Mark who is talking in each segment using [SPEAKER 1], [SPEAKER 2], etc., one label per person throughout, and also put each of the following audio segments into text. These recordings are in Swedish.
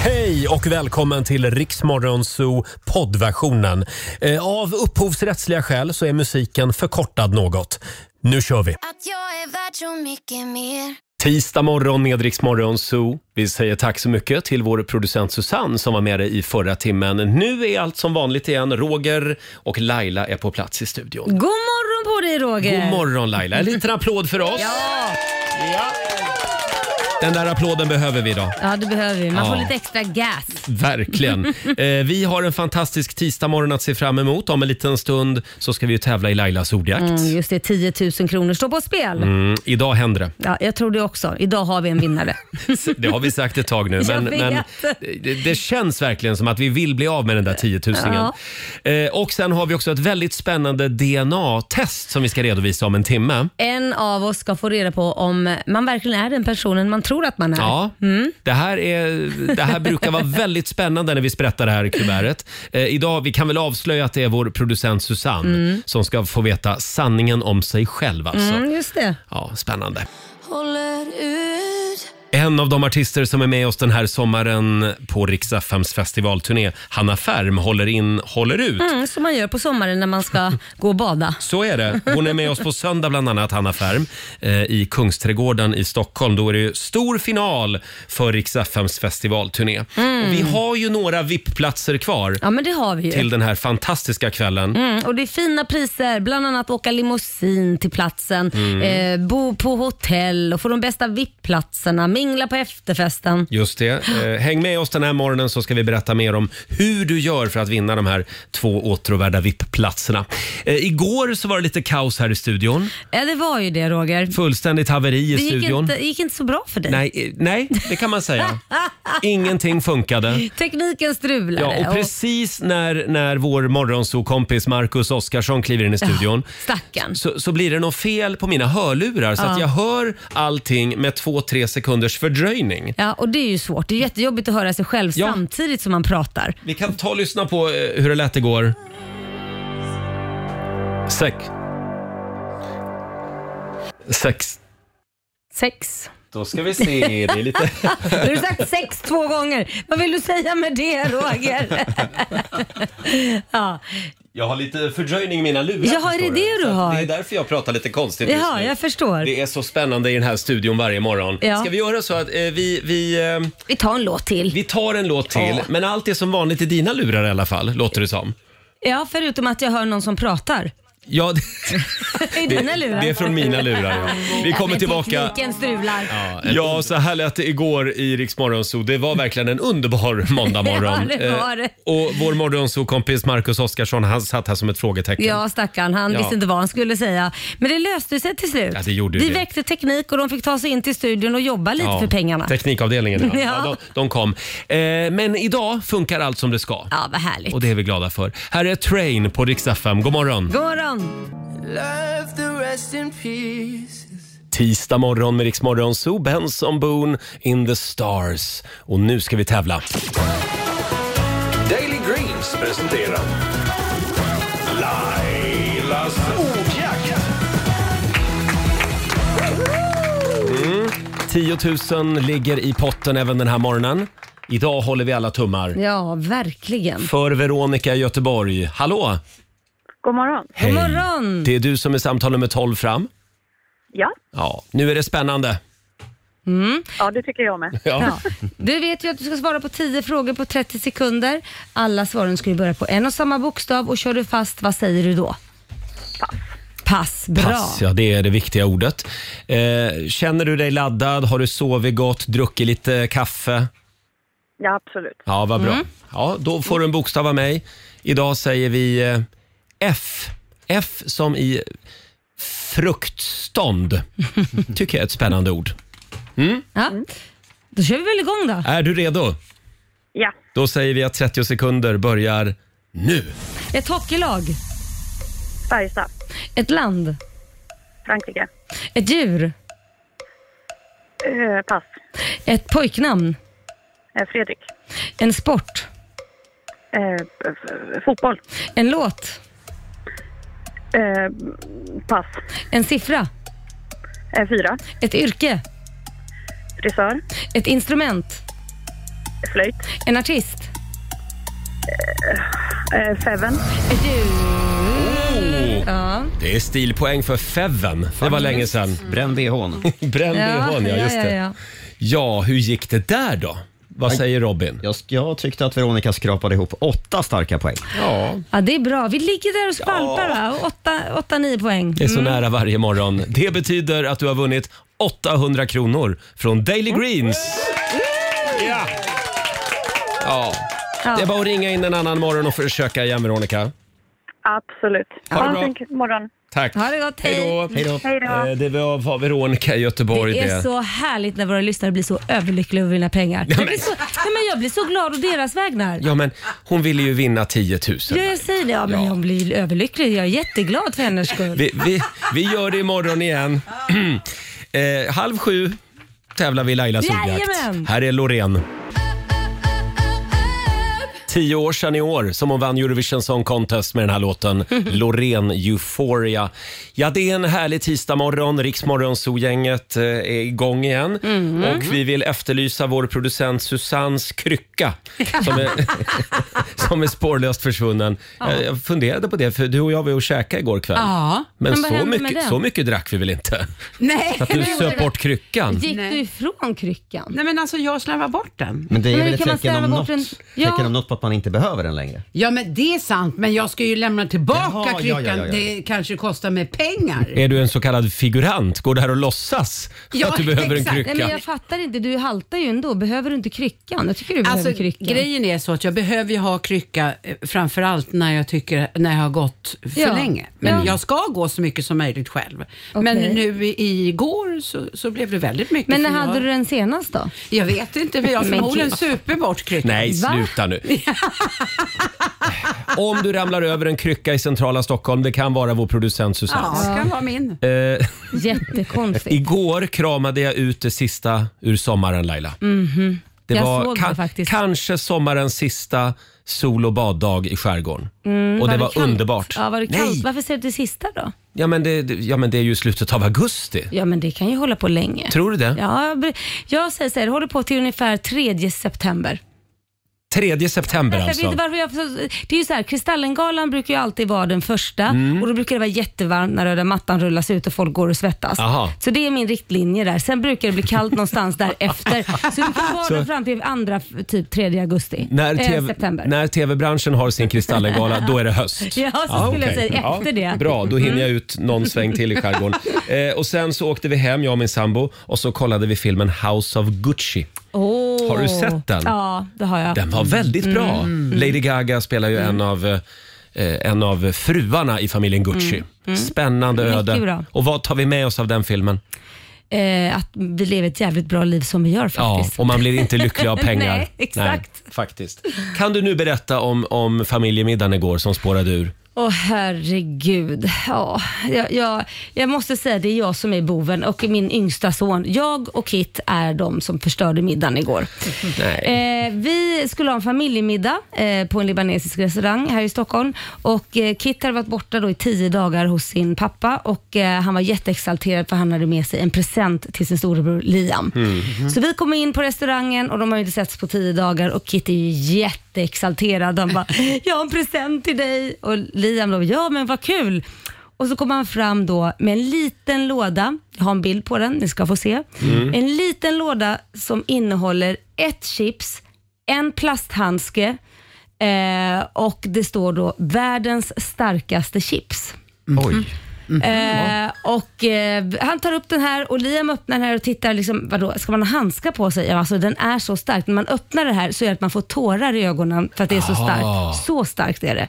[SPEAKER 1] Hej och välkommen till Riksmorgonzoo poddversionen. Eh, Av upphovsrättsliga skäl så är musiken förkortad något. Nu kör vi!
[SPEAKER 2] Att jag är värd så mycket mer
[SPEAKER 1] Tisdag morgon med Rix Morgon Zoo. Vi säger tack så mycket till vår producent Susanne som var med dig i förra timmen. Nu är allt som vanligt igen. Roger och Laila är på plats i studion.
[SPEAKER 3] God morgon på dig Roger!
[SPEAKER 1] God morgon Laila! En liten applåd för oss.
[SPEAKER 3] Ja,
[SPEAKER 1] Den där applåden behöver vi idag.
[SPEAKER 3] ja det behöver vi. Man
[SPEAKER 1] Ja.
[SPEAKER 3] får lite extra gas.
[SPEAKER 1] Verkligen. Eh, vi har en fantastisk tisdagmorgon att se fram emot. Om en liten stund så ska vi ju tävla i Lailas ordjakt.
[SPEAKER 3] Mm, just det, 10 000 kronor står på spel.
[SPEAKER 1] Mm, idag händer det.
[SPEAKER 3] Ja, jag tror det också. Idag har vi en vinnare.
[SPEAKER 1] Det har vi sagt ett tag nu.
[SPEAKER 3] Jag
[SPEAKER 1] Men,
[SPEAKER 3] vet.
[SPEAKER 1] men det, det känns verkligen som att vi vill bli av med den där 10 000. Eh, och sen har vi också ett väldigt spännande DNA-test som vi ska redovisa om en timme.
[SPEAKER 3] en av oss ska få reda på om man verkligen är den personen man tror att man är.
[SPEAKER 1] Ja,
[SPEAKER 3] Mm.
[SPEAKER 1] det, här är, det här brukar vara väldigt spännande när vi sprättar det här kuvertet. Eh, idag, vi kan väl avslöja att det är vår producent Susanne som ska få veta sanningen om sig själv. Alltså.
[SPEAKER 3] Mm, just det.
[SPEAKER 1] Ja, spännande.
[SPEAKER 2] Håller ut
[SPEAKER 1] En av de artister som är med oss den här sommaren på Rix FMs festivalturné, Hanna Färm, håller in, håller ut.
[SPEAKER 3] Mm, som man gör på sommaren när man ska gå och bada.
[SPEAKER 1] Så är det. Hon är med oss på söndag bland annat, Hanna Färm, eh, i Kungsträdgården i Stockholm. Då är det ju stor final för Rix FMs festivalturné. Och vi har ju några VIP-platser kvar
[SPEAKER 3] Mm. Ja, men det har vi ju.
[SPEAKER 1] till den här fantastiska kvällen.
[SPEAKER 3] Mm, och det är fina priser, bland annat åka limousin till platsen,
[SPEAKER 1] Mm.
[SPEAKER 3] eh, bo på hotell och få de bästa VIP-platserna, mingla på efterfesten.
[SPEAKER 1] Just det. Eh, häng med oss den här morgonen så ska vi berätta mer om hur du gör för att vinna de här två åtråvärda VIP-platserna. Eh, igår så var det lite kaos här i studion.
[SPEAKER 3] Ja, det var ju det Roger.
[SPEAKER 1] Fullständigt haveri i
[SPEAKER 3] Det gick,
[SPEAKER 1] studion.
[SPEAKER 3] inte, det gick inte så bra för dig.
[SPEAKER 1] Nej, eh, nej, det kan man säga. Ingenting funkade.
[SPEAKER 3] Tekniken strulade.
[SPEAKER 1] Ja, och precis när, när vår morgonsokompis Marcus Oskarsson kliver in i studion
[SPEAKER 3] Stackarn.
[SPEAKER 1] så, så blir det något fel på mina hörlurar så att jag hör allting med två, tre sekunders fördröjning.
[SPEAKER 3] Ja, och det är ju svårt. Det är jättejobbigt att höra sig själv
[SPEAKER 1] Ja.
[SPEAKER 3] samtidigt som man pratar.
[SPEAKER 1] Vi kan ta och lyssna på eh, hur det lät igår. Sex. Sex.
[SPEAKER 3] Sex.
[SPEAKER 1] Då ska vi se. Det är lite...
[SPEAKER 3] Nu har du sagt sex två gånger. Vad vill du säga med det Roger? ja.
[SPEAKER 1] Jag har lite fördröjning i mina lurar.
[SPEAKER 3] Jaha, är det
[SPEAKER 1] förstår
[SPEAKER 3] det du
[SPEAKER 1] Så att
[SPEAKER 3] har?
[SPEAKER 1] Det är därför jag pratar lite konstigt just
[SPEAKER 3] Jaha,
[SPEAKER 1] nu.
[SPEAKER 3] jag förstår.
[SPEAKER 1] Det är så spännande i den här studion varje morgon.
[SPEAKER 3] Ja.
[SPEAKER 1] Ska vi göra så att eh, vi, vi, eh,
[SPEAKER 3] Vi tar en låt till.
[SPEAKER 1] vi tar en låt till,
[SPEAKER 3] Ja.
[SPEAKER 1] men allt är som vanligt i dina lurar i alla fall, låter det som.
[SPEAKER 3] Ja, förutom att jag hör någon som pratar.
[SPEAKER 1] Ja, det,
[SPEAKER 3] I
[SPEAKER 1] det,
[SPEAKER 3] dina lurar.
[SPEAKER 1] det är från mina lurar. Ja. Vi
[SPEAKER 3] Ja,
[SPEAKER 1] kommer
[SPEAKER 3] men
[SPEAKER 1] tillbaka.
[SPEAKER 3] Tekniken strular.
[SPEAKER 1] Ja, så här lät det igår i Rix Morgonzoo. Det var verkligen en underbar måndagmorgon.
[SPEAKER 3] Ja, det var det.
[SPEAKER 1] Eh, Och vår morgonzoo-kompis Marcus Oskarsson, han satt här som ett frågetecken.
[SPEAKER 3] Ja, stackarn. Han
[SPEAKER 1] Ja.
[SPEAKER 3] visste inte vad han skulle säga. Men det löste sig till slut.
[SPEAKER 1] Ja, det gjorde ju
[SPEAKER 3] Vi
[SPEAKER 1] det.
[SPEAKER 3] väckte teknik och de fick ta sig in till studion och jobba lite
[SPEAKER 1] Ja,
[SPEAKER 3] för pengarna.
[SPEAKER 1] Teknikavdelningen, ja. ja.
[SPEAKER 3] Ja.
[SPEAKER 1] de, de kom. Eh, men idag funkar allt som det ska.
[SPEAKER 3] Ja, vad härligt.
[SPEAKER 1] Och det är vi glada för. Här är Train på Rix FM. God morgon!
[SPEAKER 3] God morgon!
[SPEAKER 1] Tisdag morgon med Rix Morgon Zoo, Benson Boone in the stars. Och nu ska vi tävla.
[SPEAKER 4] Daily Greens presenterar Lailas ordjakt.
[SPEAKER 1] 10 000 ligger i potten även den här morgonen. Idag håller vi alla tummar.
[SPEAKER 3] Ja, verkligen.
[SPEAKER 1] För Veronica i Göteborg. Hallå!
[SPEAKER 5] God morgon.
[SPEAKER 1] Hej.
[SPEAKER 3] God morgon!
[SPEAKER 1] Det är du som är samtal nummer 12 fram.
[SPEAKER 5] Ja,
[SPEAKER 1] Ja, nu är det spännande.
[SPEAKER 5] ja det tycker jag med.
[SPEAKER 3] Ja. Du vet ju att du ska svara på 10 frågor på 30 sekunder. Alla svaren ska ju börja på en och samma bokstav och kör du fast, vad säger du då? Pass. Pass, bra.
[SPEAKER 1] Pass, ja det är det viktiga ordet. Eh, känner du dig laddad? Har du sovit gott? Druckit lite kaffe?
[SPEAKER 5] Ja, absolut.
[SPEAKER 1] Ja, vad bra. Ja, då får du en bokstav av mig. Idag säger vi eh, F. F som i fruktstånd. Tycker jag är ett spännande ord.
[SPEAKER 3] Ja. Då kör vi väl igång då.
[SPEAKER 1] Är du redo?
[SPEAKER 5] Ja,
[SPEAKER 1] Då säger vi att 30 sekunder börjar nu.
[SPEAKER 3] Ett hockeylag,
[SPEAKER 5] Färjestad,
[SPEAKER 3] ett land,
[SPEAKER 5] Frankrike.
[SPEAKER 3] ett djur,
[SPEAKER 5] Eh, pass.
[SPEAKER 3] ett pojknamn,
[SPEAKER 5] Eh, Fredrik.
[SPEAKER 3] en sport,
[SPEAKER 5] Eh, f- fotboll.
[SPEAKER 3] en låt,
[SPEAKER 5] Eh, pass.
[SPEAKER 3] en siffra,
[SPEAKER 5] Eh, fyra.
[SPEAKER 3] ett yrke,
[SPEAKER 5] Frisör.
[SPEAKER 3] ett instrument,
[SPEAKER 5] Flöjt.
[SPEAKER 3] En artist?
[SPEAKER 5] Eh, Seven.
[SPEAKER 1] Oh,
[SPEAKER 3] Ja.
[SPEAKER 1] det är stilpoäng för Feven. Det var länge sedan.
[SPEAKER 6] Bränn bhn.
[SPEAKER 1] Bränn bhn, ja. Just det.
[SPEAKER 3] ja.
[SPEAKER 1] Ja, hur gick det där då? Vad säger Robin?
[SPEAKER 6] Jag, jag tyckte att Veronica skrapade ihop åtta starka poäng.
[SPEAKER 1] Ja,
[SPEAKER 3] Ja, det är bra. Vi ligger där och skvalpar va? 8-9 poäng.
[SPEAKER 1] det är så nära varje morgon. Det betyder att du har vunnit 800 kronor från Daily
[SPEAKER 3] Mm.
[SPEAKER 1] Greens. Ja. ja.
[SPEAKER 3] Mm, Ja.
[SPEAKER 1] Det är bara att ringa in en annan morgon och försöka igen, Veronica.
[SPEAKER 5] Absolut.
[SPEAKER 1] Ha det
[SPEAKER 5] Ja,
[SPEAKER 1] bra.
[SPEAKER 5] tänk- morgon.
[SPEAKER 1] Tack.
[SPEAKER 3] Ha det gott, hej.
[SPEAKER 1] Hej då.
[SPEAKER 5] Hej då.
[SPEAKER 1] Eh, Det var var Veronica i Göteborg
[SPEAKER 3] Det
[SPEAKER 1] det.
[SPEAKER 3] är så härligt när våra lyssnare blir så överlyckliga över vinna pengar. Jag blir så, nej, men jag blir så glad å deras vägnar.
[SPEAKER 1] Ja, men hon ville ju vinna 10 000.
[SPEAKER 3] Ja, jag säger det. Ja, men Jag blir överlycklig. Jag är jätteglad för hennes skull.
[SPEAKER 1] Vi, vi, vi gör det imorgon igen. eh, halv sju tävlar vi i Lailas ordjakt.
[SPEAKER 3] Jajamän.
[SPEAKER 1] Här är Loreen. Tio år sedan i år som hon vann Eurovision Song Contest med den här låten. Loreen Euphoria. Ja, det är en härlig tisdagmorgon. Riksmorgon-zoo-gänget eh, är igång igen. Och vi vill efterlysa vår producent Susannes krycka som är, som är spårlöst försvunnen. Jag, jag funderade på det, för du och jag var ju och käkade igår kväll.
[SPEAKER 7] Ja.
[SPEAKER 1] Men,
[SPEAKER 3] Men vad
[SPEAKER 1] så,
[SPEAKER 3] hände med
[SPEAKER 1] mycket,
[SPEAKER 3] den?
[SPEAKER 1] så mycket drack vi väl inte?
[SPEAKER 7] Nej.
[SPEAKER 1] Så att du söp bort kryckan?
[SPEAKER 3] Gick
[SPEAKER 7] Nej.
[SPEAKER 3] du ifrån kryckan?
[SPEAKER 7] Nej men alltså jag slarvar bort den.
[SPEAKER 6] Men det är
[SPEAKER 3] Men
[SPEAKER 6] väl
[SPEAKER 3] hur
[SPEAKER 6] ett
[SPEAKER 3] kan man
[SPEAKER 6] tecken om,
[SPEAKER 3] slarva
[SPEAKER 6] något,
[SPEAKER 3] bort en- Ja.
[SPEAKER 6] tecken om något på att man inte behöver den längre.
[SPEAKER 7] Ja men det är sant men jag ska ju lämna tillbaka
[SPEAKER 6] Jaha, ja,
[SPEAKER 7] kryckan.
[SPEAKER 6] ja, ja, ja.
[SPEAKER 7] Det kanske kostar mig pengar.
[SPEAKER 1] Är du en så kallad figurant? Går du här och låtsas
[SPEAKER 7] Ja,
[SPEAKER 1] att du behöver
[SPEAKER 7] exakt.
[SPEAKER 1] en
[SPEAKER 3] Nej, men
[SPEAKER 1] krycka?
[SPEAKER 3] jag fattar inte. Du haltar ju ändå. Behöver du inte kryckan? Jag tycker du behöver
[SPEAKER 7] Alltså,
[SPEAKER 3] kryckan.
[SPEAKER 7] grejen är så att jag behöver ju ha krycka eh, framförallt när jag tycker när jag har gått för
[SPEAKER 3] Ja.
[SPEAKER 7] länge. Men
[SPEAKER 3] Ja.
[SPEAKER 7] jag ska gå så mycket som möjligt själv. Men
[SPEAKER 3] Okej.
[SPEAKER 7] nu i, igår så, så blev det väldigt mycket.
[SPEAKER 3] men när
[SPEAKER 7] för jag,
[SPEAKER 3] hade du den senast då?
[SPEAKER 7] jag vet inte, men jag har
[SPEAKER 3] Men
[SPEAKER 7] förmodligen
[SPEAKER 3] gud.
[SPEAKER 7] super bort kryckan.
[SPEAKER 1] Nej,
[SPEAKER 3] Va?
[SPEAKER 1] sluta nu. Om du ramlar över en krycka i centrala Stockholm, det kan vara vår producent Susanne.
[SPEAKER 7] Ja, det kan vara min.
[SPEAKER 1] Eh,
[SPEAKER 3] Jättekonstigt.
[SPEAKER 1] igår kramade jag ut det sista ur sommaren, Laila. Det
[SPEAKER 3] Mhm. Jag
[SPEAKER 1] var
[SPEAKER 3] såg det faktiskt.
[SPEAKER 1] kanske sommarens sista sol och baddag i skärgården. och det var,
[SPEAKER 3] Mm, kallt?
[SPEAKER 1] underbart.
[SPEAKER 3] Ja, var det kallt?
[SPEAKER 1] Nej,
[SPEAKER 3] Varför säger du det sista då?
[SPEAKER 1] ja, men det, det- ja, men det är ju slutet av augusti.
[SPEAKER 3] Ja, men det kan ju hålla på länge.
[SPEAKER 1] Tror du det?
[SPEAKER 3] Ja, jag br- jag säger så här, det håller på till ungefär 3 september.
[SPEAKER 1] 3 september
[SPEAKER 3] Jag vet
[SPEAKER 1] alltså.
[SPEAKER 3] inte varför jag, det är ju så här, Kristallengalan brukar ju alltid vara den första
[SPEAKER 1] Mm.
[SPEAKER 3] och då brukar det vara jättevarmt när röda mattan rullas ut och folk går och svettas.
[SPEAKER 1] Aha.
[SPEAKER 3] Så det är min riktlinje där. Sen brukar det bli kallt någonstans därefter. Så det kan vara den fram till andra, typ 3 augusti.
[SPEAKER 1] När,
[SPEAKER 3] Eh,
[SPEAKER 1] TV,
[SPEAKER 3] september.
[SPEAKER 1] när tv-branschen har sin Kristallengala, då är det höst.
[SPEAKER 3] Ja, så skulle jag
[SPEAKER 1] Ah, okej.
[SPEAKER 3] säga. Efter det. Mm.
[SPEAKER 1] Bra, då hinner jag ut någon sväng till i skärgården. Eh, och sen så åkte vi hem, jag och min sambo, och så kollade vi filmen House of Gucci.
[SPEAKER 3] Åh.
[SPEAKER 1] Har du sett den?
[SPEAKER 3] Ja, Mm. det har jag.
[SPEAKER 1] Den var väldigt bra. Lady Gaga spelar ju en av eh, en av fruarna i familjen Gucci. Spännande
[SPEAKER 3] Mycket
[SPEAKER 1] öde.
[SPEAKER 3] Mm. bra.
[SPEAKER 1] Och vad tar vi med oss av den filmen?
[SPEAKER 3] Eh, att vi lever ett jävligt bra liv som vi gör
[SPEAKER 1] Ja,
[SPEAKER 3] faktiskt.
[SPEAKER 1] och man blir inte lycklig av pengar.
[SPEAKER 3] Nej, exakt.
[SPEAKER 1] faktiskt. Kan du nu berätta om, om familjemiddagen igår som spårade ur?
[SPEAKER 3] Åh herregud. Ja, jag, jag, jag måste säga det är jag som är boven och min yngsta son. Jag och Kit är de som förstörde middagen igår. Eh, vi skulle ha en familjemiddag eh, på en libanesisk restaurang här i Stockholm och eh, Kit hade varit borta då i tio dagar hos sin pappa och eh, han var jätteexalterad för han hade med sig en present till sin storebror Liam. Så vi kom in på restaurangen och de har ju inte setts på tio dagar och Kit är ju jätteexalterad. Han bara, jag har en present till dig och Liam då, ja men vad kul. Och så kom han fram då med en liten låda, jag har en bild på den, ni ska få se. En liten låda som innehåller ett chips, en plasthandske eh, och det står då världens starkaste chips.
[SPEAKER 6] Oj.
[SPEAKER 3] Eh, och eh, Han tar upp den här och Liam öppnar den här och tittar. Liksom, vadå, ska man ha handskar på sig? Ja, Alltså, den är så stark. När man öppnar det här så är det att man får tårar i ögonen för att det är så
[SPEAKER 1] Ah.
[SPEAKER 3] starkt. Så starkt är det.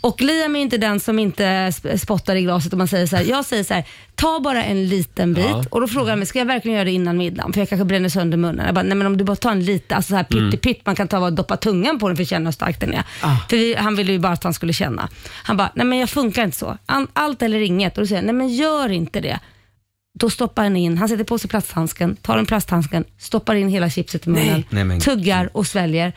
[SPEAKER 3] Och Liam är inte den som inte sp- spottar i glaset om man säger så här. Jag säger så här, ta bara en liten bit och då frågar han mig, ska jag verkligen göra det innan middagen? För jag kanske bränner sönder munnen. Jag bara, nej men om du bara tar en liten, alltså så här
[SPEAKER 6] Mm.
[SPEAKER 3] pyttepitt, man kan ta och doppa tungan på den för att känna hur stark den är.
[SPEAKER 6] Ah.
[SPEAKER 3] För vi, han ville ju bara att han skulle känna. Han bara, nej men jag funkar inte så. An- Allt eller inget. Och då säger jag, nej men gör inte det. Då stoppar han in, han sätter på sig plasthandsken, tar den plasthandsken, stoppar in hela chipset i munnen,
[SPEAKER 6] Nej, men-
[SPEAKER 3] tuggar och sväljer.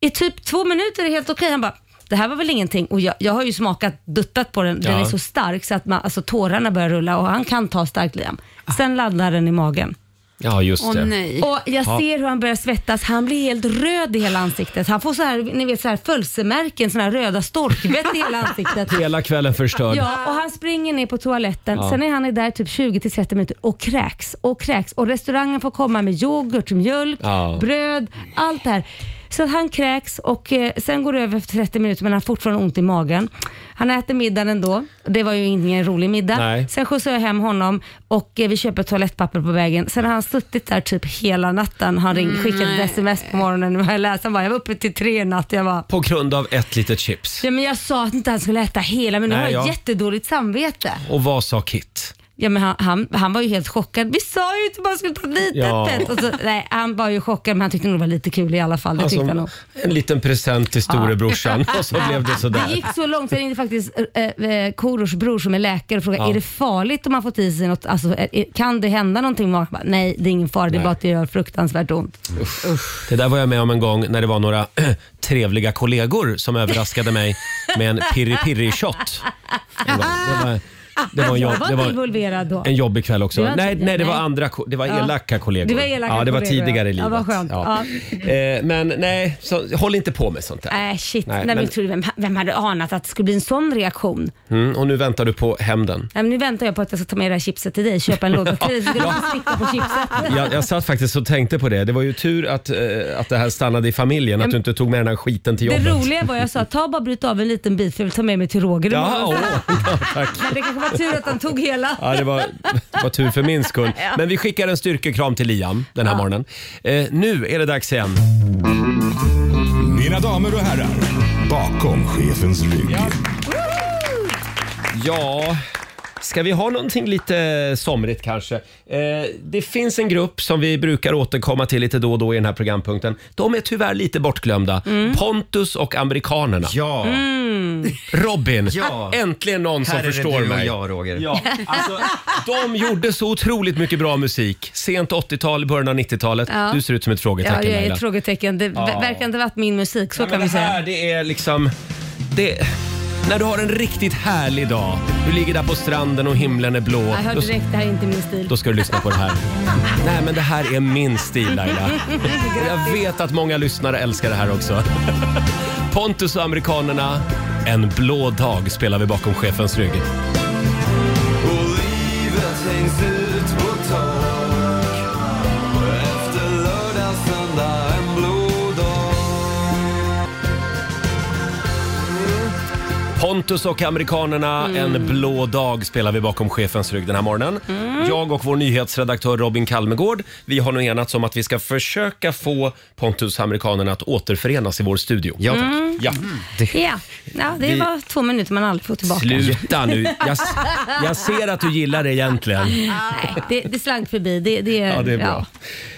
[SPEAKER 3] I typ två minuter är det helt okej. Han bara, det här var väl ingenting. Och jag, jag har ju smakat, duttat på den. Den
[SPEAKER 1] Ja.
[SPEAKER 3] är så stark så att man, alltså, tårarna börjar rulla och han kan ta starkt Liam. Sen landar den i magen.
[SPEAKER 1] Ja, just
[SPEAKER 7] Åh
[SPEAKER 1] det.
[SPEAKER 7] nej.
[SPEAKER 3] Och jag
[SPEAKER 1] Ja.
[SPEAKER 3] ser hur han börjar svettas. Han blir helt röd i hela ansiktet. Han får så här, ni vet, så här födelsemärken, såna här röda storkbett i hela ansiktet.
[SPEAKER 1] Hela kvällen förstörd.
[SPEAKER 3] Ja, och han springer ner på toaletten.
[SPEAKER 1] Ja.
[SPEAKER 3] Sen är han där typ 20-30 minuter och kräks och kräks. Och restaurangen får komma med yoghurt, mjölk,
[SPEAKER 1] Ja.
[SPEAKER 3] bröd, allt det här. Så att han kräks och eh, sen går det över efter 30 minuter men han har fortfarande ont i magen. Han äter middagen ändå. Det var ju ingen rolig middag.
[SPEAKER 1] Nej.
[SPEAKER 3] Sen skjutsar jag hem honom och eh, vi köper toalettpapper på vägen. Sen har han suttit där typ hela natten. Han ring, skickade ett sms på morgonen när jag läste. Han bara, jag var uppe till tre i natt. Jag bara,
[SPEAKER 1] På grund av ett litet chips.
[SPEAKER 3] Ja, men jag sa att inte han skulle äta hela men nu
[SPEAKER 1] Nej,
[SPEAKER 3] har jag
[SPEAKER 1] ja.
[SPEAKER 3] jättedåligt samvete.
[SPEAKER 1] Och vad sa Kit?
[SPEAKER 3] Ja, men han, han, han var ju helt chockad. Vi sa ju inte bara skulle ta dit
[SPEAKER 1] Ja.
[SPEAKER 3] ett pet. Och så, nej, han var ju chockad men han tyckte nog det var lite kul i alla fall. Det tyckte han nog.
[SPEAKER 1] Alltså, en liten present till storebrorsan och så blev det
[SPEAKER 3] Det
[SPEAKER 1] sådär.
[SPEAKER 3] gick så långt så jag ringde faktiskt äh, äh, Korors bror som är läkare och frågade
[SPEAKER 1] Ja.
[SPEAKER 3] är det farligt om man fått i sig något, alltså, eh, eh, kan det hända någonting? Man bara, nej det är ingen fara, det är
[SPEAKER 1] Nej.
[SPEAKER 3] bara att det gör fruktansvärt ont.
[SPEAKER 1] Det där var jag med om en gång när det var några trevliga kollegor som överraskade mig med en pirri-pirri-shot. Det var, det var, det var, en jobb,
[SPEAKER 3] jag var
[SPEAKER 1] det
[SPEAKER 3] inte
[SPEAKER 1] var
[SPEAKER 3] involverad då.
[SPEAKER 1] en jobbig kväll
[SPEAKER 3] Det
[SPEAKER 1] också.
[SPEAKER 3] var inte
[SPEAKER 1] Nej,
[SPEAKER 3] det,
[SPEAKER 1] nej, det var
[SPEAKER 3] nej.
[SPEAKER 1] andra, ko- det var
[SPEAKER 3] Ja.
[SPEAKER 1] elaka kollegor.
[SPEAKER 3] Det var elaka
[SPEAKER 1] Ja, det var
[SPEAKER 3] kollegor,
[SPEAKER 1] tidigare i
[SPEAKER 3] ja. Ja,
[SPEAKER 1] livet.
[SPEAKER 3] vad skönt.
[SPEAKER 1] Eh, Men nej, så, håll inte på med sånt där.
[SPEAKER 3] Äh, shit,
[SPEAKER 1] Nej,
[SPEAKER 3] nej, men...
[SPEAKER 1] men-
[SPEAKER 3] jag trodde, vem, vem hade anat att det skulle bli en sån reaktion?
[SPEAKER 1] Mm, och nu väntar du på hämnden.
[SPEAKER 3] Nej, men nu väntar jag på att jag ska ta med det här chipset till dig, köpa en låda till dig så ska du få slicka på chipset.
[SPEAKER 1] Jag, jag satt faktiskt och tänkte på det. Det var ju tur att, eh, att det här stannade i familjen, att du inte tog med den här skiten till
[SPEAKER 3] Det
[SPEAKER 1] jobbet.
[SPEAKER 3] roliga var jag sa, ta bara bryt av en liten bit för jag vill ta med mig till Roger
[SPEAKER 1] Ja,
[SPEAKER 3] imorgon.
[SPEAKER 1] åh, ja, tack.
[SPEAKER 3] Men det kanske var tur att han tog hela.
[SPEAKER 1] Ja, det var, det var tur för min skull. Men vi skickar en styrkekram till Liam den här morgonen. Eh, nu är det dags igen.
[SPEAKER 4] Mina damer och herrar, bakom chefens rygg.
[SPEAKER 1] Ja, ska vi ha någonting lite somrigt kanske? Eh, det finns en grupp som vi brukar återkomma till lite då och då i den här programpunkten. De är tyvärr lite bortglömda.
[SPEAKER 3] Mm.
[SPEAKER 1] Pontus och amerikanerna.
[SPEAKER 6] Ja,
[SPEAKER 1] Robin,
[SPEAKER 6] Ja.
[SPEAKER 1] äntligen någon som
[SPEAKER 6] här är
[SPEAKER 1] förstår
[SPEAKER 6] det du och
[SPEAKER 1] mig.
[SPEAKER 6] jag Roger.
[SPEAKER 1] Ja, alltså, de gjorde så otroligt mycket bra musik. Sent 80-tal, början av 90-talet.
[SPEAKER 3] Ja.
[SPEAKER 1] Du ser ut som ett frågetecken
[SPEAKER 3] Ja, jag är
[SPEAKER 1] Laila.
[SPEAKER 3] ett frågetecken. Det ver- verkar inte ha varit min musik, så
[SPEAKER 1] Ja,
[SPEAKER 3] kan
[SPEAKER 1] men
[SPEAKER 3] vi
[SPEAKER 1] det
[SPEAKER 3] säga.
[SPEAKER 1] här det är liksom... Det, när du har en riktigt härlig dag, du ligger där på stranden och himlen är blå.
[SPEAKER 3] Jag hörde
[SPEAKER 1] då,
[SPEAKER 3] direkt, det här är inte min stil.
[SPEAKER 1] då ska du lyssna på det här. Nej men det här är min stil Laila. Och jag vet att många lyssnare älskar det här också. Pontus och amerikanerna, En blå dag spelar vi bakom chefens rygg.
[SPEAKER 8] Och livet hängs ut på tak Efter lördag, söndag, en blå dag
[SPEAKER 1] Pontus och amerikanerna,
[SPEAKER 6] Mm.
[SPEAKER 1] en blå dag spelar vi bakom chefens rygg den här morgonen.
[SPEAKER 6] Mm.
[SPEAKER 1] Jag och vår nyhetsredaktör Robin Kalmegård, vi har nu enats om att vi ska försöka få Pontus och amerikanerna att återförenas i vår studio. Mm.
[SPEAKER 6] Ja, tack. Mm.
[SPEAKER 1] Ja.
[SPEAKER 3] Ja, ja det
[SPEAKER 6] Vi-
[SPEAKER 3] var två minuter man aldrig får tillbaka.
[SPEAKER 1] Sluta nu. Jag, s- jag ser att du gillar det egentligen.
[SPEAKER 3] Nej, det, det slank förbi. Det, det,
[SPEAKER 1] Ja, det är bra.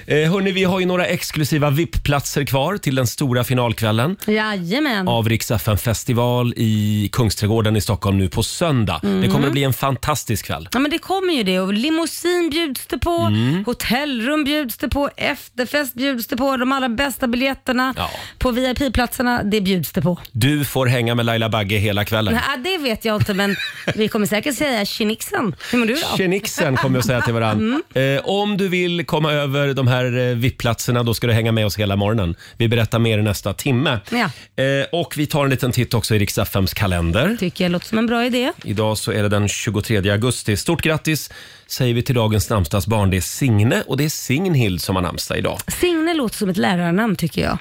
[SPEAKER 1] Eh, hörni, vi har ju några exklusiva VIP-platser kvar till den stora finalkvällen.
[SPEAKER 3] Ja. Jajamän.
[SPEAKER 1] av Rix FM festival i Kungsträdgården i Stockholm nu på söndag.
[SPEAKER 3] Mm.
[SPEAKER 1] Det kommer att bli en fantastisk kväll.
[SPEAKER 3] Ja men det kommer ju det och limousin bjuds det på,
[SPEAKER 1] Mm.
[SPEAKER 3] hotellrum bjuds det på, efterfest bjuds det på, de allra bästa biljetterna
[SPEAKER 1] Ja.
[SPEAKER 3] på VIP-platserna, det bjuds det på.
[SPEAKER 1] Du får hänga med Laila Bagge hela kvällen.
[SPEAKER 3] Nej, det vet jag inte men vi kommer säkert säga tjenixen. Hur mår du då? Mm.
[SPEAKER 1] Tjenixen kommer jag säga till varandra. Eh, om du vill komma över de här eh, VIP-platserna då ska du hänga med oss hela morgonen. Vi berättar mer i nästa timme.
[SPEAKER 3] Ja.
[SPEAKER 1] Eh, och vi tar en liten titt också i Rix FMs kalender.
[SPEAKER 3] Tycker jag låter som en bra idé.
[SPEAKER 1] Idag så är det den 23 augusti. Stort grattis säger vi till dagens namnsdagsbarn. Det är Signe och det är Signhild som har namnsdag idag.
[SPEAKER 3] Signe låter som ett lärarnamn tycker jag.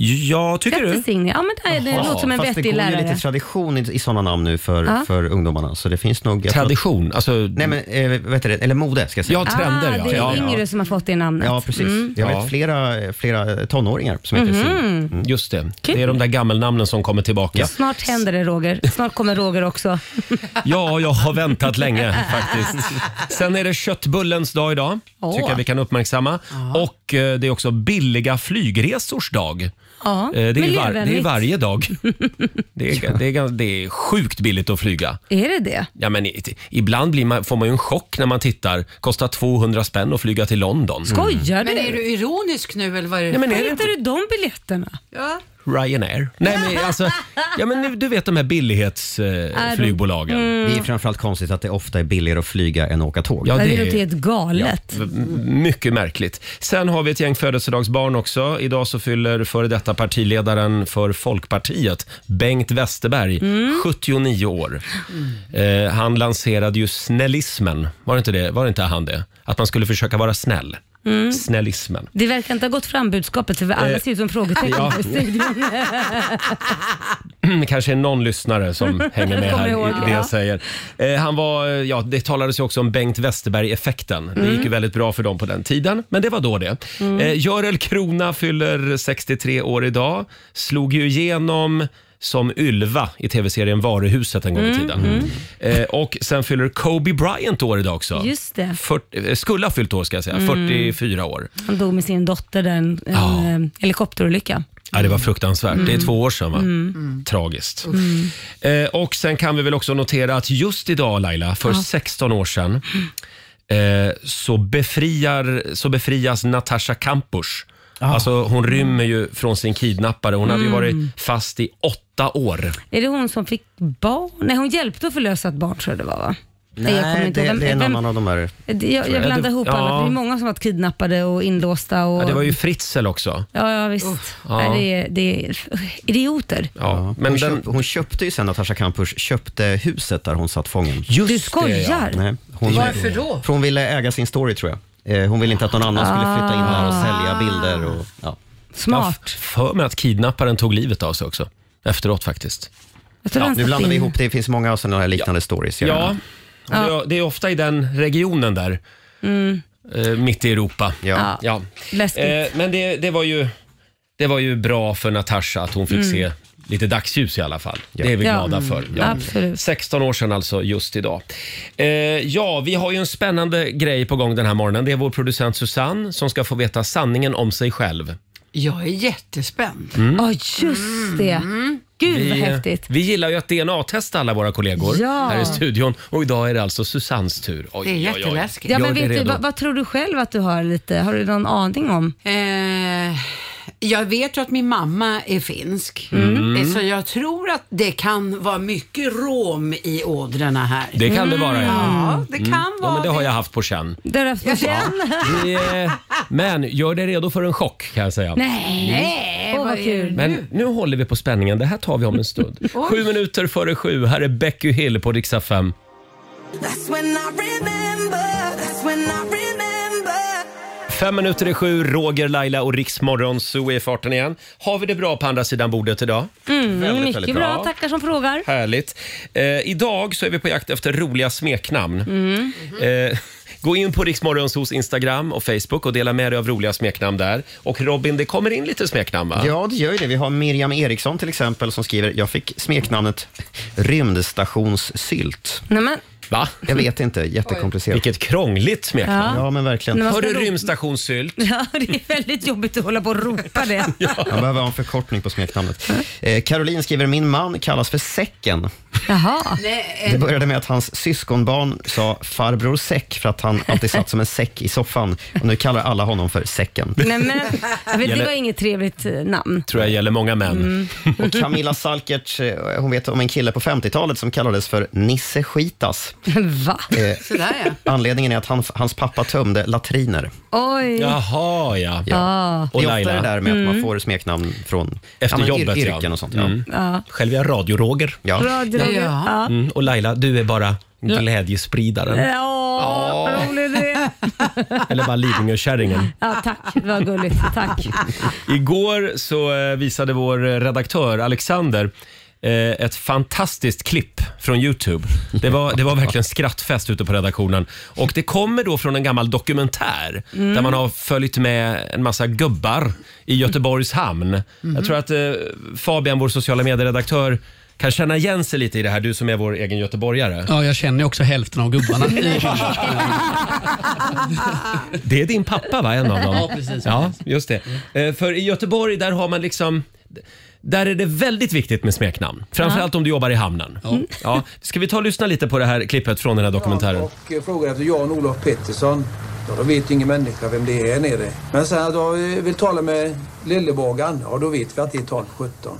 [SPEAKER 1] Ja, tycker du?
[SPEAKER 3] Grattis Signe. Ja men det, här- det
[SPEAKER 6] Ja,
[SPEAKER 3] låter som en
[SPEAKER 6] fast det
[SPEAKER 3] vettig
[SPEAKER 6] går
[SPEAKER 3] lärare.
[SPEAKER 6] ju lite tradition i, i sådana namn nu för, för ungdomarna. Så det finns nog... jag tror-
[SPEAKER 1] Tradition, alltså...
[SPEAKER 6] Nej men, eh, vad heter det? Eller mode ska jag säga.
[SPEAKER 1] Ja, trender
[SPEAKER 3] ah,
[SPEAKER 1] ja.
[SPEAKER 3] det är
[SPEAKER 1] ja.
[SPEAKER 3] yngre som har fått det namnet. Mm.
[SPEAKER 6] Ja, precis. Jag
[SPEAKER 1] Ja.
[SPEAKER 6] vet flera, flera tonåringar som heter Signe.
[SPEAKER 3] Mhm.
[SPEAKER 1] Mm, Just det. Det är de där gammelnamnen som kommer tillbaka.
[SPEAKER 3] Snart händer det Roger. Snart kommer Roger också.
[SPEAKER 1] Ja, jag har väntat länge faktiskt. Sen är det köttbullens dag idag.
[SPEAKER 3] Åh.
[SPEAKER 1] Tycker jag vi kan uppmärksamma. Och eh, det är också billiga flygresors dag.
[SPEAKER 3] Ja,
[SPEAKER 1] Eh, Det är, ju var, det är ju
[SPEAKER 3] miljövänligt.
[SPEAKER 1] varje dag. Det är, det, är, gans- det är sjukt billigt att flyga.
[SPEAKER 3] Är det det?
[SPEAKER 1] Ja, men i, ibland blir man, får man ju en chock när man tittar. Kostar 200 spänn att flyga till London.
[SPEAKER 3] Skojar Mm. du?
[SPEAKER 7] Men är du ironisk nu eller vad är det?
[SPEAKER 1] Ja, men
[SPEAKER 3] Var
[SPEAKER 1] är det
[SPEAKER 3] hittar du de biljetterna?
[SPEAKER 7] Ja.
[SPEAKER 1] Ryanair. Nej, men alltså, ja, men nu- du vet de här eh,
[SPEAKER 3] de-
[SPEAKER 1] billighetsflygbolagen.
[SPEAKER 6] Det är framförallt konstigt att det ofta är billigare att flyga än att åka tåg.
[SPEAKER 1] Ja,
[SPEAKER 3] det, det låter helt galet.
[SPEAKER 1] Ja, m- mycket märkligt. Sen har vi ett gäng födelsedagsbarn också. Idag så fyller före detta partiledaren för Folkpartiet, Bengt Westerberg, 79 år. Eh, han lanserade ju snällismen. Var det, inte det? Var det inte han det? Att man skulle försöka vara snäll. Snällismen.
[SPEAKER 3] Det verkar inte ha gått fram budskapet för vi alla
[SPEAKER 1] Eh,
[SPEAKER 3] ser ut som frågetecken
[SPEAKER 1] ja.
[SPEAKER 3] i studion.
[SPEAKER 1] Det kanske är någon lyssnare som hänger med här
[SPEAKER 3] Kommer ihåg,
[SPEAKER 1] i det
[SPEAKER 3] ja.
[SPEAKER 1] jag säger. Eh, han var, eh, ja, det talades ju också om Bengt Westerberg-effekten. Det
[SPEAKER 3] Mm.
[SPEAKER 1] gick ju väldigt bra för dem på den tiden, men det var då det. Eh, Görel Krona fyller 63 år idag. Slog ju igenom som Ylva i tv-serien Varuhuset en gång
[SPEAKER 3] Mm,
[SPEAKER 1] i tiden. Eh, och sen fyller Kobe Bryant år idag också.
[SPEAKER 3] Just det. Mm.
[SPEAKER 1] 40, eh, skulle ha fyllt år ska jag säga, 44 år.
[SPEAKER 3] Han dog med sin dotter där, en, en
[SPEAKER 1] Ah.
[SPEAKER 3] eh, helikopterolycka.
[SPEAKER 1] Ja, det var fruktansvärt. Det är två år sedan, va?
[SPEAKER 6] Mm.
[SPEAKER 1] Tragiskt. Eh, och sen kan vi väl också notera att just idag, Laila, för 16 år sedan eh, så, befriar, så befrias Natasha Kampusch. Alltså, hon rymmer ju från sin kidnappare. Hon hade ju varit fast i åtta år.
[SPEAKER 3] Är det hon som fick barn? Nej, hon hjälpte att förlösa ett barn tror jag det var va?
[SPEAKER 6] Nej,
[SPEAKER 3] jag kommer inte
[SPEAKER 6] det,
[SPEAKER 3] ihåg. Vem-
[SPEAKER 6] det är en
[SPEAKER 3] vem-
[SPEAKER 6] annan av de här.
[SPEAKER 3] Det- Jag, jag
[SPEAKER 1] jag.
[SPEAKER 3] blandar
[SPEAKER 1] Det-
[SPEAKER 3] ihop alla.
[SPEAKER 1] ja.
[SPEAKER 3] för Det är många som varit kidnappade och inlåsta. Och,
[SPEAKER 1] Ja, det var ju Fritzl också.
[SPEAKER 3] ja, ja, visst.
[SPEAKER 1] ja.
[SPEAKER 3] Nej, det, är, det är idioter.
[SPEAKER 1] Ja, men
[SPEAKER 6] hon,
[SPEAKER 1] den,
[SPEAKER 6] köp, hon köpte ju sen, Natasha Kampusch, köpte huset där hon satt fången.
[SPEAKER 1] just
[SPEAKER 3] Du
[SPEAKER 1] Det, ja.
[SPEAKER 3] skojar?
[SPEAKER 6] Nej, hon,
[SPEAKER 7] Varför då?
[SPEAKER 6] För hon ville äga sin story tror jag. Eh, Hon ville inte att någon annan skulle flytta in där och sälja bilder. Och, ja.
[SPEAKER 1] Jag har
[SPEAKER 3] Smart.
[SPEAKER 1] för mig att kidnapparen tog livet av sig också. Efteråt faktiskt.
[SPEAKER 3] Jag tror han
[SPEAKER 6] Nu
[SPEAKER 3] satt
[SPEAKER 6] blandar vi
[SPEAKER 3] in-
[SPEAKER 6] ihop, det finns många sådana här liknande stories. jag
[SPEAKER 1] Ja,
[SPEAKER 6] menar.
[SPEAKER 1] Det, det är ofta i den regionen där. Eh, mitt i Europa.
[SPEAKER 6] ja.
[SPEAKER 3] Ja.
[SPEAKER 1] Ja.
[SPEAKER 3] Läskigt.
[SPEAKER 1] Eh, men det, det, var ju, det var ju bra för Natasha att hon fick se lite dagsljus i alla fall. Det är vi
[SPEAKER 3] Mm. Ja. Mm.
[SPEAKER 1] glada för. Ja.
[SPEAKER 3] Absolut.
[SPEAKER 1] 16 år sedan alltså, just idag. Eh, ja, vi har ju en spännande grej på gång den här morgonen. Det är vår producent Susanne som ska få veta sanningen om sig själv.
[SPEAKER 7] Jag är jättespänd.
[SPEAKER 3] Ja, just det. Gud vad häftigt.
[SPEAKER 1] vi gillar ju att DNA-testa alla våra kollegor
[SPEAKER 3] Ja.
[SPEAKER 1] här i studion. Och idag är det alltså Susannes tur. Oj,
[SPEAKER 7] Det är
[SPEAKER 1] oj, oj.
[SPEAKER 7] jätteläskigt.
[SPEAKER 3] Ja,
[SPEAKER 1] jag
[SPEAKER 3] men
[SPEAKER 1] är
[SPEAKER 3] vet du,
[SPEAKER 1] redo.
[SPEAKER 3] vad, vad tror du själv att du har lite? Har du någon aning om?
[SPEAKER 7] Eh, jag vet ju att min mamma är finsk.
[SPEAKER 1] Mm.
[SPEAKER 7] Eh, Så jag tror att det kan vara mycket rom i ådrarna här.
[SPEAKER 1] Det kan det vara, ja.
[SPEAKER 3] Mm.
[SPEAKER 7] Ja, det kan
[SPEAKER 1] ja
[SPEAKER 7] vara
[SPEAKER 1] men det har
[SPEAKER 7] det.
[SPEAKER 1] jag haft på känn.
[SPEAKER 3] Där har jag
[SPEAKER 1] Eh, Men gör dig redo för en chock kan jag säga.
[SPEAKER 3] Nej, Åh, vad
[SPEAKER 7] vad är
[SPEAKER 3] kul.
[SPEAKER 1] Mm. Men nu håller vi på spänningen. Det här tar vi om en stund. sju minuter före sju. Här är Becky Hill på riksdag 5.
[SPEAKER 2] That's when I remember, that's when I remember
[SPEAKER 1] Fem minuter i sju, Roger, Laila och Riksmorgon. Så är farten igen. Har vi det bra på andra sidan bordet idag?
[SPEAKER 3] Mm,
[SPEAKER 1] väldigt,
[SPEAKER 3] mycket
[SPEAKER 1] väldigt
[SPEAKER 3] bra.
[SPEAKER 1] bra.
[SPEAKER 3] Tackar som frågar.
[SPEAKER 1] Härligt. Eh, idag så är vi på jakt efter roliga smeknamn.
[SPEAKER 3] Mm. Mm-hmm.
[SPEAKER 1] Eh, gå in på Riksmorgonsos Instagram och Facebook och dela med dig av roliga smeknamn där. Och Robin, det kommer in lite smeknamn va?
[SPEAKER 6] Ja, det gör ju det. Vi har Miriam Eriksson till exempel som skriver, jag fick smeknamnet rymdstationssylt.
[SPEAKER 3] Nej, men,
[SPEAKER 1] Va?
[SPEAKER 6] Jag vet inte, jättekomplicerat.
[SPEAKER 1] Vilket krångligt smeknamn.
[SPEAKER 3] ja.
[SPEAKER 6] Ja, men verkligen.
[SPEAKER 3] När man
[SPEAKER 1] Har
[SPEAKER 3] ska
[SPEAKER 1] du
[SPEAKER 3] ro-
[SPEAKER 1] rymdstationssylt?
[SPEAKER 3] Ja, det är väldigt jobbigt att hålla på och ropa det.
[SPEAKER 6] Jag behöver ha en förkortning på smeknamnet. Eh, Caroline skriver, min man kallas för Säcken.
[SPEAKER 3] Jaha.
[SPEAKER 6] Det började med att hans syskonbarn sa farbror Säck för att han alltid satt som en säck i soffan. Och nu kallar alla honom för Säcken.
[SPEAKER 3] Nej, men, jag vet, det
[SPEAKER 1] Gäller-
[SPEAKER 3] var inget trevligt eh, namn.
[SPEAKER 1] tror jag gäller många män.
[SPEAKER 3] Mm.
[SPEAKER 6] Och Camilla Salkert, eh, hon vet om en kille på 50-talet som kallades för Nisse Skitas.
[SPEAKER 3] Va?
[SPEAKER 6] Eh,
[SPEAKER 7] Sådär ja.
[SPEAKER 6] Anledningen är att han, hans pappa tömde latriner.
[SPEAKER 3] Oj.
[SPEAKER 1] Jaha, ja. Och
[SPEAKER 6] det är ofta
[SPEAKER 1] Laila,
[SPEAKER 6] det där med att man får smeknamn från
[SPEAKER 1] Efter
[SPEAKER 6] men
[SPEAKER 1] jobbet, ja. Mm.
[SPEAKER 6] yrken och sånt. Ja.
[SPEAKER 1] själv är jag radio-Roger.
[SPEAKER 6] Ja.
[SPEAKER 3] Radio.
[SPEAKER 7] Ja.
[SPEAKER 3] Ja.
[SPEAKER 1] Mm, och Laila, du är bara glädjespridaren.
[SPEAKER 3] Ja, vad rolig du är.
[SPEAKER 1] Eller bara Lidingökärringen.
[SPEAKER 3] Ja, tack. Det var gulligt. Tack.
[SPEAKER 1] Igår så eh, visade vår redaktör Alexander eh, ett fantastiskt klipp från Youtube. Det var, det var verkligen skrattfest ute på redaktionen. Och Det kommer då från en gammal dokumentär där man har följt med en massa gubbar i Göteborgs hamn. Jag tror att eh, Fabian, vår sociala medieredaktör, kan känna igen sig lite i det här, du som är vår egen göteborgare.
[SPEAKER 9] Ja, jag känner ju också hälften av gubbarna.
[SPEAKER 1] Det är din pappa va, en av dem?
[SPEAKER 9] Ja, precis.
[SPEAKER 1] Ja, just det. Eh, För i Göteborg där har man liksom Där är det väldigt viktigt med smeknamn. Framförallt om du jobbar i hamnen. Ja. Ska vi ta och lyssna lite på det här klippet från den här dokumentären?
[SPEAKER 8] Och eh, frågade efter Jan-Olof Pettersson. Ja, då vet ju ingen människa vem det är här nere. Men sen att jag eh, vill tala med Lillebågan. Ja, då vet vi att det är 1217.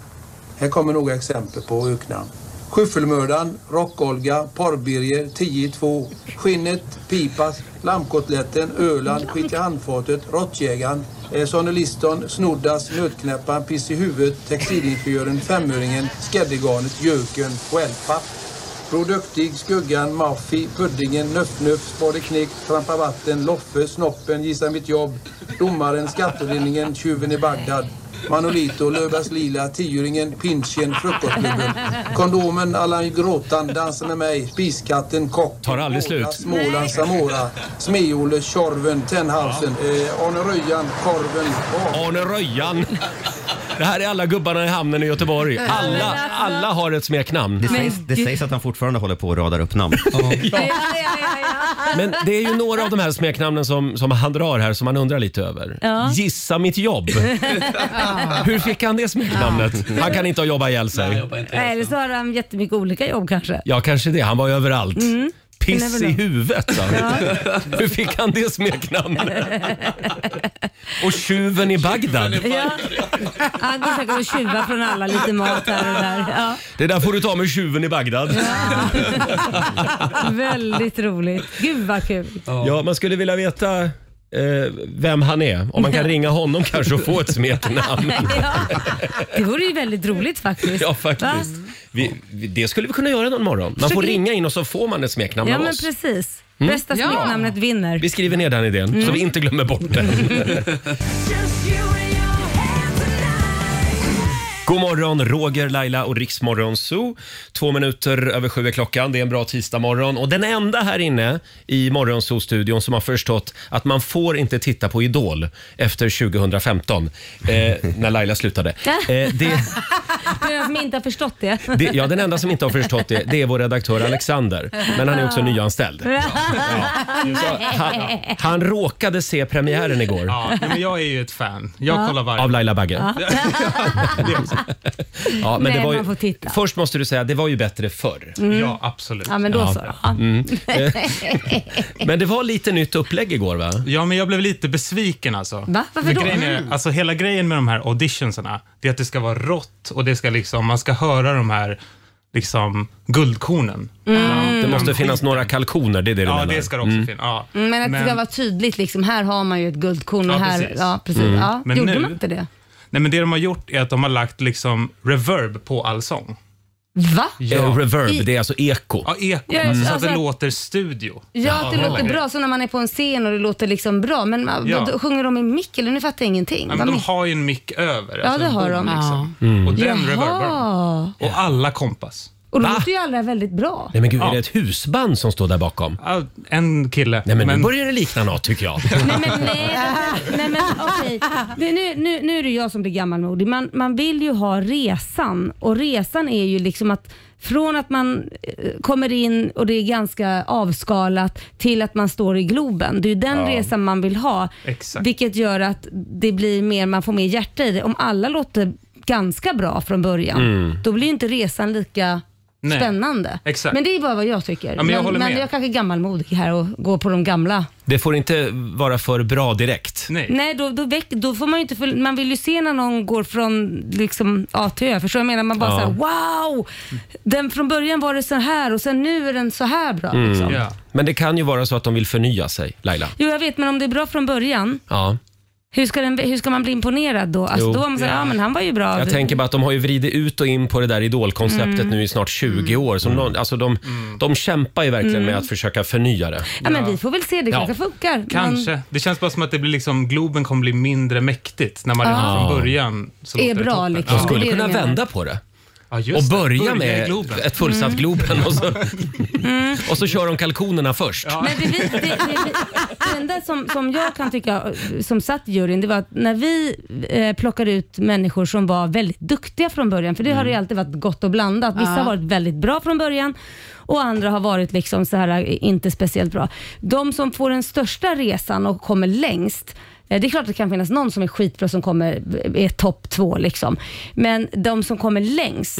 [SPEAKER 8] Här kommer några exempel på öknamn. Skyffelmördaren, Rockolga, Porrbirger, 10-2, Skinnet, Pipas, Lammkotletten, Öland, Skit i handfatet, Råttjägaren, eh, Sonny Liston, Snoddas, Nötknäpparen, Piss i huvudet, Textilingenjören, Femöringen, Skäddegarnet, Göken, Wellpapp. Bror Duktig, Skuggan, Maffi, Puddingen, Nöff-Nöff, Spade Knick, Trampa Vatten, Loffe, Snoppen, Gissa Mitt Jobb, Domaren, Skattelinningen, Tjuven i Bagdad, Manolito, Löfbergs Lila, Tioringen, Pinchen, Frukostklubben, Kondomen, Allan Gråtan, Dansa med mig, Spiskatten, Kock,
[SPEAKER 1] Tar aldrig slut.
[SPEAKER 8] Mora, Småland, Samora, Smeole, Tjorven, Tenhausen, eh, Arne Röjan, Korven, Bak-
[SPEAKER 1] Arne Röjan. Det här är alla gubbarna i hamnen i Göteborg. Alla, alla har ett smeknamn.
[SPEAKER 6] Det, sägs, det sägs att han fortfarande håller på och radar upp namn.
[SPEAKER 3] Ja, ja, ja, ja.
[SPEAKER 1] Men det är ju några av de här smeknamnen som, som han drar här som man undrar lite över.
[SPEAKER 3] Ja.
[SPEAKER 1] Gissa mitt jobb. Hur fick han det smeknamnet? Han kan inte ha jobbat ihjäl sig.
[SPEAKER 3] Nej, Eller så har han jättemycket olika jobb kanske.
[SPEAKER 1] Ja, kanske det. Han var ju överallt. Piss
[SPEAKER 3] You
[SPEAKER 1] i
[SPEAKER 3] Mm. never know.
[SPEAKER 1] huvudet, sa han. Hur fick han det smeknamnet? Och tjuven i Bagdad.
[SPEAKER 3] Ja. Han går säkert och tjuvar från alla lite mat här och där. Ja.
[SPEAKER 1] Det där får du ta med tjuven i Bagdad.
[SPEAKER 3] Väldigt roligt. Gud vad kul.
[SPEAKER 1] Ja, man skulle vilja veta eh, vem han är. Om man kan ringa honom kanske och få ett smeknamn.
[SPEAKER 3] Ja. Det vore ju väldigt roligt faktiskt.
[SPEAKER 1] Ja,
[SPEAKER 3] Va?
[SPEAKER 1] faktiskt. Vi, vi, det skulle vi kunna göra någon morgon. Man
[SPEAKER 3] Försök
[SPEAKER 1] får
[SPEAKER 3] i-
[SPEAKER 1] ringa in och så får man ett smeknamn
[SPEAKER 3] Ja
[SPEAKER 1] av
[SPEAKER 3] men
[SPEAKER 1] oss.
[SPEAKER 3] precis. Bästa
[SPEAKER 7] Ja.
[SPEAKER 3] smeknamnet vinner.
[SPEAKER 1] Mm. Vi skriver ner den idén
[SPEAKER 3] Mm.
[SPEAKER 1] så vi inte glömmer bort den.
[SPEAKER 2] Just you and your hand tonight.
[SPEAKER 1] God morgon, Roger, Laila och Riksmorgon Zoo. Två minuter över sju är klockan. Det är en bra tisdagmorgon. Och den enda här inne i Morgonzoo-studion som har förstått att man får inte titta på Idol efter 2015, eh, när Laila slutade. Eh, det,
[SPEAKER 3] För den som inte har förstått det.
[SPEAKER 1] det, ja, den enda som inte har förstått det, det är vår redaktör Alexander. Men han är också nyanställd. Han, han råkade se premiären igår.
[SPEAKER 9] Ja, men jag är ju ett fan. Jag kollar varje
[SPEAKER 1] Av Laila Bagge. Ja. men
[SPEAKER 3] Nej,
[SPEAKER 1] det var
[SPEAKER 3] man får
[SPEAKER 1] ju,
[SPEAKER 3] titta.
[SPEAKER 1] först måste du säga, det var ju bättre förr.
[SPEAKER 9] Ja, Mm. absolut.
[SPEAKER 3] Mm. Ja men då
[SPEAKER 1] Ja.
[SPEAKER 3] så. Ja.
[SPEAKER 1] Men det var lite nytt upplägg igår va?
[SPEAKER 9] Ja, men jag blev lite besviken alltså.
[SPEAKER 3] Va? Varför
[SPEAKER 9] För
[SPEAKER 3] då?
[SPEAKER 9] grejen är, alltså hela grejen med de här auditionserna, det är att det ska vara rått och det ska liksom, man ska höra de här liksom guldkornen.
[SPEAKER 3] Mm.
[SPEAKER 1] Det måste finnas några kalkoner, det är det du
[SPEAKER 9] Mm.
[SPEAKER 1] menar?
[SPEAKER 9] Ja, det ska det också
[SPEAKER 4] Mm.
[SPEAKER 9] finnas. Ja.
[SPEAKER 3] Mm, Men att det ska
[SPEAKER 9] Men-
[SPEAKER 3] vara tydligt liksom. Här har man ju ett guldkorn och
[SPEAKER 9] Ja,
[SPEAKER 3] här...
[SPEAKER 9] precis. Mm.
[SPEAKER 3] Ja, precis. Ja.
[SPEAKER 9] Men
[SPEAKER 3] Gjorde
[SPEAKER 9] nu-
[SPEAKER 3] man inte det?
[SPEAKER 9] Nej, men det de har gjort är att de har lagt liksom reverb på all sång.
[SPEAKER 3] Va?
[SPEAKER 1] Eh,
[SPEAKER 3] I-
[SPEAKER 1] Reverb, det är alltså eko.
[SPEAKER 9] Ja, eko,
[SPEAKER 3] Ja,
[SPEAKER 9] så att
[SPEAKER 3] alltså-
[SPEAKER 9] det låter studio.
[SPEAKER 3] Ja, att det låter bra. Så när man är på en scen och det låter liksom bra. Men man,
[SPEAKER 9] Ja.
[SPEAKER 3] då sjunger de i mick eller? Nu fattar jag ingenting.
[SPEAKER 9] Ja, men
[SPEAKER 3] Vad
[SPEAKER 9] de
[SPEAKER 3] mick-
[SPEAKER 9] har ju en mick över.
[SPEAKER 3] ja, det har de.
[SPEAKER 7] Ja.
[SPEAKER 9] Och den reverben.
[SPEAKER 3] Jaha.
[SPEAKER 9] Och alla kompas.
[SPEAKER 3] Och då
[SPEAKER 1] Va?
[SPEAKER 3] låter ju alla väldigt bra.
[SPEAKER 1] Nej men gud, är
[SPEAKER 9] Ja.
[SPEAKER 1] det ett husband som står där bakom?
[SPEAKER 9] Ja, En kille.
[SPEAKER 1] Nej men,
[SPEAKER 9] men
[SPEAKER 1] nu börjar det likna något tycker jag.
[SPEAKER 3] Nej men nej, nej men okej. Det- Nu, nu, nu är det jag som blir gammalmodig. Man, man vill ju ha resan och resan är ju liksom att från att man eh, kommer in och det är ganska avskalat till att man står i Globen. Det är ju den resan man vill ha.
[SPEAKER 9] Exakt.
[SPEAKER 3] Vilket gör att det blir mer, man får mer hjärta i det. Om alla låter ganska bra från början, då blir ju inte resan lika
[SPEAKER 9] Mm. Nej.
[SPEAKER 3] spännande.
[SPEAKER 9] Exakt.
[SPEAKER 3] Men det är bara vad jag tycker.
[SPEAKER 9] men jag håller
[SPEAKER 3] men
[SPEAKER 9] med.
[SPEAKER 3] jag kanske är gammalmodig här och går på de gamla
[SPEAKER 1] Det får inte vara för bra direkt.
[SPEAKER 9] nej.
[SPEAKER 3] Nej, då, då, väck, då får man ju inte för, Man vill ju se när någon går från liksom A till Ö. Förstår du? vad Jag menar man bara
[SPEAKER 1] Ja.
[SPEAKER 3] såhär wow! Den, från början var det så här och sen nu är den så här bra.
[SPEAKER 1] Mm.
[SPEAKER 3] Liksom.
[SPEAKER 9] Ja.
[SPEAKER 1] Men det kan ju vara så att de vill förnya sig, Laila.
[SPEAKER 3] Jo, jag vet, men om det är bra från början,
[SPEAKER 1] Ja.
[SPEAKER 3] hur ska, den, hur ska man bli imponerad då? Alltså,
[SPEAKER 1] Jo.
[SPEAKER 3] då var man såhär, ja. men han var ju bra.
[SPEAKER 1] Jag tänker bara att de har ju vridit ut och in på det där idolkonceptet nu i snart 20 år. Som
[SPEAKER 9] Mm.
[SPEAKER 1] någon, alltså de, de kämpar ju verkligen med att försöka förnya det.
[SPEAKER 3] ja, men vi får väl se, det kanske funkar.
[SPEAKER 9] Kanske. Det känns bara som att det blir liksom, Globen kommer bli mindre mäktigt när man redan
[SPEAKER 1] Ja.
[SPEAKER 9] från början så
[SPEAKER 3] Ah. Är
[SPEAKER 9] låter det
[SPEAKER 3] bra,
[SPEAKER 9] toppen.
[SPEAKER 3] liksom.
[SPEAKER 1] De skulle
[SPEAKER 3] det är
[SPEAKER 1] kunna
[SPEAKER 3] det jag
[SPEAKER 1] vända på det
[SPEAKER 9] Ja, just
[SPEAKER 1] och
[SPEAKER 9] det.
[SPEAKER 1] börja
[SPEAKER 9] i
[SPEAKER 1] med
[SPEAKER 9] Globen.
[SPEAKER 1] ett fullsatt
[SPEAKER 3] Mm.
[SPEAKER 1] Globen och så, och så kör de kalkonerna först.
[SPEAKER 3] Men det, vi, det, det, det, det enda som, som jag kan tycka, som satt i juryn, det var att när vi eh, plockade ut människor som var väldigt duktiga från början, för det har ju alltid varit gott och blandat. Vissa har varit väldigt bra från början och andra har varit liksom så här eh, inte speciellt bra. De som får den största resan och kommer längst, Eh, Det är klart att det kan finnas någon som är skitbra som kommer, eh, är topp två liksom. Men de som kommer längst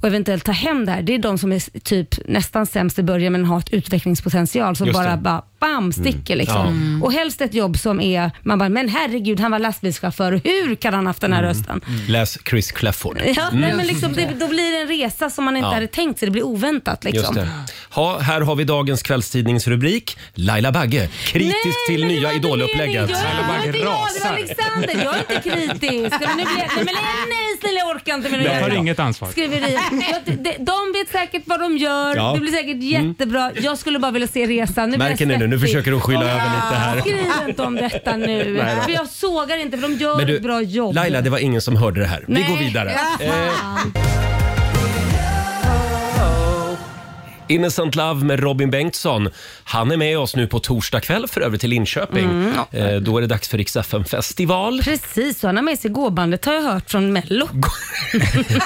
[SPEAKER 3] och eventuellt tar hem det här, det är de som är s- typ nästan sämst i början men har ett utvecklingspotential som
[SPEAKER 1] Just det. Mm.
[SPEAKER 3] bara, bara bam, sticker liksom.
[SPEAKER 1] Ja.
[SPEAKER 3] Och helst ett jobb som är, man bara, men herregud han var lastbilschaufför, hur kan han haft den här
[SPEAKER 1] Mm.
[SPEAKER 3] rösten?
[SPEAKER 1] Läs Chris Clafford.
[SPEAKER 3] Ja, nej, men liksom, det, då blir det en resa som man inte
[SPEAKER 1] Mm. Ja.
[SPEAKER 3] hade tänkt sig, det blir oväntat liksom.
[SPEAKER 1] Just det. Ha, här har vi dagens kvällstidningsrubrik. Laila Bagge, kritisk till
[SPEAKER 3] men det
[SPEAKER 1] nya
[SPEAKER 3] var inte meningen.
[SPEAKER 1] idolupplägget.
[SPEAKER 3] Jag är
[SPEAKER 9] Laila Bagge
[SPEAKER 3] inte jag, det var
[SPEAKER 9] rasar.
[SPEAKER 3] Alexander. Jag är inte kritisk. Nej, men nu blir jag, nej, men nej, nej snälla jag orkar inte med det
[SPEAKER 9] Jag tar
[SPEAKER 3] här
[SPEAKER 9] inget ansvar.
[SPEAKER 3] skriveriet. Jag, de, de vet säkert vad de gör.
[SPEAKER 1] Ja. Mm.
[SPEAKER 3] Det blir säkert jättebra. Jag skulle bara vilja se resan. Nu blir
[SPEAKER 1] Märker ni
[SPEAKER 3] jag
[SPEAKER 1] nu? Nu
[SPEAKER 3] svettig.
[SPEAKER 1] försöker hon skyla över lite här.
[SPEAKER 3] Skriv inte om detta nu.
[SPEAKER 1] Nej då.
[SPEAKER 3] för jag sågar inte för de gör
[SPEAKER 1] Men
[SPEAKER 3] ett bra
[SPEAKER 1] du,
[SPEAKER 3] jobb.
[SPEAKER 1] Laila, det var ingen som hörde det här.
[SPEAKER 3] Nej.
[SPEAKER 1] Vi går vidare. Eh,
[SPEAKER 3] Ja, fan.
[SPEAKER 1] Innocent Love med Robin Bengtsson. Han är med oss nu på torsdag kväll för övrigt till Linköping.
[SPEAKER 3] Mm.
[SPEAKER 1] Eh, då är det dags för Rix festival
[SPEAKER 3] Precis, så han har med sig gåbandet har jag hört från Mello.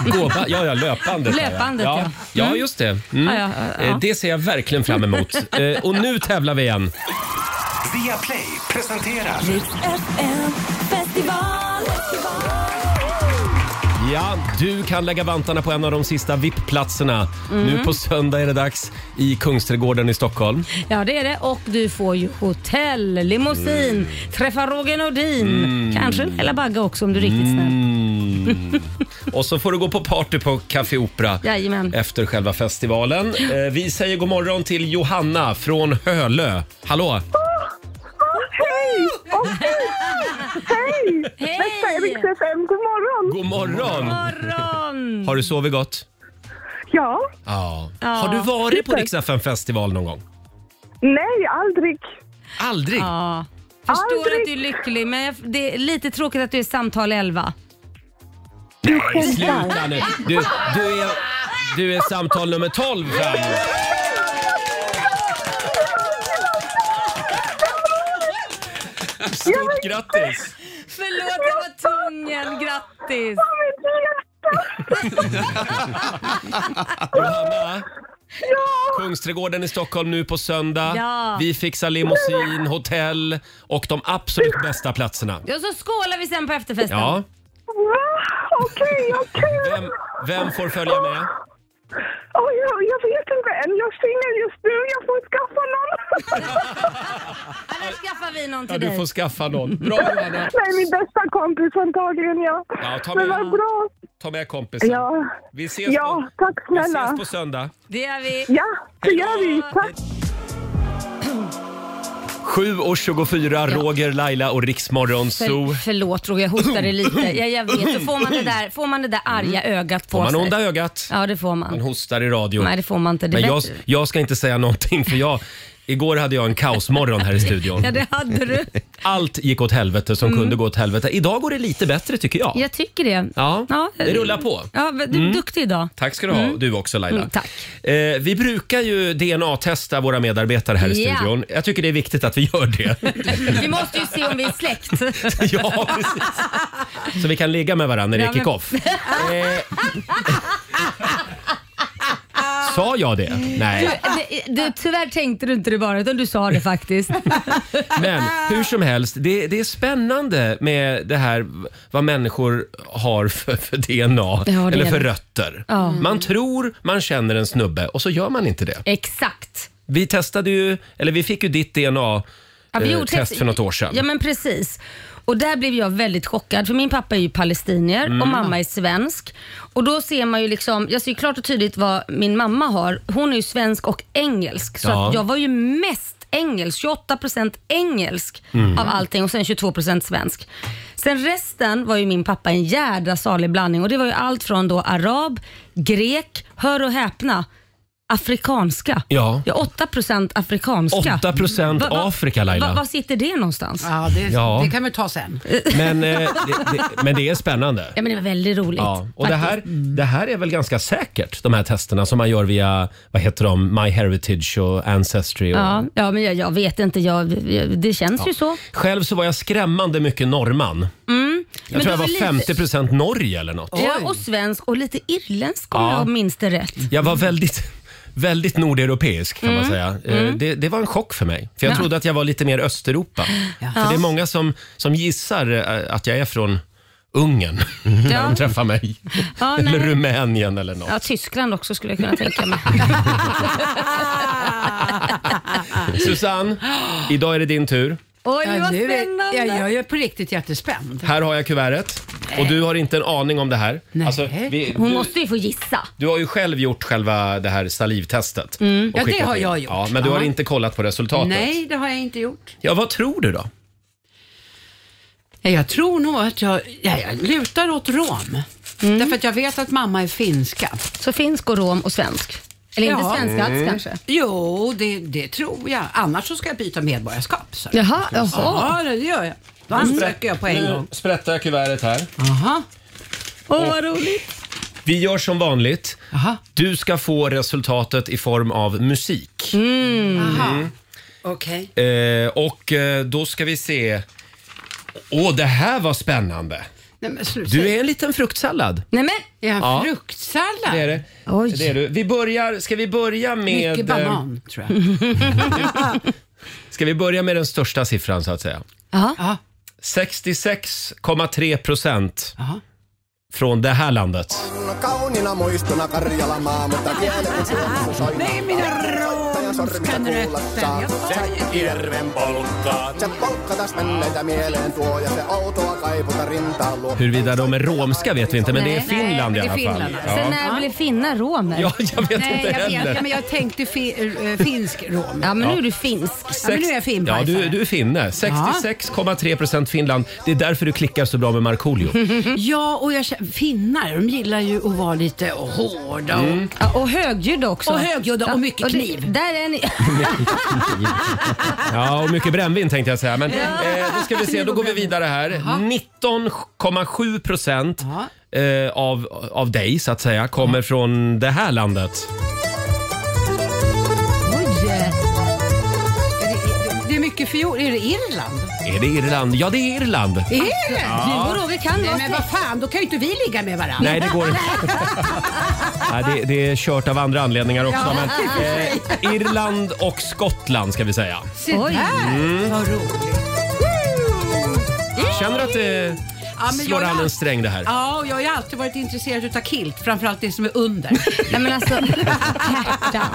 [SPEAKER 1] Gåva, ja, ja, löpandet. sa jag.
[SPEAKER 3] Löpandet, ja.
[SPEAKER 1] ja. Ja, just det. Mm.
[SPEAKER 3] Ja, ja, ja.
[SPEAKER 1] Eh, Det ser jag verkligen fram emot. Eh, Och nu tävlar vi igen.
[SPEAKER 4] Via Play presenterar
[SPEAKER 2] FM festival.
[SPEAKER 1] Ja, du kan lägga vantarna på en av de sista VIP-platserna. Nu på söndag är det dags i Kungsträdgården i Stockholm.
[SPEAKER 3] Ja det är det och du får ju hotell, limousin,
[SPEAKER 1] Mm.
[SPEAKER 3] träffa Roger Nordin, kanske en Hella Bagge också om du är riktigt snäll.
[SPEAKER 1] Mm. Och så får du gå på party på Café Opera
[SPEAKER 3] Jajamän.
[SPEAKER 1] efter själva festivalen. Eh, Vi säger god morgon till Johanna från Hölö. Hallå!
[SPEAKER 5] Hej! Åh, hej!
[SPEAKER 3] Hej!
[SPEAKER 5] Hej! Detta är Rix FM. God morgon!
[SPEAKER 1] God morgon!
[SPEAKER 3] Morgon!
[SPEAKER 1] Har du sovit gott?
[SPEAKER 5] Ja.
[SPEAKER 1] Ja.
[SPEAKER 3] Ja.
[SPEAKER 1] Har du varit på
[SPEAKER 5] Super.
[SPEAKER 1] Rix FM festival någon gång?
[SPEAKER 5] Nej, aldrig.
[SPEAKER 1] Aldrig?
[SPEAKER 3] Ja. Förstår
[SPEAKER 5] Aldrig.
[SPEAKER 3] att du är lycklig men jag- det är lite tråkigt att du är samtal 11.
[SPEAKER 1] Nej, sluta nu! Du, du, är, du är samtal nummer 12 fram. Stort grattis!
[SPEAKER 3] Förlåt det var tungen, grattis!
[SPEAKER 1] Johanna, Kungsträdgården i Stockholm nu på söndag.
[SPEAKER 3] Ja.
[SPEAKER 1] Vi fixar limousin, hotell och de absolut bästa platserna.
[SPEAKER 3] Ja så skålar vi sen på efterfesten.
[SPEAKER 1] Ja.
[SPEAKER 5] Va? Okej, okej.
[SPEAKER 1] Vem, vem får följa med?
[SPEAKER 5] Oj, jag, jag vet inte än. Jag är singel just nu. Jag får skaffa någon.
[SPEAKER 3] Annars skaffar vi någon till
[SPEAKER 1] Ja, du
[SPEAKER 3] dig.
[SPEAKER 1] får skaffa någon. Bra Johanna!
[SPEAKER 5] Nej, min bästa kompis antagligen, ja.
[SPEAKER 1] Ja, ta
[SPEAKER 5] Men
[SPEAKER 1] med-
[SPEAKER 5] vad bra.
[SPEAKER 1] Ta med kompisen.
[SPEAKER 5] Ja.
[SPEAKER 1] Vi ses
[SPEAKER 5] ja,
[SPEAKER 1] på,
[SPEAKER 5] tack
[SPEAKER 1] vi ses
[SPEAKER 5] snälla.
[SPEAKER 1] på söndag.
[SPEAKER 3] Det gör vi.
[SPEAKER 5] Ja, det gör vi. Tack.
[SPEAKER 1] 7 och 24, Roger, Laila och Riksmorgon
[SPEAKER 3] För,
[SPEAKER 1] Zoo.
[SPEAKER 3] förlåt Roger, jag hostar dig lite. Ja, jag vet, så får man det där, får man det där arga ögat på
[SPEAKER 1] Mm. Får man
[SPEAKER 3] sig.
[SPEAKER 1] onda ögat?
[SPEAKER 3] Ja det får
[SPEAKER 1] Man
[SPEAKER 3] man.
[SPEAKER 1] hostar i radio.
[SPEAKER 3] Nej det får man inte. Det är
[SPEAKER 1] Men jag,
[SPEAKER 3] bättre-
[SPEAKER 1] jag ska inte säga någonting för jag, igår hade jag en kaosmorgon här i studion.
[SPEAKER 3] Ja, det Mm. hade du.
[SPEAKER 1] Allt gick åt helvete som kunde gå åt helvete. Idag går det lite bättre tycker jag.
[SPEAKER 3] Jag tycker det.
[SPEAKER 1] Ja, det rullar på. Mm.
[SPEAKER 3] Ja, men du är duktig idag.
[SPEAKER 1] Tack ska du ha, du också Laila.
[SPEAKER 3] Mm, tack.
[SPEAKER 1] Eh, vi brukar ju DNA-testa våra medarbetare här i
[SPEAKER 3] Ja.
[SPEAKER 1] studion. Jag tycker det är viktigt att vi gör det.
[SPEAKER 3] Vi måste ju se om vi är släkt.
[SPEAKER 1] ja, precis. Så vi kan ligga med varandra när det
[SPEAKER 3] Ja,
[SPEAKER 1] är
[SPEAKER 3] men-
[SPEAKER 1] kick-off. Eh. Sa jag det? Nej.
[SPEAKER 3] Du, du, tyvärr tänkte du inte det bara, utan du sa det faktiskt.
[SPEAKER 1] Men hur som helst, det, det är spännande med det här vad människor har för, för DNA
[SPEAKER 3] det är
[SPEAKER 1] eller för
[SPEAKER 3] det.
[SPEAKER 1] rötter.
[SPEAKER 3] Ja.
[SPEAKER 1] Man tror man känner en snubbe och så gör man inte det.
[SPEAKER 3] Exakt.
[SPEAKER 1] Vi testade ju, eller vi fick ju ditt DNA
[SPEAKER 3] Ja, vi
[SPEAKER 1] eh,
[SPEAKER 3] gjorde
[SPEAKER 1] test för något år sedan.
[SPEAKER 3] Ja, men precis. Och där blev jag väldigt chockad för min pappa är ju palestinier
[SPEAKER 1] Mm.
[SPEAKER 3] och mamma är svensk. Och då ser man ju liksom, jag ser ju klart och tydligt vad min mamma har. Hon är ju svensk och engelsk så
[SPEAKER 1] Ja.
[SPEAKER 3] att jag var ju mest engelsk, 28% engelsk
[SPEAKER 1] Mm.
[SPEAKER 3] av allting och sen 22% svensk. Sen resten var ju min pappa en jädra salig blandning och det var ju allt från då arab, grek, hör och häpna, afrikanska.
[SPEAKER 1] Ja.
[SPEAKER 3] Ja, 8% afrikanska.
[SPEAKER 1] 8%
[SPEAKER 3] Va- va-
[SPEAKER 1] Afrika, Laila.
[SPEAKER 3] va- Var sitter det någonstans? Ja.
[SPEAKER 7] Ja, det,
[SPEAKER 1] Ja.
[SPEAKER 7] det kan vi ta sen.
[SPEAKER 1] Men, eh, det, det, men det är spännande.
[SPEAKER 3] men det var väldigt roligt.
[SPEAKER 1] Ja, och det här,
[SPEAKER 3] faktiskt. Mm.
[SPEAKER 1] det här är väl ganska säkert, de här testerna som man gör via vad heter de, MyHeritage och Ancestry. Och,
[SPEAKER 3] Ja, ja, men jag, jag vet inte. Jag, jag, det känns ju så.
[SPEAKER 1] Själv så var jag skrämmande mycket norrman. Jag
[SPEAKER 3] Mm. Men
[SPEAKER 1] tror
[SPEAKER 3] du
[SPEAKER 1] jag var
[SPEAKER 3] var lite-
[SPEAKER 1] 50 procent Norge eller något.
[SPEAKER 3] Ja, och svensk och lite irländsk om
[SPEAKER 1] Ja.
[SPEAKER 3] jag minns det rätt.
[SPEAKER 1] Jag var väldigt, väldigt nordeuropeisk kan
[SPEAKER 3] Mm.
[SPEAKER 1] man säga. Eh, Det, det var en chock för mig, för jag trodde att jag var lite mer Östeuropa. För det är många som, som gissar eh, att jag är från Ungern när de
[SPEAKER 3] Ja.
[SPEAKER 1] träffar mig.
[SPEAKER 3] Ja,
[SPEAKER 1] eller
[SPEAKER 3] nej.
[SPEAKER 1] Rumänien eller något.
[SPEAKER 3] Ja, Tyskland också skulle jag kunna tänka mig.
[SPEAKER 1] Susanne, idag är det din tur.
[SPEAKER 3] Oj,
[SPEAKER 7] Ja,
[SPEAKER 3] vad
[SPEAKER 7] nu är-
[SPEAKER 3] spännande.
[SPEAKER 7] ja, jag är på riktigt jättespänd.
[SPEAKER 1] Här har jag kuvertet och du har inte en aning om det här. Alltså,
[SPEAKER 7] Nej.
[SPEAKER 1] vi,
[SPEAKER 3] Hon
[SPEAKER 1] du,
[SPEAKER 3] måste ju få gissa.
[SPEAKER 1] du har ju själv gjort själva det här salivtestet. och
[SPEAKER 7] Mm. Ja, det
[SPEAKER 1] skickat
[SPEAKER 7] har
[SPEAKER 1] in.
[SPEAKER 7] jag gjort.
[SPEAKER 1] Ja, men du har
[SPEAKER 7] Ja.
[SPEAKER 1] inte kollat på resultatet.
[SPEAKER 7] Nej, det har jag inte gjort.
[SPEAKER 1] Ja, vad tror du då?
[SPEAKER 7] Ja, Jag tror nog att jag, ja, jag lutar åt rom. Därför att jag vet att mamma är finska.
[SPEAKER 3] Så finsk och rom och svensk. Eller inte
[SPEAKER 7] Ja.
[SPEAKER 3] svensk alls kanske.
[SPEAKER 7] Jo, det, det tror jag. Annars så ska jag byta medborgarskap. Så.
[SPEAKER 3] Jaha, jaha.
[SPEAKER 7] Ja, det gör jag. Då ansöker jag på en gång.
[SPEAKER 1] Nu sprättar jag kuvertet här.
[SPEAKER 7] Aha.
[SPEAKER 3] Åh, vad roligt.
[SPEAKER 1] Vi gör som vanligt.
[SPEAKER 7] Aha.
[SPEAKER 1] Du ska få resultatet i form av musik.
[SPEAKER 7] Mm. Aha. Okej.
[SPEAKER 1] Eh, och eh, då ska vi se. Åh, det här var spännande.
[SPEAKER 7] Nej, men sluta.
[SPEAKER 1] Du är en liten fruktsallad.
[SPEAKER 3] Nej men,
[SPEAKER 7] Är han
[SPEAKER 1] Ja.
[SPEAKER 7] fruktsallad?
[SPEAKER 1] Det är det.
[SPEAKER 3] Oj.
[SPEAKER 1] Det är du. Vi börjar, ska vi börja med...
[SPEAKER 7] Mycket
[SPEAKER 1] eh,
[SPEAKER 7] banan, tror jag.
[SPEAKER 1] Ska vi börja med den största siffran så att säga?
[SPEAKER 7] Ja.
[SPEAKER 1] 66,3 procent
[SPEAKER 7] Aha.
[SPEAKER 1] från det här landet.
[SPEAKER 10] Kauniina muistona Karjala maa, mutta kielen on suomessa
[SPEAKER 7] Nej, mina romskan rötter.
[SPEAKER 10] Järven polkkaa. Se polkka taas menneitä mieleen tuo ja se outoa kaiputa rintaan luo.
[SPEAKER 1] Huruvida de är romska vet vi inte, men det är
[SPEAKER 7] Nej,
[SPEAKER 1] Finland
[SPEAKER 7] nej,
[SPEAKER 1] i
[SPEAKER 7] det
[SPEAKER 1] alla fall.
[SPEAKER 7] är Finland, alltså.
[SPEAKER 1] Ja.
[SPEAKER 3] sen när blev finnar romer?
[SPEAKER 1] ja, jag vet
[SPEAKER 7] Nej,
[SPEAKER 1] inte
[SPEAKER 7] jag vet.
[SPEAKER 1] heller.
[SPEAKER 7] Ja, men jag tänkte fi, eh, finsk rom.
[SPEAKER 3] Ja, men nu är du finsk.
[SPEAKER 7] Ja, men nu är jag
[SPEAKER 1] Ja,
[SPEAKER 7] finpajsare.
[SPEAKER 1] du, du är finne. 66,3 procent Finland. Det är därför du klickar så bra med Markoolio.
[SPEAKER 7] Ja, och jag känner, finnar, de gillar ju att vara lite hårda och
[SPEAKER 3] Ja, och högljudda också.
[SPEAKER 7] Och högljudda och mycket
[SPEAKER 3] Ja, det-
[SPEAKER 7] kniv.
[SPEAKER 3] Där är ni.
[SPEAKER 1] Ja, och mycket brännvin tänkte jag säga. Men eh, då ska vi se, då går vi vidare här. 19,7 procent eh, av, av dig, så att säga, kommer från det här landet.
[SPEAKER 7] Är det, det- det är mycket fjol. Är det Irland?
[SPEAKER 1] Är det Irland? Ja, det är Irland.
[SPEAKER 7] Är det?
[SPEAKER 3] Du och Roger kan
[SPEAKER 7] Nej, men
[SPEAKER 3] vara
[SPEAKER 7] vad fan, då kan ju inte vi ligga med varandra.
[SPEAKER 1] Nej, det går inte. Nej, det, det är kört av andra anledningar också. Men, eh, Irland och Skottland ska vi säga.
[SPEAKER 7] Se där, vad roligt.
[SPEAKER 1] Känner du att det
[SPEAKER 7] Ja, men
[SPEAKER 1] slår
[SPEAKER 7] jag-
[SPEAKER 1] an en sträng det här?
[SPEAKER 7] Ja, och jag har ju alltid varit intresserad utav kilt, framförallt det som är under.
[SPEAKER 3] Nej men alltså, hjärtan.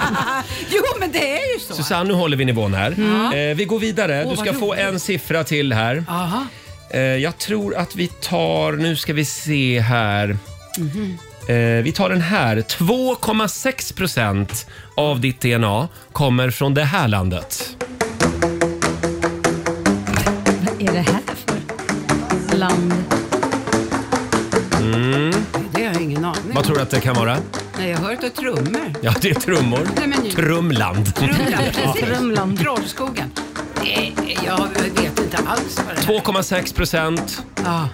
[SPEAKER 7] jo, men det är ju så.
[SPEAKER 1] Susanne, nu håller vi nivån här. Eh, vi går vidare. Du
[SPEAKER 7] Mm. Åh, vad
[SPEAKER 1] ska få
[SPEAKER 7] roligt.
[SPEAKER 1] en siffra till här.
[SPEAKER 7] Aha.
[SPEAKER 1] Eh, jag tror att vi tar... Nu ska vi se här.
[SPEAKER 7] Mhm.
[SPEAKER 1] Eh, vi tar den här. 2,6 procent av ditt DNA kommer från det här landet.
[SPEAKER 3] Vad är det här för land?
[SPEAKER 7] Det har jag ingen aning
[SPEAKER 1] Vad tror du att det kan vara?
[SPEAKER 7] Nej, jag hör inte trummor.
[SPEAKER 1] Ja, det är trummor.
[SPEAKER 7] Nej, men nu-
[SPEAKER 1] Trumland.
[SPEAKER 7] Trumland, precis.
[SPEAKER 3] Trumland.
[SPEAKER 7] Trollskogen. Nej, jag vet inte alls vad det är.
[SPEAKER 1] 2,6 procent.
[SPEAKER 7] Ja.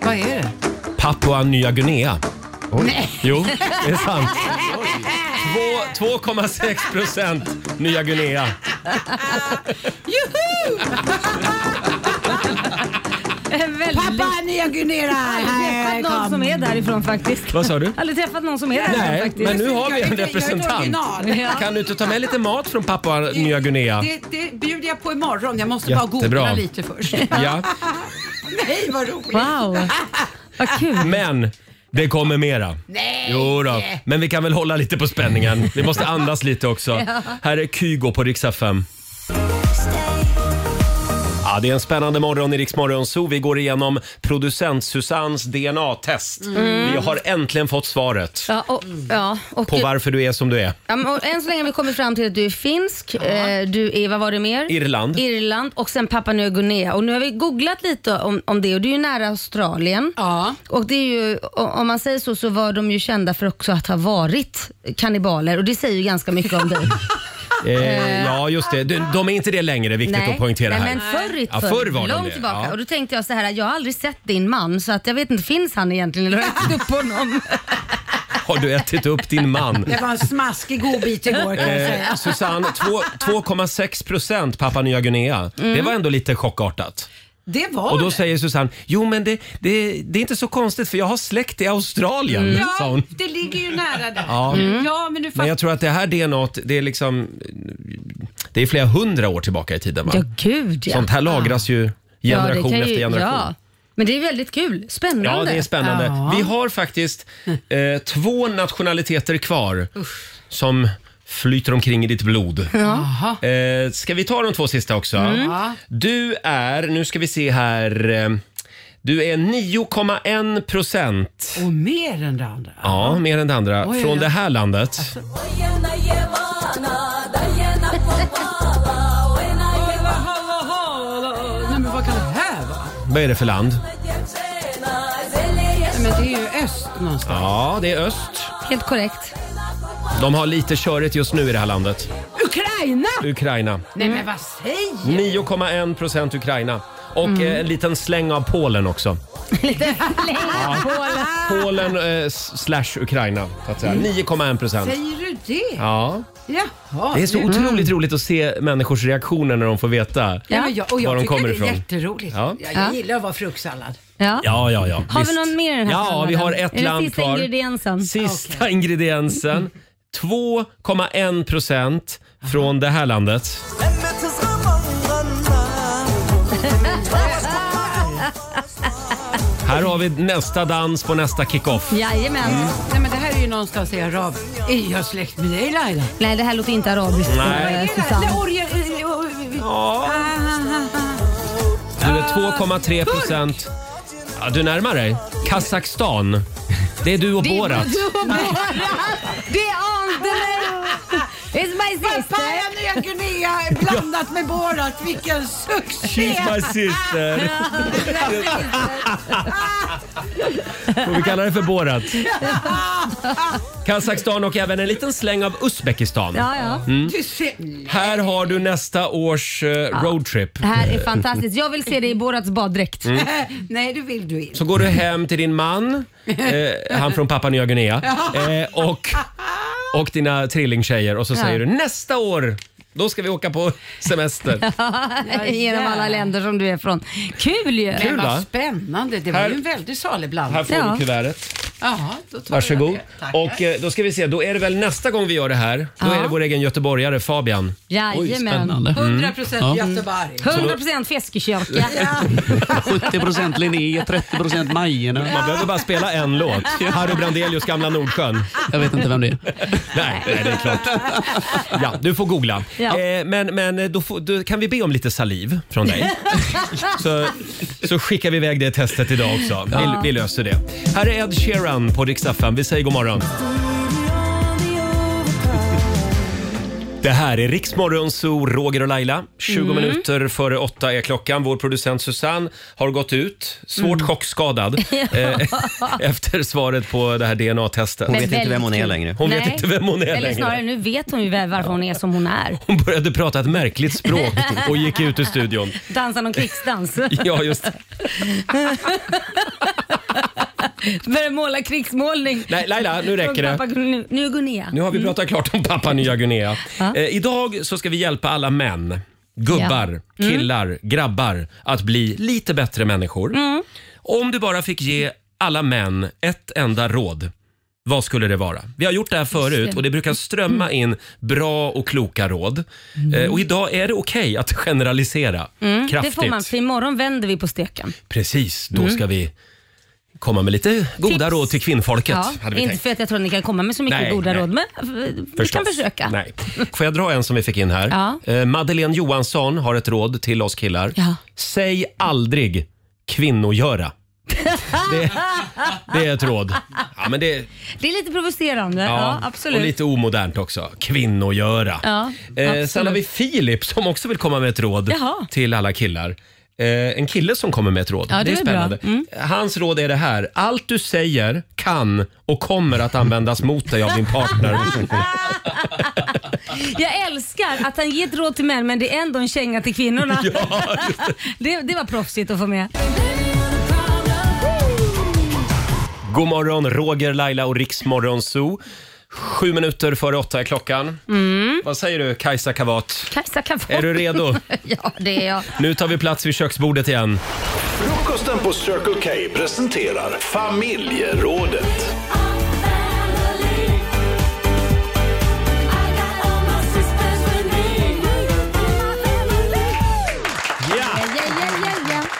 [SPEAKER 7] Vad är det?
[SPEAKER 1] Papua Nya Guinea.
[SPEAKER 7] Nej.
[SPEAKER 1] Jo, det är sant. Två- 2,6 procent Nya Guinea.
[SPEAKER 7] Juhu!
[SPEAKER 3] En väldigt...
[SPEAKER 7] Pappa Nya Guinea!
[SPEAKER 3] Träffat någon som är därifrån faktiskt.
[SPEAKER 1] Vad sa du?
[SPEAKER 3] Aldrig träffat någon som är därifrån
[SPEAKER 1] Nej,
[SPEAKER 3] faktiskt.
[SPEAKER 1] men nu har vi
[SPEAKER 7] Jag är
[SPEAKER 1] en
[SPEAKER 7] inte- jag är inte
[SPEAKER 1] representant.
[SPEAKER 7] original.
[SPEAKER 3] Ja.
[SPEAKER 1] Kan du inte ta med lite mat från Papua Nya Guinea?
[SPEAKER 7] Det, det bjuder jag på imorgon. Jag måste bara
[SPEAKER 1] Jättebra.
[SPEAKER 7] googla lite först.
[SPEAKER 1] Ja,
[SPEAKER 7] Nej, vad roligt.
[SPEAKER 3] Wow, vad kul.
[SPEAKER 1] men det kommer mera.
[SPEAKER 7] Nej.
[SPEAKER 1] Jo då, men vi kan väl hålla lite på spänningen. Vi måste andas lite också. Här är Kygo på riksdag 5. Ja, det är en spännande morgon i Riksmorgon Zoo. Vi går igenom producent Susannes DNA-test. Vi har äntligen fått svaret
[SPEAKER 3] Mm. Ja, och, ja, och,
[SPEAKER 1] på varför du är som du är.
[SPEAKER 3] ja, men och än så länge har vi kommit fram till att du är finsk, eh, du är, vad var det mer?
[SPEAKER 1] Irland.
[SPEAKER 3] Irland och sen Papua Nya Guinea. Och nu har vi googlat lite om, om det och det är ju nära Australien.
[SPEAKER 7] Ja.
[SPEAKER 3] Och det är ju, o- om man säger så, så var de ju kända för också att ha varit kannibaler och det säger ju ganska mycket om dig.
[SPEAKER 1] Eh, ja, just det. De, de är inte det längre, viktigt att poängtera
[SPEAKER 3] Ah. nej
[SPEAKER 1] här.
[SPEAKER 3] men förr, i-
[SPEAKER 1] Ja, förr var de
[SPEAKER 3] långt
[SPEAKER 1] det,
[SPEAKER 3] tillbaka.
[SPEAKER 1] ja.
[SPEAKER 3] Och då tänkte jag så här, jag har aldrig sett din man så att jag vet inte, finns han egentligen eller har jag ätit upp honom?
[SPEAKER 1] Har du ätit upp din man?
[SPEAKER 7] Det var en smaskig godbit igår kan jag
[SPEAKER 1] Eh,
[SPEAKER 7] säga.
[SPEAKER 3] Mm.
[SPEAKER 1] Susanne, två- 2,6 procent Papua Nya Guinea. Det var ändå lite chockartat.
[SPEAKER 7] Det var
[SPEAKER 1] Och då
[SPEAKER 7] det.
[SPEAKER 1] säger Susanne, jo men det, det, det är inte så konstigt för jag har släkt i Australien. Mm. sa
[SPEAKER 7] Mm. Ja,
[SPEAKER 1] hon.
[SPEAKER 7] det ligger ju nära där.
[SPEAKER 1] Ja. Mm.
[SPEAKER 7] ja men du
[SPEAKER 1] Men
[SPEAKER 7] fattar.
[SPEAKER 1] jag tror att det här DNAt, det är liksom, det är flera hundra år tillbaka i tiden va?
[SPEAKER 3] Ja, gud ja.
[SPEAKER 1] Sånt här lagras ju generation
[SPEAKER 3] det kan
[SPEAKER 1] efter generation.
[SPEAKER 3] Ja. Men det är väldigt kul. Spännande.
[SPEAKER 1] Ja, det är spännande.
[SPEAKER 3] Ja.
[SPEAKER 1] Vi har faktiskt eh, två nationaliteter kvar som flyter omkring i ditt blod.
[SPEAKER 7] Jaha.
[SPEAKER 1] Eh, ska vi ta de två sista också?
[SPEAKER 7] Mm. Ja.
[SPEAKER 1] Du är, nu ska vi se här, eh, du är 9,1 procent.
[SPEAKER 7] Och mer än det andra.
[SPEAKER 1] Ja, mer än det andra.
[SPEAKER 7] Oj, oj,
[SPEAKER 1] Från
[SPEAKER 7] oj.
[SPEAKER 1] det här landet.
[SPEAKER 3] Alltså.
[SPEAKER 7] Nej, men vad kan det här vara?
[SPEAKER 1] Vad är det för land?
[SPEAKER 7] Nej, men det är ju öst någonstans.
[SPEAKER 1] Ja, det är öst.
[SPEAKER 3] Helt korrekt.
[SPEAKER 1] De har lite körigt just nu i det här landet.
[SPEAKER 7] Ukraina!
[SPEAKER 1] Ukraina.
[SPEAKER 7] Nej, men vad säger
[SPEAKER 1] 9,1 procent Ukraina. Och
[SPEAKER 3] Mm.
[SPEAKER 1] eh, en liten släng av Polen också.
[SPEAKER 3] Lite fläng
[SPEAKER 1] Mm.
[SPEAKER 3] på
[SPEAKER 1] Polen eh, s- slash Ukraina, så att säga. 9,1 procent.
[SPEAKER 7] Säger du det?
[SPEAKER 1] Ja.
[SPEAKER 7] Jaha.
[SPEAKER 1] Det är så
[SPEAKER 3] Mm.
[SPEAKER 7] nu-
[SPEAKER 1] otroligt roligt att se människors reaktioner när de får veta
[SPEAKER 7] Ja, men jag, och jag
[SPEAKER 1] var de
[SPEAKER 7] tycker
[SPEAKER 1] kommer
[SPEAKER 7] det är
[SPEAKER 1] ifrån.
[SPEAKER 7] jätteroligt.
[SPEAKER 1] Ja.
[SPEAKER 7] Jag,
[SPEAKER 3] Ja.
[SPEAKER 7] jag gillar att vara fruktsallad.
[SPEAKER 3] Ja.
[SPEAKER 1] Ja, ja, ja.
[SPEAKER 3] Har vi
[SPEAKER 1] Visst.
[SPEAKER 3] någon mer i den här
[SPEAKER 1] Ja, vi
[SPEAKER 3] salladen?
[SPEAKER 1] har
[SPEAKER 3] Är
[SPEAKER 1] ett
[SPEAKER 3] det
[SPEAKER 1] land
[SPEAKER 3] sista
[SPEAKER 1] kvar.
[SPEAKER 3] ingrediensen?
[SPEAKER 1] Sista ingrediensen. 2,1 procent från det här landet. Här har vi nästa dans på nästa kickoff.
[SPEAKER 3] Jajamän.
[SPEAKER 1] Mm.
[SPEAKER 7] Nej, men det här är ju någonstans i Arab. Är jag släkt med dig Laila?
[SPEAKER 3] Nej, det här låter inte arabiskt.
[SPEAKER 1] Nej.
[SPEAKER 3] eh, Susanne.
[SPEAKER 7] Eller orje... eh, eh, eh,
[SPEAKER 1] Ja.
[SPEAKER 7] ah,
[SPEAKER 1] Du är 2,3 procent. Ja, du närmar dig. Kazakstan. Det är du och
[SPEAKER 3] Det är
[SPEAKER 1] Borat.
[SPEAKER 3] Det är Andele! It's my sister!
[SPEAKER 7] Papaya Nya Guinea blandat med Borat. Vilken succé!
[SPEAKER 1] sister. Får vi kalla det för Borat? Kazakstan och även en liten släng av Uzbekistan.
[SPEAKER 3] Ja, ja.
[SPEAKER 7] Du ser,
[SPEAKER 1] Här har du nästa års eh, roadtrip.
[SPEAKER 3] Det här är fantastiskt. Jag vill se dig i Borats baddräkt.
[SPEAKER 7] nej, det vill du inte.
[SPEAKER 1] Så går du hem till din man, eh, han från Papua Nya Guinea, eh, och, och dina trillingtjejer och så
[SPEAKER 3] Ja.
[SPEAKER 1] säger du nästa år, då ska vi åka på semester.
[SPEAKER 3] Genom alla länder som du är från. Kul ju!
[SPEAKER 7] Men
[SPEAKER 1] Mm. Kul, va?
[SPEAKER 7] vad spännande. Det var
[SPEAKER 1] Här-
[SPEAKER 7] ju en väldig salig
[SPEAKER 1] Här
[SPEAKER 7] blandning.
[SPEAKER 1] får
[SPEAKER 3] Ja.
[SPEAKER 1] du kuvertet.
[SPEAKER 7] Jaha, då tar
[SPEAKER 1] Varsågod.
[SPEAKER 7] Jag det. Tackar.
[SPEAKER 1] Och eh, då ska vi se, då är det väl nästa gång vi gör det här, då
[SPEAKER 3] Ja.
[SPEAKER 1] är det vår egen göteborgare Fabian.
[SPEAKER 3] Jajamän.
[SPEAKER 7] 100 procent
[SPEAKER 1] Mm.
[SPEAKER 7] Göteborg.
[SPEAKER 3] 100% Feskekörka.
[SPEAKER 11] 70 Linné, 30 Majerna.
[SPEAKER 1] Man behöver bara spela en låt. Harry Brandelius Gamla Nordsjön.
[SPEAKER 11] Jag vet inte vem det är.
[SPEAKER 1] Nej, nej, det är klart. Ja, du får googla.
[SPEAKER 3] Ja.
[SPEAKER 1] Eh, men men då, får, då kan vi be om lite saliv från dig. så, så skickar vi iväg det testet idag också. Vi, vi löser det. Här är Ed Sheeran på Rix FM. Vi säger god morgon. Det här är Riksmorgon Zoo, Roger och Laila. 20
[SPEAKER 3] Mm.
[SPEAKER 1] minuter före åtta är klockan. Vår producent Susanne har gått ut, svårt
[SPEAKER 3] Mm.
[SPEAKER 1] chockskadad, eh, efter svaret på det här DNA-testet.
[SPEAKER 6] Hon
[SPEAKER 3] Men
[SPEAKER 6] vet inte vem hon
[SPEAKER 3] väldigt
[SPEAKER 6] är
[SPEAKER 3] kul.
[SPEAKER 6] längre.
[SPEAKER 1] Hon vet
[SPEAKER 3] Nej.
[SPEAKER 1] inte vem hon är
[SPEAKER 3] Eller
[SPEAKER 1] längre.
[SPEAKER 3] snarare, nu vet hon ju varför hon är som hon är.
[SPEAKER 1] Hon började prata ett märkligt språk och gick ut ur studion.
[SPEAKER 3] Dansar någon krigsdans.
[SPEAKER 1] Ja, just det.
[SPEAKER 3] Börjar måla krigsmålning.
[SPEAKER 1] Nej, Laila, nu räcker det.
[SPEAKER 3] Pappa, nu, nu går ner.
[SPEAKER 1] Nu har vi pratat klart om Papua Nya Guinea.
[SPEAKER 3] Ja.
[SPEAKER 1] Eh, idag så ska vi hjälpa alla män, gubbar,
[SPEAKER 3] Mm.
[SPEAKER 1] killar, grabbar att bli lite bättre människor.
[SPEAKER 3] Mm.
[SPEAKER 1] Om du bara fick ge alla män ett enda råd, vad skulle det vara? Vi har gjort det här förut och det
[SPEAKER 3] Mm.
[SPEAKER 1] brukar strömma in bra och kloka råd. Eh, och idag är det okej att generalisera
[SPEAKER 3] Mm, Det
[SPEAKER 1] kraftigt.
[SPEAKER 3] får man, för imorgon vänder vi på steken.
[SPEAKER 1] Precis, då ska vi komma med lite goda
[SPEAKER 3] Mm. Tips.
[SPEAKER 1] råd till kvinnfolket.
[SPEAKER 3] Ja,
[SPEAKER 1] hade vi
[SPEAKER 3] inte
[SPEAKER 1] tänkt.
[SPEAKER 3] för att jag tror att ni kan komma med så mycket
[SPEAKER 1] Nej,
[SPEAKER 3] goda
[SPEAKER 1] nej.
[SPEAKER 3] råd, men eh, vi kan
[SPEAKER 1] Förstås.
[SPEAKER 3] försöka.
[SPEAKER 1] Nej. Får jag dra en som vi fick in här?
[SPEAKER 3] Ja.
[SPEAKER 1] Eh, Madeleine Johansson har ett råd till oss killar.
[SPEAKER 3] Ja.
[SPEAKER 1] Säg aldrig kvinnogöra. det, det är ett råd. Ja, men det,
[SPEAKER 3] Det är lite provocerande, ja, absolut.
[SPEAKER 1] Och lite omodernt också. Kvinnogöra.
[SPEAKER 3] Ja,
[SPEAKER 1] eh,
[SPEAKER 3] absolut.
[SPEAKER 1] sen har vi Filip som också vill komma med ett råd
[SPEAKER 3] Jaha.
[SPEAKER 1] till alla killar. Eh, en kille som kommer med ett råd.
[SPEAKER 3] Ja, det
[SPEAKER 1] är
[SPEAKER 3] är bra.
[SPEAKER 1] spännande.
[SPEAKER 3] Mm.
[SPEAKER 1] Hans råd är det här. Allt du säger kan och kommer att användas mot dig av din partner.
[SPEAKER 3] Jag älskar att han ger ett råd till män men det är ändå en känga till kvinnorna. det, det var proffsigt att få med.
[SPEAKER 1] God morgon, Roger, Laila och Riksmorgon Zoo. Sju minuter före åtta är klockan.
[SPEAKER 3] Mm.
[SPEAKER 1] Vad säger du, Kajsa Kavat?
[SPEAKER 3] Kajsa kan få.
[SPEAKER 1] Är du redo?
[SPEAKER 3] ja, det är jag.
[SPEAKER 1] Nu tar vi plats vid köksbordet igen.
[SPEAKER 4] Frukosten på Circle K presenterar familjerådet.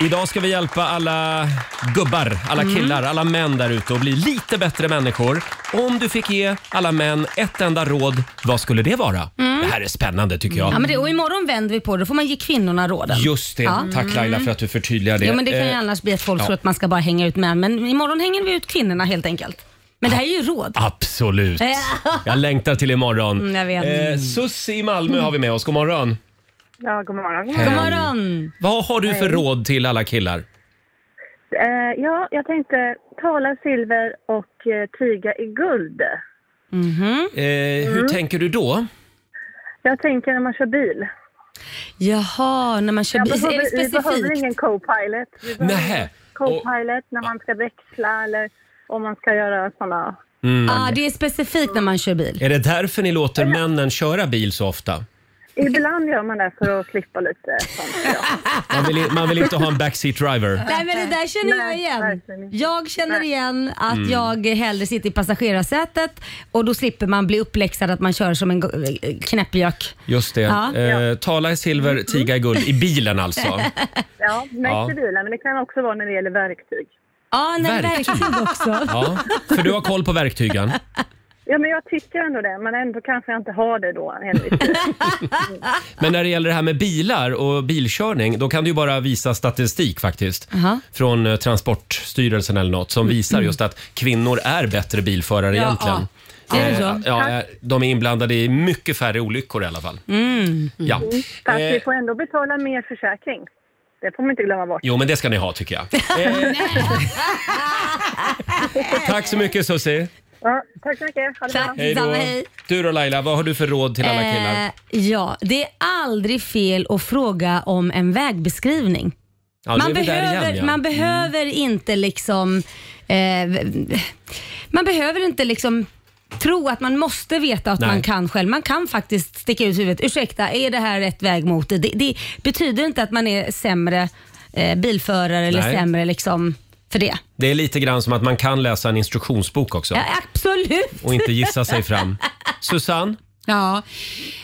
[SPEAKER 1] Idag ska vi hjälpa alla gubbar, alla
[SPEAKER 3] Mm.
[SPEAKER 1] killar, alla män där ute att bli lite bättre människor. Om du fick ge alla män ett enda råd, vad skulle det vara?
[SPEAKER 3] Mm.
[SPEAKER 1] Det här är spännande tycker jag.
[SPEAKER 3] Ja, men det, och imorgon vänder vi på det. Då får man ge kvinnorna råden.
[SPEAKER 1] Just det.
[SPEAKER 3] Ja. Mm.
[SPEAKER 1] Tack Laila för att du förtydligar det.
[SPEAKER 3] Jo, men det kan ju
[SPEAKER 1] Eh,
[SPEAKER 3] annars bli att folk
[SPEAKER 1] ja.
[SPEAKER 3] tror att man ska bara hänga ut män. Men imorgon hänger vi ut kvinnorna helt enkelt. Men det här är ju råd. Eh,
[SPEAKER 1] Absolut.
[SPEAKER 3] Ja.
[SPEAKER 1] Jag längtar till imorgon.
[SPEAKER 3] Mm, jag vet. Mm.
[SPEAKER 1] Eh, Sussi i Malmö har vi med oss. God morgon.
[SPEAKER 5] Ja, god morgon.
[SPEAKER 1] Hej. God morgon. Vad har du för
[SPEAKER 5] Hej.
[SPEAKER 1] råd till alla killar?
[SPEAKER 5] Eh, ja, jag tänkte tala silver och eh, tiga i guld.
[SPEAKER 3] Mhm.
[SPEAKER 1] Eh, hur
[SPEAKER 5] Mm.
[SPEAKER 1] tänker du då?
[SPEAKER 5] Jag tänker när man kör bil.
[SPEAKER 3] Jaha, när man kör
[SPEAKER 5] Jag
[SPEAKER 3] bil. Är
[SPEAKER 5] behöver,
[SPEAKER 3] det
[SPEAKER 5] vi behöver
[SPEAKER 3] specifikt?
[SPEAKER 5] ingen co-pilot. Vi behöver
[SPEAKER 1] Nähä.
[SPEAKER 5] ingen Co-pilot när man ska växla eller om man ska göra sådana...
[SPEAKER 1] Mm.
[SPEAKER 3] Ah, det är specifikt när man kör bil.
[SPEAKER 1] Är det därför ni låter männen köra bil så ofta?
[SPEAKER 5] Ibland gör man det för att slippa lite sånt.
[SPEAKER 1] Man vill, i- man vill inte ha en backseat driver.
[SPEAKER 3] Nej men det där känner
[SPEAKER 5] Nej,
[SPEAKER 3] jag igen. Jag känner igen att
[SPEAKER 1] Mm.
[SPEAKER 3] jag hellre sitter i passagerarsätet och då slipper man bli uppläxad att man kör som en go- eh, knäppjök.
[SPEAKER 1] Just det.
[SPEAKER 3] Ja.
[SPEAKER 1] Eh, tala i silver, tiga i guld. I bilen alltså.
[SPEAKER 5] Ja, mest
[SPEAKER 1] Ja.
[SPEAKER 5] i bilen, men det kan också vara när det gäller verktyg.
[SPEAKER 3] Ja,
[SPEAKER 1] nej,
[SPEAKER 3] verktyg. också.
[SPEAKER 1] Ja, för du har koll på verktygen.
[SPEAKER 5] Ja, men jag tycker ändå det, men ändå kanske jag inte har det då. Henrik.
[SPEAKER 1] Men när det gäller det här med bilar och bilkörning, då kan du ju bara visa statistik faktiskt.
[SPEAKER 3] Jaha.
[SPEAKER 1] Från eh, Transportstyrelsen eller något som visar just att kvinnor är bättre bilförare
[SPEAKER 3] Mm. Ja,
[SPEAKER 1] egentligen.
[SPEAKER 3] ja. Är det
[SPEAKER 1] Eh,
[SPEAKER 3] så?
[SPEAKER 1] Ja, eh, de är inblandade i mycket färre olyckor i alla fall.
[SPEAKER 5] Mm.
[SPEAKER 1] Ja.
[SPEAKER 5] Fast
[SPEAKER 1] Eh.
[SPEAKER 5] vi får ändå betala mer försäkring. Det får man inte glömma bort.
[SPEAKER 1] Jo, men det ska ni ha tycker jag. Eh, tack så mycket Susie.
[SPEAKER 5] Ja, tack så mycket. Ha det bra.
[SPEAKER 1] Hej då. Du då Laila, vad har du för råd till alla killar?
[SPEAKER 3] Eh, ja, det är aldrig fel att fråga om en vägbeskrivning.
[SPEAKER 1] Ja, då
[SPEAKER 3] man,
[SPEAKER 1] är vi där
[SPEAKER 3] behöver,
[SPEAKER 1] igen, ja.
[SPEAKER 3] man
[SPEAKER 1] Mm.
[SPEAKER 3] behöver inte liksom... Eh, man behöver inte liksom tro att man måste veta att
[SPEAKER 1] Nej.
[SPEAKER 3] man kan själv. Man kan faktiskt sticka ut huvudet. Ursäkta, är det här rätt väg mot? Det, det betyder inte att man är sämre eh, bilförare eller
[SPEAKER 1] Nej.
[SPEAKER 3] sämre liksom för det.
[SPEAKER 1] Det är lite grann som att man kan läsa en instruktionsbok också
[SPEAKER 3] Ja, absolut!
[SPEAKER 1] och inte gissa sig fram. Susanne?
[SPEAKER 7] Ja.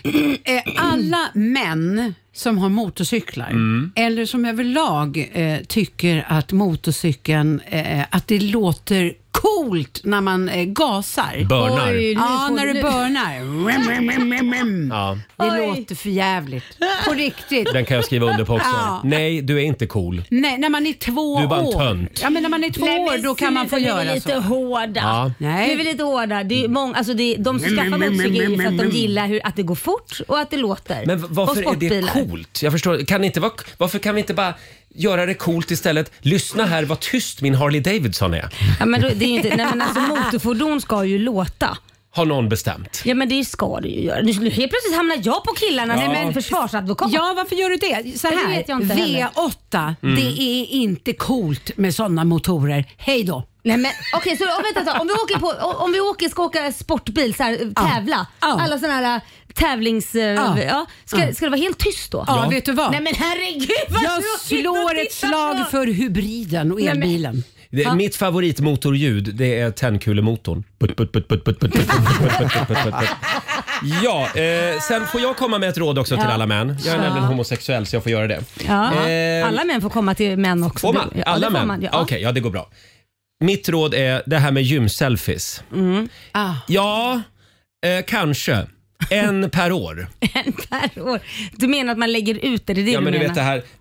[SPEAKER 7] Eh, Alla män som har motorcyklar
[SPEAKER 1] Mm.
[SPEAKER 7] eller som överlag eh, tycker att motorcykeln, eh, att det låter coolt när man eh, gasar.
[SPEAKER 2] Burnar. Oj, nu
[SPEAKER 7] ja,
[SPEAKER 2] får-
[SPEAKER 7] när du
[SPEAKER 2] nu-
[SPEAKER 7] burnar. Rim, rim, rim, rim, rim.
[SPEAKER 1] Ja.
[SPEAKER 7] Det låter för jävligt. På riktigt.
[SPEAKER 1] Den kan jag skriva under på också.
[SPEAKER 7] Ja.
[SPEAKER 1] Nej, du är inte cool.
[SPEAKER 7] Nej, när man är två år.
[SPEAKER 1] Du är bara en tönt.
[SPEAKER 7] Ja, men när man är två
[SPEAKER 3] Nej, men
[SPEAKER 7] år då kan man få
[SPEAKER 3] sluta,
[SPEAKER 7] göra
[SPEAKER 3] ni är lite
[SPEAKER 7] så.
[SPEAKER 3] hårda.
[SPEAKER 1] Ja.
[SPEAKER 3] Nej. Nu är vi lite hårda. Det är många, alltså det är, de som skaffar motorcykel är ju för att de gillar hur, att det går fort och att det låter.
[SPEAKER 1] Men v- varför
[SPEAKER 3] och
[SPEAKER 1] är det coolt? Jag förstår. Kan det inte vara, varför kan vi inte bara göra det coolt istället? Lyssna här vad tyst min Harley Davidson är.
[SPEAKER 3] Ja, men då, det är ju inte, nej, men alltså, motorfordon ska ju låta.
[SPEAKER 1] Har någon bestämt.
[SPEAKER 3] Ja men det ska du ju göra. Nu nu helt plötsligt hamnar jag på killarna
[SPEAKER 1] Ja.
[SPEAKER 3] som en försvarsadvokat.
[SPEAKER 7] Ja, varför gör du det? Så
[SPEAKER 3] Det
[SPEAKER 7] här,
[SPEAKER 3] vet jag inte heller.
[SPEAKER 7] V8,
[SPEAKER 3] Mm.
[SPEAKER 7] det är inte coolt med sådana motorer. Hej då!
[SPEAKER 3] Nej, men, Okej, så om, vänta, ett tag. om vi åker på, om vi åker, ska åka sportbil, så här, tävla. Alla sådana här äh, tävlings... äh, Ja.
[SPEAKER 7] Ja.
[SPEAKER 3] Ska, ska det vara helt tyst då?
[SPEAKER 7] Ja, vet du vad?
[SPEAKER 3] Nej men herregud vad
[SPEAKER 7] Jag
[SPEAKER 3] tråkigt
[SPEAKER 7] slår
[SPEAKER 3] att
[SPEAKER 7] ett
[SPEAKER 3] titta
[SPEAKER 7] slag
[SPEAKER 3] på.
[SPEAKER 7] för hybriden och
[SPEAKER 3] Nej, men-
[SPEAKER 7] elbilen.
[SPEAKER 1] Det,
[SPEAKER 7] Ja.
[SPEAKER 1] Mitt favoritmotorljud det är tändkulemotorn. Putt, putt, putt, putt, putt, putt, putt, putt, putt, putt, putt, putt, putt. Ja, eh, sen får jag komma med ett råd också till
[SPEAKER 3] Ja.
[SPEAKER 1] alla män. Jag är
[SPEAKER 3] Ja.
[SPEAKER 1] nämligen homosexuell så jag får göra det.
[SPEAKER 3] Ja.
[SPEAKER 1] Eh,
[SPEAKER 3] alla män får komma till män också.
[SPEAKER 1] Får man?
[SPEAKER 3] Ja, det
[SPEAKER 1] Alla
[SPEAKER 3] får
[SPEAKER 1] män?
[SPEAKER 3] man, ja.
[SPEAKER 1] Okej, ja det går bra. Mitt råd är det här med gymselfies.
[SPEAKER 3] Mm. Ah.
[SPEAKER 1] Ja, eh, kanske. En per år.
[SPEAKER 3] Per år. Du menar att man lägger ut det? Det är det
[SPEAKER 1] Ja,
[SPEAKER 3] du
[SPEAKER 1] men du
[SPEAKER 3] menar?
[SPEAKER 1] vet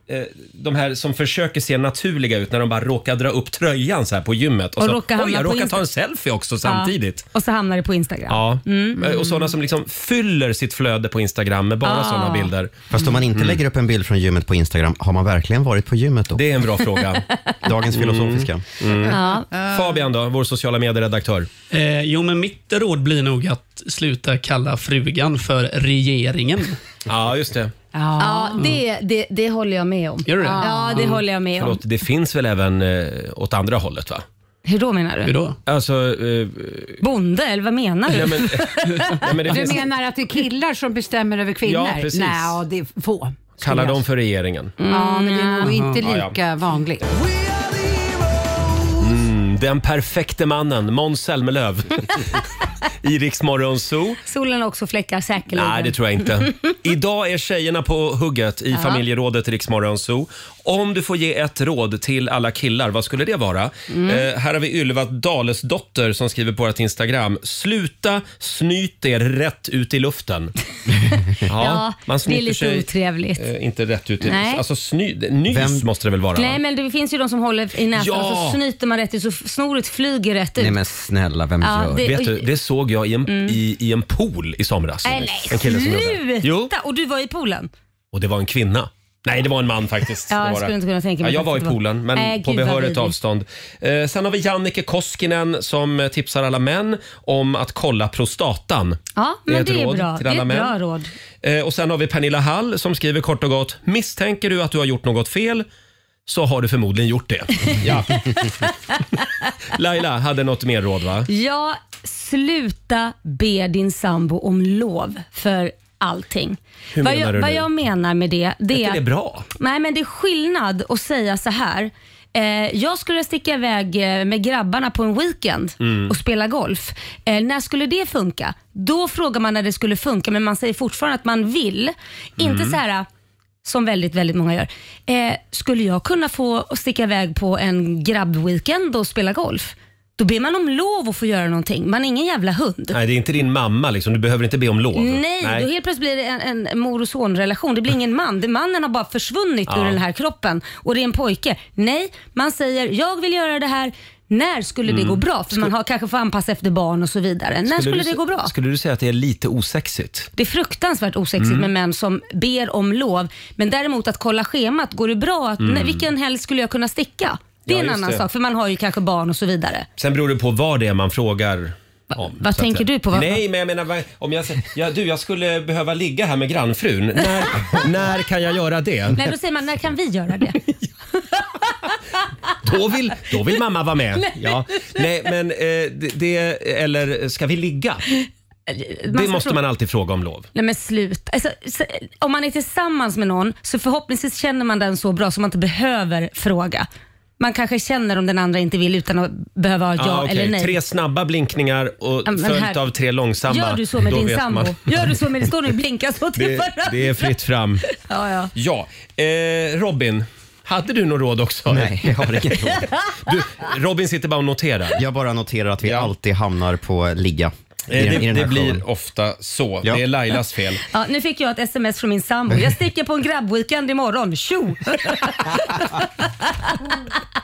[SPEAKER 1] det här, eh, de här som försöker se naturliga ut när de bara råkar dra upp tröjan så här på gymmet.
[SPEAKER 3] Och
[SPEAKER 1] så,
[SPEAKER 3] råkar
[SPEAKER 1] oj,
[SPEAKER 3] hamna
[SPEAKER 1] jag
[SPEAKER 3] på
[SPEAKER 1] råkar
[SPEAKER 3] Insta-
[SPEAKER 1] ta en selfie också samtidigt.
[SPEAKER 3] Ja. Och så hamnar det på Instagram.
[SPEAKER 1] Ja.
[SPEAKER 3] Mm.
[SPEAKER 1] Eh, Och sådana som liksom fyller sitt flöde på Instagram med bara
[SPEAKER 3] Ah.
[SPEAKER 1] sådana bilder.
[SPEAKER 6] Fast om man
[SPEAKER 1] Mm.
[SPEAKER 6] inte lägger upp en bild från gymmet på Instagram, har man verkligen varit på gymmet då?
[SPEAKER 1] Det är en bra fråga.
[SPEAKER 6] Dagens filosofiska.
[SPEAKER 1] Mm.
[SPEAKER 3] Ja.
[SPEAKER 1] Fabian då, vår sociala
[SPEAKER 3] Mm.
[SPEAKER 1] medieredaktör.
[SPEAKER 11] Eh, jo, men mitt råd blir nog att sluta kalla frugan för regeringen.
[SPEAKER 1] Ja, just det.
[SPEAKER 3] Ja,
[SPEAKER 1] Mm.
[SPEAKER 3] det, det, det håller jag med om.
[SPEAKER 11] Gör du det?
[SPEAKER 3] Ja, det håller jag med om.
[SPEAKER 1] Förlåt, det finns väl även eh, åt andra hållet va?
[SPEAKER 3] Hur då menar du?
[SPEAKER 1] Alltså, eh,
[SPEAKER 3] Bonde, eller vad menar du?
[SPEAKER 1] Ja, men- ja, men det
[SPEAKER 7] du
[SPEAKER 1] finns-
[SPEAKER 7] menar att det är killar som bestämmer över kvinnor?
[SPEAKER 1] Ja, precis.
[SPEAKER 7] Nej, det är få.
[SPEAKER 3] Mm,
[SPEAKER 1] kallar dem för regeringen.
[SPEAKER 7] Ja, men det är nog
[SPEAKER 1] Mm,
[SPEAKER 7] inte
[SPEAKER 1] ja, ja.
[SPEAKER 7] lika vanligt.
[SPEAKER 1] Mm, den perfekte mannen, Måns Zelmerlöw. I Rix Morgon Zoo.
[SPEAKER 3] Solen har också fläckar säkerligen.
[SPEAKER 1] Nej, det tror jag inte. Idag är tjejerna på hugget i
[SPEAKER 3] Ja.
[SPEAKER 1] familjerådet Rix Morgon Zoo. Om du får ge ett råd till alla killar, vad skulle det vara?
[SPEAKER 12] Mm.
[SPEAKER 1] Eh, här har vi Ylva Dalesdotter som skriver på vårt Instagram. Sluta snyt er rätt ut i luften. ja,
[SPEAKER 3] det är
[SPEAKER 1] snyter
[SPEAKER 3] lite
[SPEAKER 1] sig,
[SPEAKER 3] otrevligt.
[SPEAKER 1] eh, inte rätt ut i
[SPEAKER 3] Nej.
[SPEAKER 1] luften. Alltså sny, nys måste det väl vara?
[SPEAKER 3] Nej, men det finns ju de som håller i näsan
[SPEAKER 1] Ja!
[SPEAKER 3] och så snyter man rätt ut så f- snoret flyger rätt ut.
[SPEAKER 1] Nej men snälla, vem
[SPEAKER 3] Ja, gör det? det-
[SPEAKER 1] Vet du, det såg jag i en,
[SPEAKER 3] Mm.
[SPEAKER 1] i, i en pool i somras.
[SPEAKER 3] Nej,
[SPEAKER 1] En
[SPEAKER 3] nej,
[SPEAKER 1] kille som gjorde det. Jo,
[SPEAKER 3] sluta! Och du var i poolen?
[SPEAKER 1] och det var en kvinna. Nej, det var en man faktiskt.
[SPEAKER 3] Ja,
[SPEAKER 1] Det
[SPEAKER 3] jag
[SPEAKER 1] var det.
[SPEAKER 3] skulle inte kunna tänka
[SPEAKER 1] Ja,
[SPEAKER 3] mig
[SPEAKER 1] jag
[SPEAKER 3] att det
[SPEAKER 1] var i
[SPEAKER 3] var-
[SPEAKER 1] poolen, men
[SPEAKER 3] Nej,
[SPEAKER 1] på
[SPEAKER 3] gud, vad
[SPEAKER 1] behörigt
[SPEAKER 3] vidrigt.
[SPEAKER 1] avstånd. Eh, sen har vi Jannike Koskinen som eh, tipsar alla män om att kolla prostatan.
[SPEAKER 3] Ja,
[SPEAKER 1] Det är
[SPEAKER 3] men
[SPEAKER 1] ett
[SPEAKER 3] det är
[SPEAKER 1] råd
[SPEAKER 3] bra.
[SPEAKER 1] till
[SPEAKER 3] Det är
[SPEAKER 1] alla
[SPEAKER 3] ett bra
[SPEAKER 1] män.
[SPEAKER 3] råd.
[SPEAKER 1] Eh, och sen har vi Pernilla Hall som skriver kort och gott. Misstänker du att du har gjort något fel så har du förmodligen gjort det. Ja. Laila hade något mer råd va?
[SPEAKER 3] Ja, sluta be din sambo om lov för allting.
[SPEAKER 1] Hur
[SPEAKER 3] vad
[SPEAKER 1] menar
[SPEAKER 3] jag,
[SPEAKER 1] du
[SPEAKER 3] vad
[SPEAKER 1] nu?
[SPEAKER 3] jag menar med det, det
[SPEAKER 1] Är inte
[SPEAKER 3] att-
[SPEAKER 1] det bra?
[SPEAKER 3] Nej, men det är skillnad att säga så här. Eh, jag skulle sticka iväg eh, med grabbarna på en weekend
[SPEAKER 2] Mm.
[SPEAKER 3] och spela golf. Eh, när skulle det funka? Då frågar man när det skulle funka, men man säger fortfarande att man vill. Inte
[SPEAKER 2] Mm.
[SPEAKER 3] så här som väldigt, väldigt många gör. Eh, skulle jag kunna få sticka iväg på en grabbweekend och spela golf? Då ber man om lov att få göra någonting. Man är ingen jävla hund.
[SPEAKER 1] Nej, det är inte din mamma liksom. Du behöver inte be om lov.
[SPEAKER 3] Nej, då helt plötsligt blir det en, en mor och sonrelation. Det blir ingen man. Det, mannen har bara försvunnit
[SPEAKER 1] Ja.
[SPEAKER 3] ur den här kroppen och det är en pojke. Nej, man säger jag vill göra det här. När skulle det
[SPEAKER 1] Mm.
[SPEAKER 3] gå bra? För man har, kanske får anpassa efter barn och så vidare. När skulle
[SPEAKER 1] du,
[SPEAKER 3] det
[SPEAKER 1] sä-
[SPEAKER 3] gå bra?
[SPEAKER 1] Skulle du säga att det är lite osexigt?
[SPEAKER 3] Det är fruktansvärt osexigt
[SPEAKER 1] Mm.
[SPEAKER 3] med män som ber om lov. Men däremot att kolla schemat, går det bra? Att,
[SPEAKER 1] Mm.
[SPEAKER 3] nej, vilken helg skulle jag kunna sticka? Det är
[SPEAKER 1] Ja,
[SPEAKER 3] en
[SPEAKER 1] just
[SPEAKER 3] annan
[SPEAKER 1] det.
[SPEAKER 3] sak, för man har ju kanske barn och så vidare.
[SPEAKER 1] Sen beror det på vad det är man frågar om.
[SPEAKER 3] vad
[SPEAKER 1] så att
[SPEAKER 3] tänker
[SPEAKER 1] säga.
[SPEAKER 3] du på? Vad-
[SPEAKER 1] Nej, men jag menar vad- om jag säger, ja, du jag skulle behöva ligga här med grannfrun. När, när kan jag göra det?
[SPEAKER 3] Nej, då säger man, när kan vi göra det?
[SPEAKER 1] Då vill, då vill mamma vara med.
[SPEAKER 3] Nej.
[SPEAKER 1] Ja. Nej, men eh, det, det, eller ska vi ligga?
[SPEAKER 3] ska
[SPEAKER 1] Det måste
[SPEAKER 3] fråga-
[SPEAKER 1] man alltid fråga om lov.
[SPEAKER 3] Nej men sluta. Alltså, så, om man är tillsammans med någon så förhoppningsvis känner man den så bra så man inte behöver fråga. Man kanske känner om den andra inte vill utan att behöva ha ja
[SPEAKER 1] Ah, okej.
[SPEAKER 3] eller nej.
[SPEAKER 1] Tre snabba blinkningar och
[SPEAKER 3] Ja, men
[SPEAKER 1] följt
[SPEAKER 3] här-
[SPEAKER 1] av tre långsamma.
[SPEAKER 3] Gör du så med
[SPEAKER 1] Då
[SPEAKER 3] din
[SPEAKER 1] vet
[SPEAKER 3] sambo?
[SPEAKER 1] man.
[SPEAKER 3] Gör du så med din? Står ni och blinkar så till
[SPEAKER 1] Det,
[SPEAKER 3] varandra?
[SPEAKER 1] det är fritt fram.
[SPEAKER 3] Ja, ja.
[SPEAKER 1] Ja, eh, Robin. Hade du något råd också?
[SPEAKER 6] Nej, jag har inget råd.
[SPEAKER 1] Du, Robin sitter bara och noterar.
[SPEAKER 6] Jag bara noterar att vi alltid hamnar på ligga. i
[SPEAKER 1] Eh,
[SPEAKER 6] den-
[SPEAKER 1] det
[SPEAKER 6] i den här
[SPEAKER 1] det
[SPEAKER 6] showen.
[SPEAKER 1] blir ofta så.
[SPEAKER 6] Ja.
[SPEAKER 1] Det är Lailas fel.
[SPEAKER 3] Ja, nu fick jag ett sms från min sambo. Jag sticker på en grabbweekend imorgon. Tjo!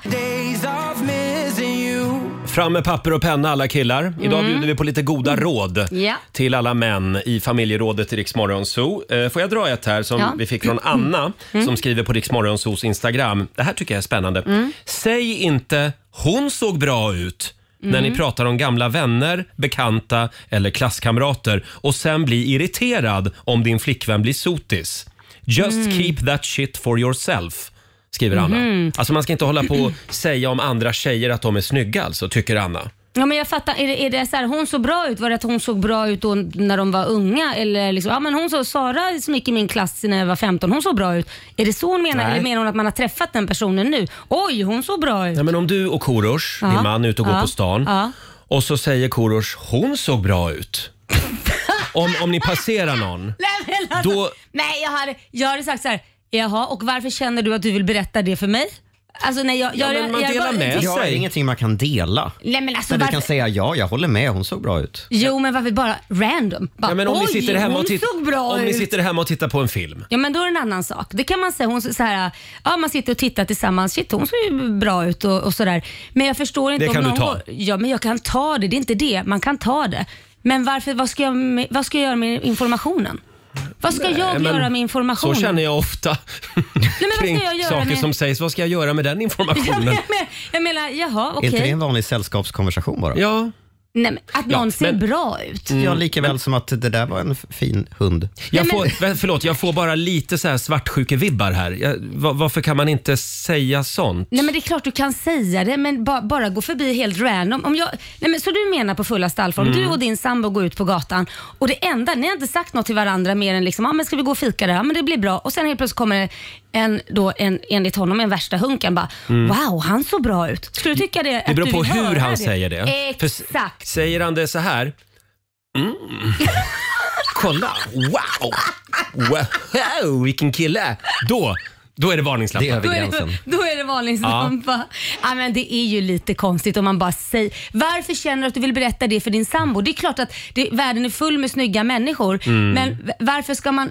[SPEAKER 2] Days of missing you.
[SPEAKER 1] Fram med papper och penna alla killar. Idag
[SPEAKER 2] Mm.
[SPEAKER 1] bjuder vi på lite goda råd
[SPEAKER 2] Ja.
[SPEAKER 1] till alla män i familjerådet i Riksmorgon Zoo. Eh, Får jag dra ett här som
[SPEAKER 2] Ja.
[SPEAKER 1] vi fick från Anna
[SPEAKER 2] Mm.
[SPEAKER 1] som skriver på Riksmorgon Zoos Instagram. Det här tycker jag är spännande.
[SPEAKER 2] Mm.
[SPEAKER 1] Säg inte “hon såg bra ut” när
[SPEAKER 2] Mm.
[SPEAKER 1] ni pratar om gamla vänner, bekanta eller klasskamrater och sen bli irriterad om din flickvän blir sotis. Just
[SPEAKER 2] Mm.
[SPEAKER 1] keep that shit for yourself. Skriver Anna.
[SPEAKER 3] Mhm.
[SPEAKER 1] Alltså man ska inte hålla på och säga om andra tjejer att de är snygga alltså, tycker Anna.
[SPEAKER 3] Ja, men jag fattar. Är det, är det så här, hon såg bra ut? Var det att hon såg bra ut då när de var unga? Eller liksom, ja, men hon såg, Sara som gick i min klass när jag var 15, hon såg bra ut. Är det så hon menar?
[SPEAKER 1] Nej.
[SPEAKER 3] Eller menar hon att man har träffat den personen nu? Oj, hon såg bra ut.
[SPEAKER 1] Nej, men om du och Korosh,
[SPEAKER 3] Ja.
[SPEAKER 1] din man, är ute och går
[SPEAKER 3] Ja.
[SPEAKER 1] på stan
[SPEAKER 3] Ja.
[SPEAKER 1] och så säger Korosh, hon såg bra ut. om, om ni passerar någon.
[SPEAKER 3] Nej, men alltså,
[SPEAKER 1] Då-
[SPEAKER 3] nej jag, hade, jag hade sagt så här, jaha, och varför känner du att du vill berätta det för mig? Alltså, nej, jag, jag, jag, jag, jag,
[SPEAKER 6] Jag har ingenting man kan dela.
[SPEAKER 3] Nej, men alltså,
[SPEAKER 6] Där du
[SPEAKER 3] varför-
[SPEAKER 6] kan säga ja, jag håller med, hon såg bra ut.
[SPEAKER 3] Jo, men varför bara random? Bara,
[SPEAKER 1] Ja, men om
[SPEAKER 3] Oj,
[SPEAKER 1] ni sitter hemma
[SPEAKER 3] hon
[SPEAKER 1] och titt-
[SPEAKER 3] såg bra
[SPEAKER 1] om
[SPEAKER 3] ut.
[SPEAKER 1] ni sitter hemma och tittar på en film.
[SPEAKER 3] Ja men då är det en annan sak. Det kan man säga. Hon, så så här, ja, man sitter och tittar tillsammans. Shit hon ser ju bra ut och, och sådär. Men jag förstår inte
[SPEAKER 2] Det
[SPEAKER 3] om
[SPEAKER 2] kan du
[SPEAKER 3] någon
[SPEAKER 2] ta.
[SPEAKER 3] går- Ja men jag kan ta det. Det är inte det. Man kan ta det. Men varför, vad, ska jag, med- vad ska jag göra med informationen? Vad ska jag
[SPEAKER 1] men
[SPEAKER 3] göra med informationen?
[SPEAKER 1] Så känner jag ofta kring
[SPEAKER 3] jag göra
[SPEAKER 1] saker
[SPEAKER 3] med-
[SPEAKER 1] som sägs. Vad ska jag göra med den
[SPEAKER 3] Ja, men
[SPEAKER 1] informationen?
[SPEAKER 3] jag, men, jag menar, jaha
[SPEAKER 6] Är inte det
[SPEAKER 3] okej.
[SPEAKER 6] en vanlig sällskapskonversation bara?
[SPEAKER 1] Ja.
[SPEAKER 3] Nej, men att
[SPEAKER 6] Ja,
[SPEAKER 3] någon ser
[SPEAKER 6] men-
[SPEAKER 3] bra ut.
[SPEAKER 1] Mm.
[SPEAKER 6] ja, lika väl som att det där var en f- fin hund.
[SPEAKER 1] Jag får, vä- förlåt, jag får bara lite så här svartsjukevibbar här. Jag, va- varför kan man inte säga sånt?
[SPEAKER 3] Nej men det är klart du kan säga det men ba, bara gå förbi helt random. Om jag, nej men, så du menar på fullaste allvar, om
[SPEAKER 1] Mm.
[SPEAKER 3] du och din sambo går ut på gatan och det enda, ni har inte sagt något till varandra mer än liksom, ah, men ska vi gå och fika där? Ja men det blir bra. Och sen helt plötsligt kommer det en, då, en, enligt honom en värsta hunkan bara,
[SPEAKER 1] Mm.
[SPEAKER 3] wow han såg bra ut. Skulle du tycka det?
[SPEAKER 1] Det
[SPEAKER 3] att
[SPEAKER 1] beror
[SPEAKER 3] du
[SPEAKER 1] på
[SPEAKER 3] vill
[SPEAKER 1] hur
[SPEAKER 3] höra
[SPEAKER 1] han säger det. För s-
[SPEAKER 3] Exakt.
[SPEAKER 1] Säger han det så här? Mm. Kolla, wow! Wow, vilken kille! Då, då är det varningslampa. Det är
[SPEAKER 3] Då är, det, då är det varningslampa. Ja. men det är ju lite konstigt om man bara säger Varför känner du att du vill berätta det för din sambo? Det är klart att det, världen är full med snygga människor
[SPEAKER 1] Mm.
[SPEAKER 3] men v- varför ska man...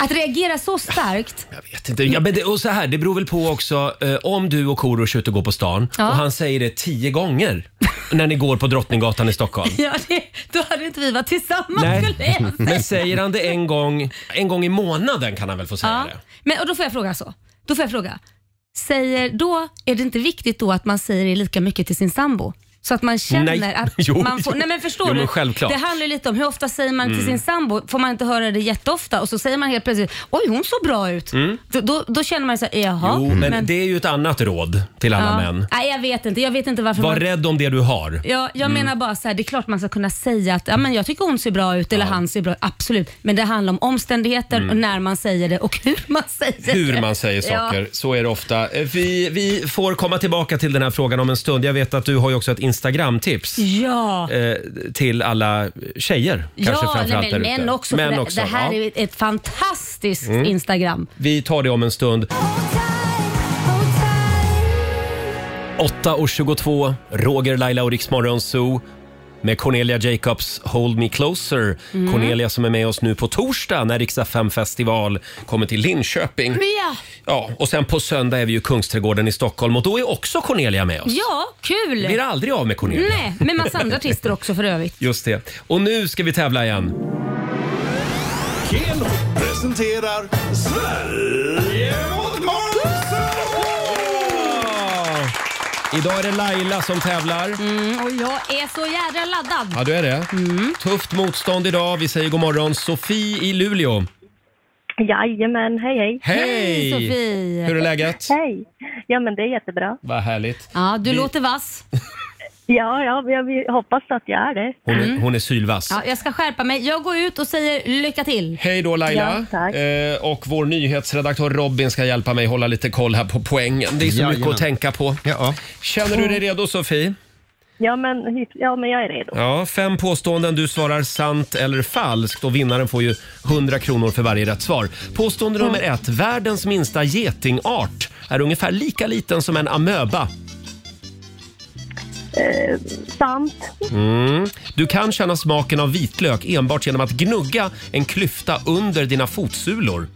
[SPEAKER 3] Att reagera så starkt.
[SPEAKER 1] vet inte. Ja, men det, och så här, det beror väl på också eh, om du och Korosh är ute och går på stan
[SPEAKER 3] Ja.
[SPEAKER 1] och han säger det tio gånger när ni går på Drottninggatan i Stockholm.
[SPEAKER 3] Ja, det, då hade inte vi varit tillsammans skulle jag säga.
[SPEAKER 1] Men säger han det en gång, en gång i månaden kan han väl få säga
[SPEAKER 3] Ja.
[SPEAKER 1] det?
[SPEAKER 3] Men, och då får jag fråga så. Då får jag fråga. Säger, då är det inte viktigt då att man säger det lika mycket till sin sambo? Så att man känner
[SPEAKER 1] Nej.
[SPEAKER 3] att
[SPEAKER 1] Jo,
[SPEAKER 3] man får...
[SPEAKER 1] jo.
[SPEAKER 3] Nej men förstår
[SPEAKER 1] Jo,
[SPEAKER 3] du?
[SPEAKER 1] men självklart.
[SPEAKER 3] Det handlar ju lite om hur ofta säger man till
[SPEAKER 1] Mm.
[SPEAKER 3] sin sambo? Får man inte höra det jätteofta och så säger man helt plötsligt oj hon såg bra ut.
[SPEAKER 1] Mm.
[SPEAKER 3] Då, då, då känner man så här, jaha.
[SPEAKER 1] Jo, men, det är ju ett annat råd till alla
[SPEAKER 3] ja.
[SPEAKER 1] män.
[SPEAKER 3] Nej jag vet inte, jag vet inte varför
[SPEAKER 1] Var
[SPEAKER 3] man...
[SPEAKER 1] rädd om det du har.
[SPEAKER 3] Ja, jag
[SPEAKER 1] Mm.
[SPEAKER 3] menar bara så här, det är klart man ska kunna säga att ja, men jag tycker hon ser bra ut eller han ser bra ut. Absolut. Men det handlar om omständigheter
[SPEAKER 1] Mm.
[SPEAKER 3] och när man säger det och hur man säger det.
[SPEAKER 1] Hur man säger
[SPEAKER 3] Ja.
[SPEAKER 1] saker, så är det ofta. Eh, Vi, vi får komma tillbaka till den här frågan om en stund. Jag vet att du har ju också ett Instagram-tips.
[SPEAKER 3] Ja.
[SPEAKER 1] eh, till alla tjejer kanske
[SPEAKER 3] ja,
[SPEAKER 1] framförallt
[SPEAKER 3] nej,
[SPEAKER 1] där
[SPEAKER 3] men
[SPEAKER 1] ute.
[SPEAKER 3] män också.
[SPEAKER 1] Män
[SPEAKER 3] för
[SPEAKER 1] också,
[SPEAKER 3] det, det
[SPEAKER 1] ja.
[SPEAKER 3] här är ett fantastiskt
[SPEAKER 1] Mm.
[SPEAKER 3] Instagram.
[SPEAKER 1] Vi tar det om en stund. 8.22, Roger, Laila och Riksmorgon Zoo med Cornelia Jacobs Hold Me Closer.
[SPEAKER 3] Mm.
[SPEAKER 1] Cornelia som är med oss nu på torsdag när Riksa 5 festival kommer till Linköping.
[SPEAKER 3] Ja,
[SPEAKER 1] Ja, och sen på söndag är vi ju i Kungsträdgården i Stockholm och då är också Cornelia med oss.
[SPEAKER 3] ja kul!
[SPEAKER 1] Vi blir aldrig av med Cornelia.
[SPEAKER 3] Nej, med massa andra artister också för övrigt.
[SPEAKER 1] Just det. Och nu ska vi tävla igen.
[SPEAKER 4] Keno presenterar Sverige mot
[SPEAKER 1] Ja! Idag är det Laila som tävlar.
[SPEAKER 3] Mm, och jag är så jädra laddad.
[SPEAKER 1] Ja, du är det. Tufft motstånd idag. Vi säger god morgon. Sofie i Luleå.
[SPEAKER 12] Jajamän, hej hej.
[SPEAKER 1] Hej! Sofie. Hur är läget?
[SPEAKER 12] Hej. Ja men det är jättebra.
[SPEAKER 1] Vad härligt.
[SPEAKER 3] Ja, du
[SPEAKER 1] Vi-
[SPEAKER 3] låter vass.
[SPEAKER 12] Ja, ja, jag vill- hoppas att jag är det.
[SPEAKER 1] Hon, är, hon är sylvass.
[SPEAKER 3] Mm. Ja, jag ska skärpa mig. Jag går ut och säger lycka till.
[SPEAKER 1] Hej då Laila. eh, och vår nyhetsredaktör Robin ska hjälpa mig hålla lite koll här på poängen. Det är så mycket
[SPEAKER 12] Jajamän.
[SPEAKER 1] att tänka på. Känner du dig redo Sofie?
[SPEAKER 12] Ja men, ja men jag är redo.
[SPEAKER 1] Ja, fem påståenden. Du svarar sant eller falskt och vinnaren får ju 100 kronor för varje rätt svar. Påstående nummer ett. Världens minsta getingart är ungefär lika liten som en amöba.
[SPEAKER 12] Eh, sant.
[SPEAKER 1] Mm. Du kan känna smaken av vitlök enbart genom att gnugga en klyfta under dina fotsulor.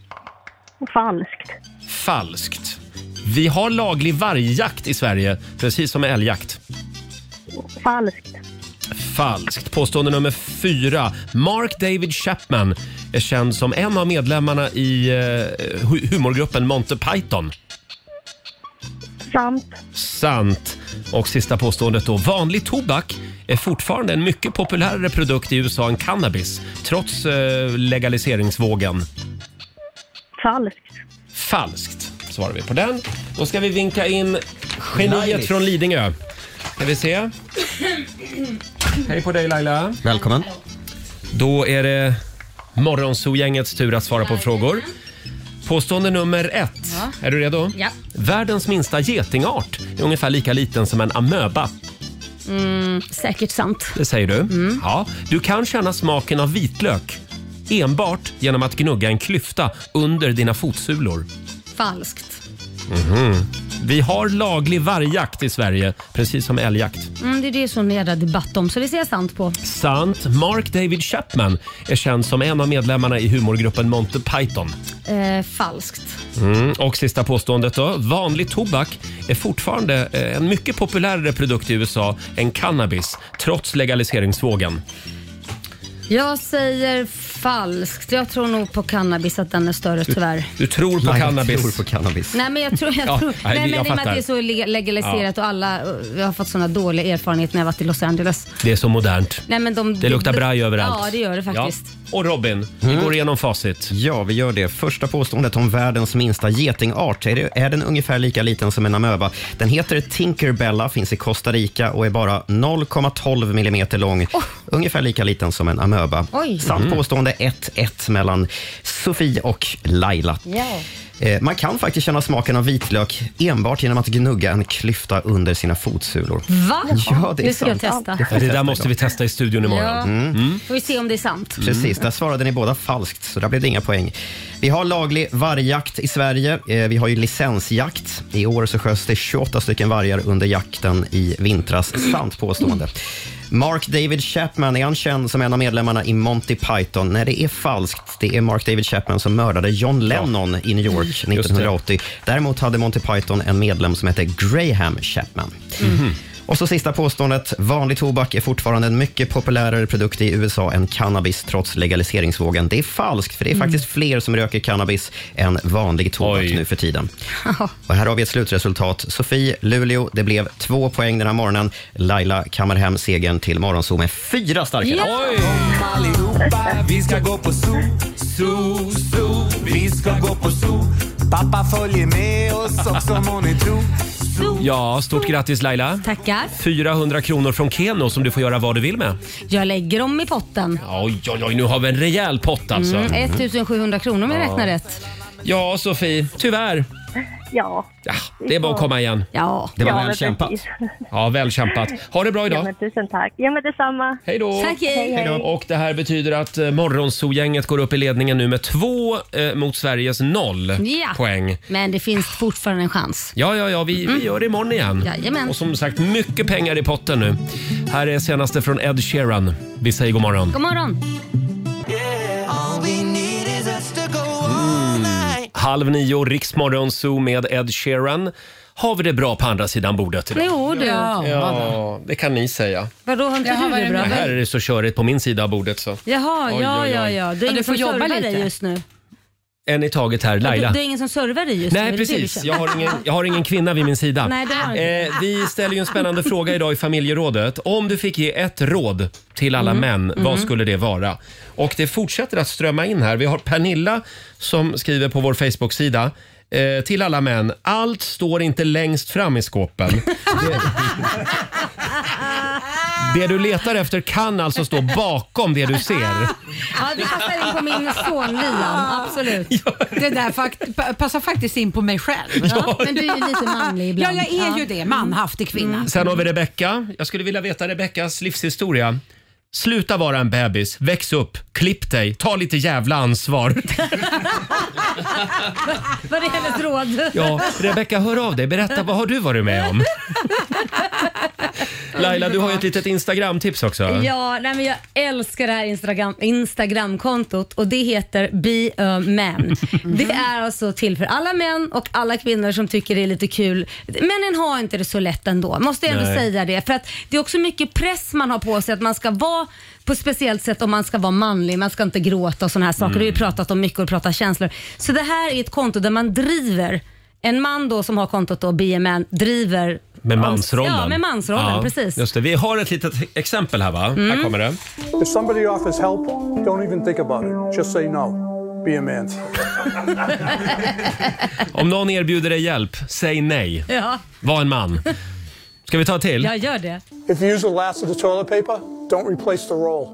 [SPEAKER 12] Falskt.
[SPEAKER 1] Falskt. Vi har laglig vargjakt i Sverige, precis som med älgjakt.
[SPEAKER 12] Falskt.
[SPEAKER 1] Falskt. Påstående nummer fyra. Mark David Chapman är känd som en av medlemmarna i eh, hu- humorgruppen Monty Python.
[SPEAKER 12] Sant.
[SPEAKER 1] Sant. Och sista påståendet då. Vanlig tobak är fortfarande en mycket populärare produkt i USA än cannabis, trots eh, legaliseringsvågen.
[SPEAKER 12] Falskt.
[SPEAKER 1] Falskt svarar vi på den. Då ska vi vinka in geniet
[SPEAKER 6] Lailis.
[SPEAKER 1] från Lidingö. Ska vi se. Hej på dig Laila.
[SPEAKER 6] Välkommen.
[SPEAKER 1] Då är det Morgonzoo-gängets tur att svara på frågor. Påstående nummer ett.
[SPEAKER 3] Ja.
[SPEAKER 1] Är du redo?
[SPEAKER 3] Ja.
[SPEAKER 1] Världens minsta getingart är ungefär lika liten som en amöba.
[SPEAKER 3] Mm, säkert sant.
[SPEAKER 1] Det säger du.
[SPEAKER 3] Mm.
[SPEAKER 1] Ja. Du kan känna smaken av vitlök enbart genom att gnugga en klyfta under dina fotsulor.
[SPEAKER 3] Falskt.
[SPEAKER 1] Mhm. Vi har laglig vargjakt i Sverige, precis som älgjakt.
[SPEAKER 3] Mm, det är det som det är jädra debatt om, så det ser jag sant på.
[SPEAKER 1] Sant. Mark David Chapman är känd som en av medlemmarna i humorgruppen Monty Python.
[SPEAKER 3] Eh, falskt.
[SPEAKER 1] Mm. Och sista påståendet då. Vanlig tobak är fortfarande eh, en mycket populärare produkt i USA än cannabis, trots legaliseringsvågen.
[SPEAKER 3] Jag säger falskt. Jag tror nog på cannabis att den är större tyvärr.
[SPEAKER 1] Du tror på
[SPEAKER 6] Nej, jag
[SPEAKER 1] cannabis.
[SPEAKER 6] tror på cannabis.
[SPEAKER 3] Nej men jag tror... Jag
[SPEAKER 1] Ja,
[SPEAKER 3] tror
[SPEAKER 1] nej,
[SPEAKER 3] nej, men
[SPEAKER 1] jag
[SPEAKER 3] i och med att
[SPEAKER 1] fattar.
[SPEAKER 3] det är så le- legaliserat och alla... Jag har fått såna dåliga erfarenheter när jag varit i Los Angeles.
[SPEAKER 1] Det är så modernt.
[SPEAKER 3] Nej, men de,
[SPEAKER 1] Det luktar braj överallt.
[SPEAKER 3] Ja, det gör det faktiskt.
[SPEAKER 1] Och Robin,
[SPEAKER 6] Mm.
[SPEAKER 1] vi går igenom facit.
[SPEAKER 6] Ja, vi gör det. Första påståendet om världens minsta getingart. Är, det, är den ungefär lika liten som en amöba? Den heter Tinkerbella, finns i Costa Rica och är bara 0,12 millimeter lång. Ungefär lika liten som en amöba.
[SPEAKER 2] Oj.
[SPEAKER 6] Sant
[SPEAKER 2] Mm.
[SPEAKER 6] påstående 1-1 mellan Sofie och Laila.
[SPEAKER 2] Ja.
[SPEAKER 6] Eh, Man kan faktiskt känna smaken av vitlök enbart genom att gnugga en klyfta under sina fotsulor.
[SPEAKER 3] Va?
[SPEAKER 6] Ja, det är
[SPEAKER 3] nu ska jag
[SPEAKER 6] sant.
[SPEAKER 3] testa.
[SPEAKER 6] får
[SPEAKER 1] Det
[SPEAKER 6] vi
[SPEAKER 1] där
[SPEAKER 6] testa
[SPEAKER 1] måste
[SPEAKER 6] idag.
[SPEAKER 1] vi testa i studion imorgon.
[SPEAKER 3] Ja.
[SPEAKER 6] Mm.
[SPEAKER 3] Får vi se om det är sant.
[SPEAKER 6] Precis, där svarade ni båda falskt, så där blev det inga poäng. Vi har laglig vargjakt i Sverige. Eh, Vi har ju licensjakt. I år så sköts det 28 stycken vargar under jakten i vintras. Sant påstående. Mark David Chapman, är han känd som en av medlemmarna i Monty Python? Nej, det är falskt. Det är Mark David Chapman som mördade John Lennon i New York 1980. Däremot hade Monty Python en medlem som hette Graham Chapman. Och så sista påståendet. Vanlig tobak är fortfarande en mycket populärare produkt i USA än cannabis trots legaliseringsvågen. Det är falskt, för det är
[SPEAKER 2] Mm.
[SPEAKER 6] faktiskt fler som röker cannabis än vanlig tobak nu för tiden. Och här har vi ett slutresultat. Sofie, Luleå, det blev två poäng den här morgonen. Laila kammar hem segern till Morgonzoo med fyra starka rätt.
[SPEAKER 2] Kom allihopa, vi ska gå på zoo, zoo, zoo. Vi ska gå på zoo. Pappa följer med oss också må ni tro.
[SPEAKER 1] Ja, stort grattis Laila.
[SPEAKER 3] Tackar.
[SPEAKER 1] 400 kronor från Keno som du får göra vad du vill med.
[SPEAKER 3] Jag lägger dem i potten.
[SPEAKER 1] Oj, oj, oj, nu har vi en rejäl pott alltså.
[SPEAKER 3] Mm, 1700 kronor om jag
[SPEAKER 1] Ja.
[SPEAKER 3] räknar rätt.
[SPEAKER 1] Ja, Sofie, tyvärr.
[SPEAKER 12] Ja.
[SPEAKER 1] Ja, det är bara att komma igen.
[SPEAKER 3] Ja.
[SPEAKER 1] Det var väl
[SPEAKER 12] men
[SPEAKER 1] kämpat.
[SPEAKER 12] precis.
[SPEAKER 1] Ja, väl kämpat. Ha det bra
[SPEAKER 12] Ja,
[SPEAKER 1] idag.
[SPEAKER 12] men tusen tack. Ja, men detsamma.
[SPEAKER 1] Hej då.
[SPEAKER 12] Tack, hej.
[SPEAKER 1] Och det här betyder att eh, Morgonzoo-gänget går upp i ledningen nu med två eh, mot Sveriges noll
[SPEAKER 3] Ja.
[SPEAKER 1] poäng.
[SPEAKER 3] Men det finns fortfarande en chans.
[SPEAKER 1] Ja, ja, ja, vi, vi gör det imorgon igen.
[SPEAKER 3] Mm. Jajamän.
[SPEAKER 1] Och som sagt, mycket pengar i potten nu. Här är senaste från Ed Sheeran. Vi säger god morgon.
[SPEAKER 3] God morgon.
[SPEAKER 2] All we need is us to go all night.
[SPEAKER 1] Halv nio, Riksmorgon Zoo med Ed Sheeran. Har vi det bra på andra sidan bordet idag?
[SPEAKER 3] Jo, du.
[SPEAKER 1] Ja,
[SPEAKER 3] Ja.
[SPEAKER 1] det kan ni säga.
[SPEAKER 3] Vadå, har inte
[SPEAKER 7] Jaha,
[SPEAKER 3] du
[SPEAKER 7] vad är
[SPEAKER 3] det
[SPEAKER 7] det
[SPEAKER 3] bra?
[SPEAKER 7] med?
[SPEAKER 1] Här är det så körigt på min sida av bordet så.
[SPEAKER 3] Jaha,
[SPEAKER 1] Oj,
[SPEAKER 3] ja,
[SPEAKER 1] oj, oj.
[SPEAKER 3] ja, ja. Det
[SPEAKER 7] Ja,
[SPEAKER 3] är
[SPEAKER 7] du
[SPEAKER 3] ingen
[SPEAKER 7] får
[SPEAKER 3] som
[SPEAKER 7] jobba
[SPEAKER 3] servar
[SPEAKER 7] lite.
[SPEAKER 3] dig just nu.
[SPEAKER 1] En i taget här, Laila.
[SPEAKER 3] Du, du är ingen som servar dig just nu. är
[SPEAKER 1] Nej
[SPEAKER 3] det det du
[SPEAKER 1] precis,
[SPEAKER 3] känner?
[SPEAKER 1] jag har, ingen, jag har ingen kvinna vid min sida.
[SPEAKER 3] Nej, det har du
[SPEAKER 1] eh, vi ställer ju en spännande fråga idag i familjerådet. Om du fick ge ett råd till alla
[SPEAKER 2] Mm.
[SPEAKER 1] män, vad
[SPEAKER 2] Mm.
[SPEAKER 1] skulle det vara? Och det fortsätter att strömma in här. Vi har Pernilla som skriver på vår Facebook-sida. Eh, till alla män, allt står inte längst fram i skåpen. Det, det du letar efter kan alltså stå bakom det du ser.
[SPEAKER 3] Ja, det passar in på min son Liam. Absolut.
[SPEAKER 7] Det där fakt- pa- passar faktiskt in på mig själv.
[SPEAKER 1] Ja.
[SPEAKER 3] Men du är ju lite manlig ibland.
[SPEAKER 7] Ja, jag är ju
[SPEAKER 3] Ja. Mm.
[SPEAKER 7] det. Manhaftig kvinna.
[SPEAKER 1] Sen har vi Rebecka. Jag skulle vilja veta Rebeckas livshistoria. Sluta vara en bebis, väx upp, klipp dig, ta lite jävla ansvar.
[SPEAKER 3] Var det hennes råd?
[SPEAKER 1] Ja, Rebecka, hör av dig. Berätta, vad har du varit med om? Laila, du har ju ett litet Instagram-tips också.
[SPEAKER 3] Ja, nej men jag älskar det här Instagram, Instagramkontot och det heter Be a man. Det är alltså till för alla män och alla kvinnor som tycker det är lite kul. Männen har inte det så lätt ändå, måste jag ändå
[SPEAKER 2] Nej.
[SPEAKER 3] säga det. För att det är också mycket press man har på sig att man ska vara på ett speciellt sätt om man ska vara manlig, man ska inte gråta och sådana här saker.
[SPEAKER 2] Mm.
[SPEAKER 3] Det har vi pratat om mycket och pratat känslor. Så det här är ett konto där man driver en man då som har kontot då, Be a man, driver
[SPEAKER 1] Med mansrollen. Mm.
[SPEAKER 3] Ja, med mansrollen,
[SPEAKER 1] Ja,
[SPEAKER 3] precis.
[SPEAKER 1] Just det. Vi har ett litet exempel här, va? Här kommer det.
[SPEAKER 13] If somebody offers help, don't even think about it. Just say no. Be a man.
[SPEAKER 1] Om någon erbjuder dig hjälp, säg nej.
[SPEAKER 3] Ja.
[SPEAKER 1] Var en man. Ska vi ta till?
[SPEAKER 3] Jag gör det.
[SPEAKER 13] If you use the last of the toilet paper, don't replace the roll.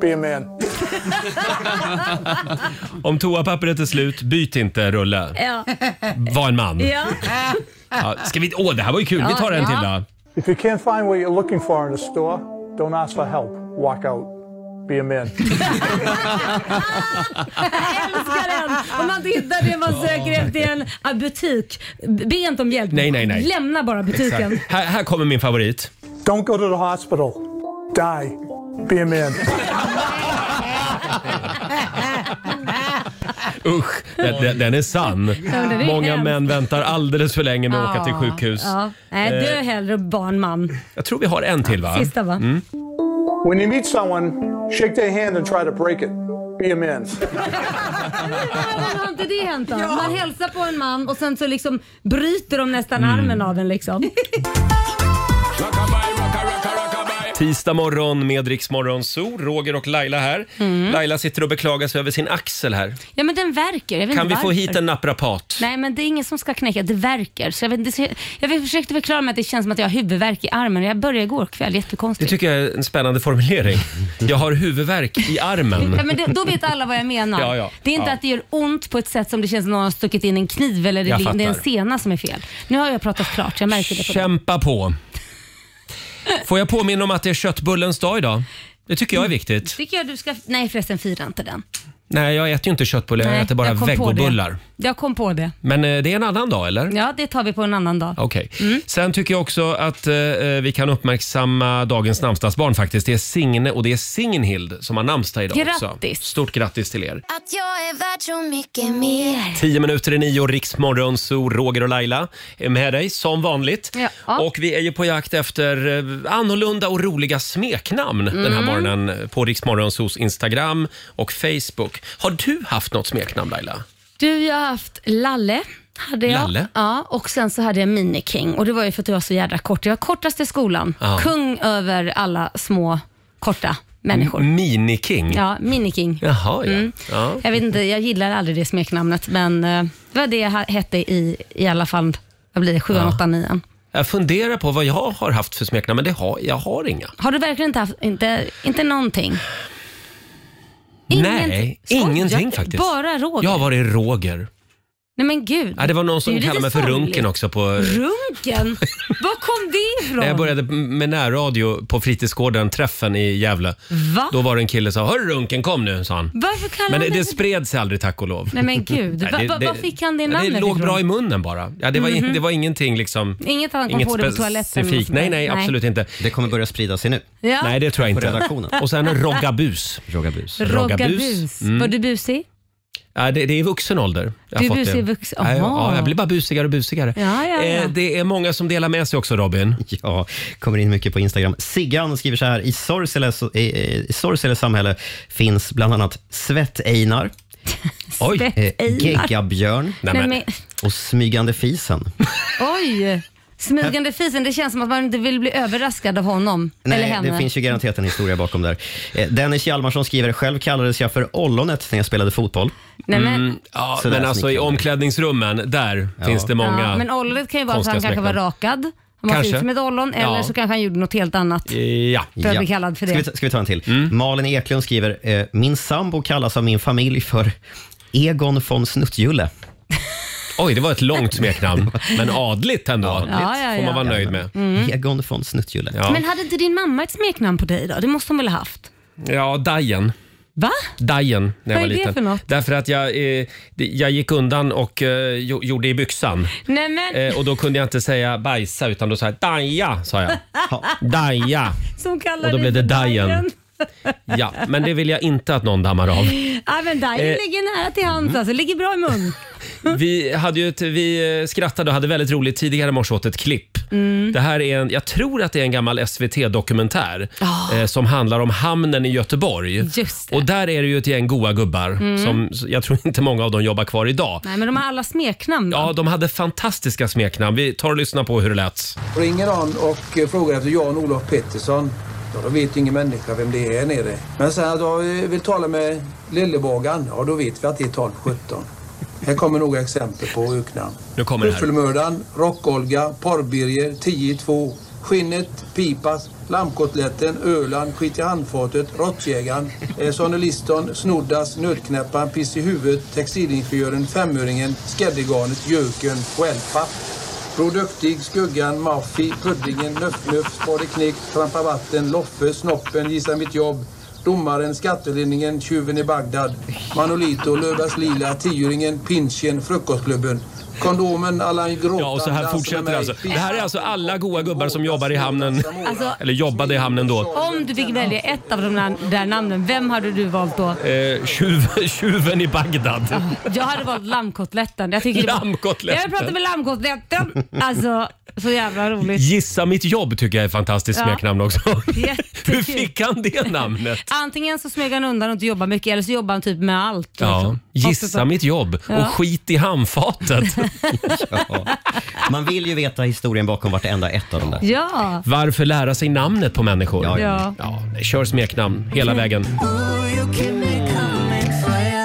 [SPEAKER 13] Be a man.
[SPEAKER 1] Om toapappret är slut, byt inte rulle.
[SPEAKER 3] Ja.
[SPEAKER 1] Var en man.
[SPEAKER 3] Ja.
[SPEAKER 1] Ja, ska vi... Åh, det här var ju kul. Vi tar en till då.
[SPEAKER 13] If you can't find what you're looking for in the store, don't ask for help. Walk out. Be a man.
[SPEAKER 3] Jag älskar den! Om man inte hittar det man söker efter i en ah, butik, be inte om hjälp.
[SPEAKER 1] Nej, nej, nej.
[SPEAKER 3] Lämna bara butiken.
[SPEAKER 1] Exakt. Här, här kommer min favorit.
[SPEAKER 13] Don't go to the hospital. Die. Be a man.
[SPEAKER 1] Usch, den, den, den är sann.
[SPEAKER 3] men den är
[SPEAKER 1] Många
[SPEAKER 3] hemsk.
[SPEAKER 1] män väntar alldeles för länge med att åka till sjukhus.
[SPEAKER 3] Ja. Nej, du är
[SPEAKER 1] Eh,
[SPEAKER 3] hellre barnman.
[SPEAKER 1] Jag tror vi har en till va?
[SPEAKER 3] Sista, va?
[SPEAKER 1] Mm.
[SPEAKER 13] When you meet someone, Shake their hand and try to break it. Be a man.
[SPEAKER 3] Men har inte det hänt då? Man hälsar på en man och sen så liksom bryter de nästan
[SPEAKER 1] Mm.
[SPEAKER 3] armen av en liksom.
[SPEAKER 1] Tisdag morgon med Rix Morgon Zoo. Roger och Laila här.
[SPEAKER 3] Mm.
[SPEAKER 1] Laila sitter och beklagar sig över sin axel här.
[SPEAKER 3] Ja men den verkar. Jag vet
[SPEAKER 1] Kan
[SPEAKER 3] inte
[SPEAKER 1] vi få
[SPEAKER 3] varför.
[SPEAKER 1] hit en naprapat?
[SPEAKER 3] Nej men det är ingen som ska knäcka, det verkar. Så jag, vet, inte- jag försökte förklara mig att det känns som att jag har huvudvärk i armen och jag började igår kväll,
[SPEAKER 1] Det
[SPEAKER 3] jättekonstigt.
[SPEAKER 1] tycker jag är en spännande formulering. Jag har huvudvärk i armen.
[SPEAKER 3] Ja, men det, då vet alla vad jag menar.
[SPEAKER 1] Ja, ja.
[SPEAKER 3] Det är inte
[SPEAKER 1] Ja.
[SPEAKER 3] att det gör ont på ett sätt som det känns som någon har stuckit in en kniv eller det,
[SPEAKER 1] Jag
[SPEAKER 3] det är en
[SPEAKER 1] fattar.
[SPEAKER 3] sena som är fel. Nu har jag pratat klart, jag märker det på dig.
[SPEAKER 1] Kämpa på. Får jag påminna om att det är köttbullens dag idag? Det tycker jag är viktigt.
[SPEAKER 3] Tycker jag du ska... Nej förresten, fira inte den.
[SPEAKER 1] Nej, jag äter ju inte köttbullar, jag
[SPEAKER 3] Nej,
[SPEAKER 1] äter bara
[SPEAKER 3] jag kom på det.
[SPEAKER 1] vegobullar.
[SPEAKER 3] Jag kom på det.
[SPEAKER 1] Men eh, det är en annan dag, eller?
[SPEAKER 3] Ja, Mm. det tar vi på en annan dag.
[SPEAKER 1] Okej. Sen tycker jag också att eh, eh, vi kan uppmärksamma dagens namnsdagsbarn faktiskt. Det är Signe och det är Signhild som har namnsdag idag också.
[SPEAKER 14] Grattis.
[SPEAKER 1] Stort grattis till er.
[SPEAKER 14] Att jag är värd så mycket mer.
[SPEAKER 1] Tio minuter i nio, Riksmorgon, så Roger och Laila är med dig som vanligt.
[SPEAKER 14] Ja.
[SPEAKER 1] Och vi är ju på jakt efter eh, annorlunda och roliga smeknamn den här
[SPEAKER 14] Mm.
[SPEAKER 1] morgonen på Riksmorgonsos Instagram och Facebook. Har du haft något smeknamn Laila?
[SPEAKER 3] Du, jag har haft Lalle. Hade jag.
[SPEAKER 1] Lalle?
[SPEAKER 3] Ja, och sen så hade jag Miniking. Och det var ju för att jag var så jädra kort. Jag var kortast i skolan.
[SPEAKER 1] Ja.
[SPEAKER 3] Kung över alla små, korta människor.
[SPEAKER 1] M- Miniking?
[SPEAKER 3] Ja, Miniking.
[SPEAKER 1] Jaha, ja.
[SPEAKER 3] Mm.
[SPEAKER 1] ja.
[SPEAKER 3] Jag vet inte, jag gillar aldrig det smeknamnet, men eh, det var det jag ha- hette i, i alla fall, jag blir det, sjuan,
[SPEAKER 1] Ja.
[SPEAKER 3] åttan, nian.
[SPEAKER 1] Jag funderar på vad jag har haft för smeknamn, men det har, jag har inga.
[SPEAKER 3] Har du verkligen inte haft, inte, inte någonting? Ingenting.
[SPEAKER 1] Nej,
[SPEAKER 3] Skojar
[SPEAKER 1] ingenting
[SPEAKER 3] du?
[SPEAKER 1] faktiskt.
[SPEAKER 3] Bara Roger?
[SPEAKER 1] Jag har varit Roger.
[SPEAKER 3] Nej men gud.
[SPEAKER 1] Ja, det var någon
[SPEAKER 3] är
[SPEAKER 1] som
[SPEAKER 3] ju
[SPEAKER 1] kallade mig
[SPEAKER 3] lite
[SPEAKER 1] för
[SPEAKER 3] sorgligt.
[SPEAKER 1] Runken också på...
[SPEAKER 3] Runken? Var kom det ifrån?
[SPEAKER 1] När jag började med närradio på fritidsgården, träffen i Gävle.
[SPEAKER 3] Va?
[SPEAKER 1] Då var det en kille som sa “Hörru Runken, kom nu” sa han.
[SPEAKER 3] Varför kallar
[SPEAKER 1] Men
[SPEAKER 3] han
[SPEAKER 1] det,
[SPEAKER 3] mig
[SPEAKER 1] det
[SPEAKER 3] för-
[SPEAKER 1] spred sig aldrig tack och lov.
[SPEAKER 3] Nej men gud,
[SPEAKER 1] Nej,
[SPEAKER 3] va, va, vad fick han det
[SPEAKER 1] ja,
[SPEAKER 3] namnet
[SPEAKER 1] Det låg
[SPEAKER 3] ifrån?
[SPEAKER 1] bra i munnen bara. Ja, det, var in,
[SPEAKER 3] Mhm.
[SPEAKER 1] det var ingenting liksom...
[SPEAKER 3] Inget att han kom
[SPEAKER 1] inget
[SPEAKER 3] på det på toaletten? eller något
[SPEAKER 1] specifikt.
[SPEAKER 3] sånt där.
[SPEAKER 1] Nej, nej, absolut inte. Det kommer börja sprida sig nu.
[SPEAKER 3] Ja.
[SPEAKER 1] Nej, det tror jag
[SPEAKER 3] På
[SPEAKER 1] inte.
[SPEAKER 3] redaktionen.
[SPEAKER 1] Och sen Roggabus.
[SPEAKER 6] Roggabus.
[SPEAKER 3] Rogga bus.
[SPEAKER 1] Mm.
[SPEAKER 3] Var du busig?
[SPEAKER 1] Ja, det, det är i vuxen ålder. Jag har
[SPEAKER 3] Du är
[SPEAKER 1] fått
[SPEAKER 3] busig
[SPEAKER 1] det.
[SPEAKER 3] i vuxen-
[SPEAKER 1] Ja,
[SPEAKER 3] Aha.
[SPEAKER 1] ja, jag blir bara busigare och busigare.
[SPEAKER 3] Ja, ja, ja.
[SPEAKER 1] Eh, det är många som delar med sig också, Robin.
[SPEAKER 6] Ja, kommer in mycket på Instagram. Siggan skriver så här, i Sorgsele, så- i, i- i Sorgsele samhälle finns bland annat Svett-Einar, eh,
[SPEAKER 3] Svett-Einar.
[SPEAKER 6] Geggabjörn
[SPEAKER 3] Nej, men- Nej, men-
[SPEAKER 6] och Smygande Fisen.
[SPEAKER 3] Oj! Smygande fisen, det känns som att man inte vill bli överraskad av honom.
[SPEAKER 6] Nej,
[SPEAKER 3] eller henne.
[SPEAKER 6] det finns ju garanterat en historia bakom där. Eh, Dennis Hjalmarsson skriver, själv kallades jag för Ollonet när jag spelade fotboll.
[SPEAKER 3] Nej, men- Mm,
[SPEAKER 1] Ja, men alltså i omklädningsrummen, där finns det många
[SPEAKER 3] ja, men ollet kan ju vara att han
[SPEAKER 1] konstiga
[SPEAKER 3] kanske var
[SPEAKER 1] smeknamn.
[SPEAKER 3] rakad. Han var
[SPEAKER 6] Kanske.
[SPEAKER 3] ser ut som ett ollon
[SPEAKER 6] Ja.
[SPEAKER 3] eller så kanske han gjorde något helt annat.
[SPEAKER 1] Ja.
[SPEAKER 3] För att bli kallad för det.
[SPEAKER 6] Ska vi, ta- ska vi ta en till?
[SPEAKER 1] Mm.
[SPEAKER 6] Malin Eklund skriver, eh, min sambo kallas av min familj för Egon von Snuttjulle.
[SPEAKER 1] Oj, det var ett långt smeknamn. Men adligt ändå.
[SPEAKER 3] Ja, ja,
[SPEAKER 1] får man
[SPEAKER 3] ja.
[SPEAKER 1] vara nöjd med.
[SPEAKER 3] Mm.
[SPEAKER 6] Egon von Snuttjulle.
[SPEAKER 1] Ja,
[SPEAKER 3] Men hade inte din mamma ett smeknamn på dig då? Det måste hon väl ha haft?
[SPEAKER 1] ja Dajen.
[SPEAKER 3] Va?
[SPEAKER 1] Dajen när jag
[SPEAKER 3] Vad
[SPEAKER 1] var
[SPEAKER 3] är det
[SPEAKER 1] liten.
[SPEAKER 3] för något?
[SPEAKER 1] Därför att jag, eh, det- jag gick undan och eh, jo- gjorde i byxan.
[SPEAKER 3] Nej men,
[SPEAKER 1] Eh, och då kunde jag inte säga bajsa utan då sa jag Daja, sa jag. Daja.
[SPEAKER 3] som kallar
[SPEAKER 1] och då
[SPEAKER 3] dig
[SPEAKER 1] blev det
[SPEAKER 3] för
[SPEAKER 1] Dajen.
[SPEAKER 3] Dajen.
[SPEAKER 1] Ja, men det vill jag inte att någon dammar av.
[SPEAKER 3] Ja, men Dajen
[SPEAKER 1] Eh.
[SPEAKER 3] ligger nära till hands alltså, ligger bra i mun. Mm.
[SPEAKER 1] Vi, hade ju ett, vi eh, skrattade och hade väldigt roligt tidigare i morse åt ett klipp.
[SPEAKER 3] Mm.
[SPEAKER 1] Det här är en, jag tror att det är en gammal SVT-dokumentär
[SPEAKER 3] Ah.
[SPEAKER 1] eh, som handlar om hamnen i Göteborg. Och där är det ju ett gäng goa gubbar
[SPEAKER 3] Mm.
[SPEAKER 1] som jag tror inte många av dem jobbar kvar idag.
[SPEAKER 3] Nej men de har alla smeknamn.
[SPEAKER 1] Ja, de hade fantastiska smeknamn. Vi tar och lyssnar på hur det lät.
[SPEAKER 8] Ringer någon och eh, frågar efter Jan-Olof Pettersson, ja, då vet ju ingen människa vem det är nere. Men sen att jag eh, vill tala med Lillebågan, ja då vet vi att det är 1217. Här kommer några exempel på öknamn.
[SPEAKER 1] Nu kommer det här.
[SPEAKER 8] Buffelmördaren, Rock-Olga, Porrbirger, 10-2, Skinnet, Pipas, Lammkotletten, Öland, Skit i handfatet, Råttjägaren, eh, Sonny Liston, Snoddas, Nötknäpparen, Piss i huvudet, Textilingenjören, Femöringen, Skäddegarnet, Jöken, Wellpapp. Produktig, Skuggan, Maffi, Puddingen, Nöff-Nöff, Spade Knick, Trampa Vatten, Loffe, Snoppen, Gissa Mitt Jobb, Domaren, Skattelinningen, Tjuven i Bagdad, Manolito, Löfbergs Lila, Tioringen, Pinchen, Frukostklubben, Kondomen Allan Groth.
[SPEAKER 1] Ja, och så här
[SPEAKER 8] dansa med
[SPEAKER 1] fortsätter
[SPEAKER 8] mig.
[SPEAKER 1] det alltså. Det här är alltså alla goa gubbar som jobbar i hamnen.
[SPEAKER 3] Alltså-
[SPEAKER 1] Eller jobbade i hamnen då.
[SPEAKER 3] Om du fick välja ett av de där, där namnen, vem hade du valt då?
[SPEAKER 1] Eh, tjuv, tjuven i Bagdad.
[SPEAKER 3] Jag hade valt lammkotletten. Jag tycker det var-
[SPEAKER 1] Lammkotletten.
[SPEAKER 3] Jag vill prata med lammkotletten. Alltså, så jävla roligt.
[SPEAKER 1] Gissa mitt jobb tycker jag är fantastiskt
[SPEAKER 3] Ja.
[SPEAKER 1] smeknamn också.
[SPEAKER 3] Jättekul.
[SPEAKER 1] Hur fick han det namnet?
[SPEAKER 3] Antingen så smög han undan och inte jobbar mycket eller så jobbar han typ med allt.
[SPEAKER 1] Ja,
[SPEAKER 3] liksom.
[SPEAKER 1] gissa mitt jobb och
[SPEAKER 3] Ja.
[SPEAKER 1] skit i handfatet.
[SPEAKER 6] Man vill ju veta historien bakom vartenda ett av dem där.
[SPEAKER 3] Ja.
[SPEAKER 1] Varför lära sig namnet på människor?
[SPEAKER 6] Ja,
[SPEAKER 3] ja. Mm.
[SPEAKER 1] kör smeknamn hela vägen.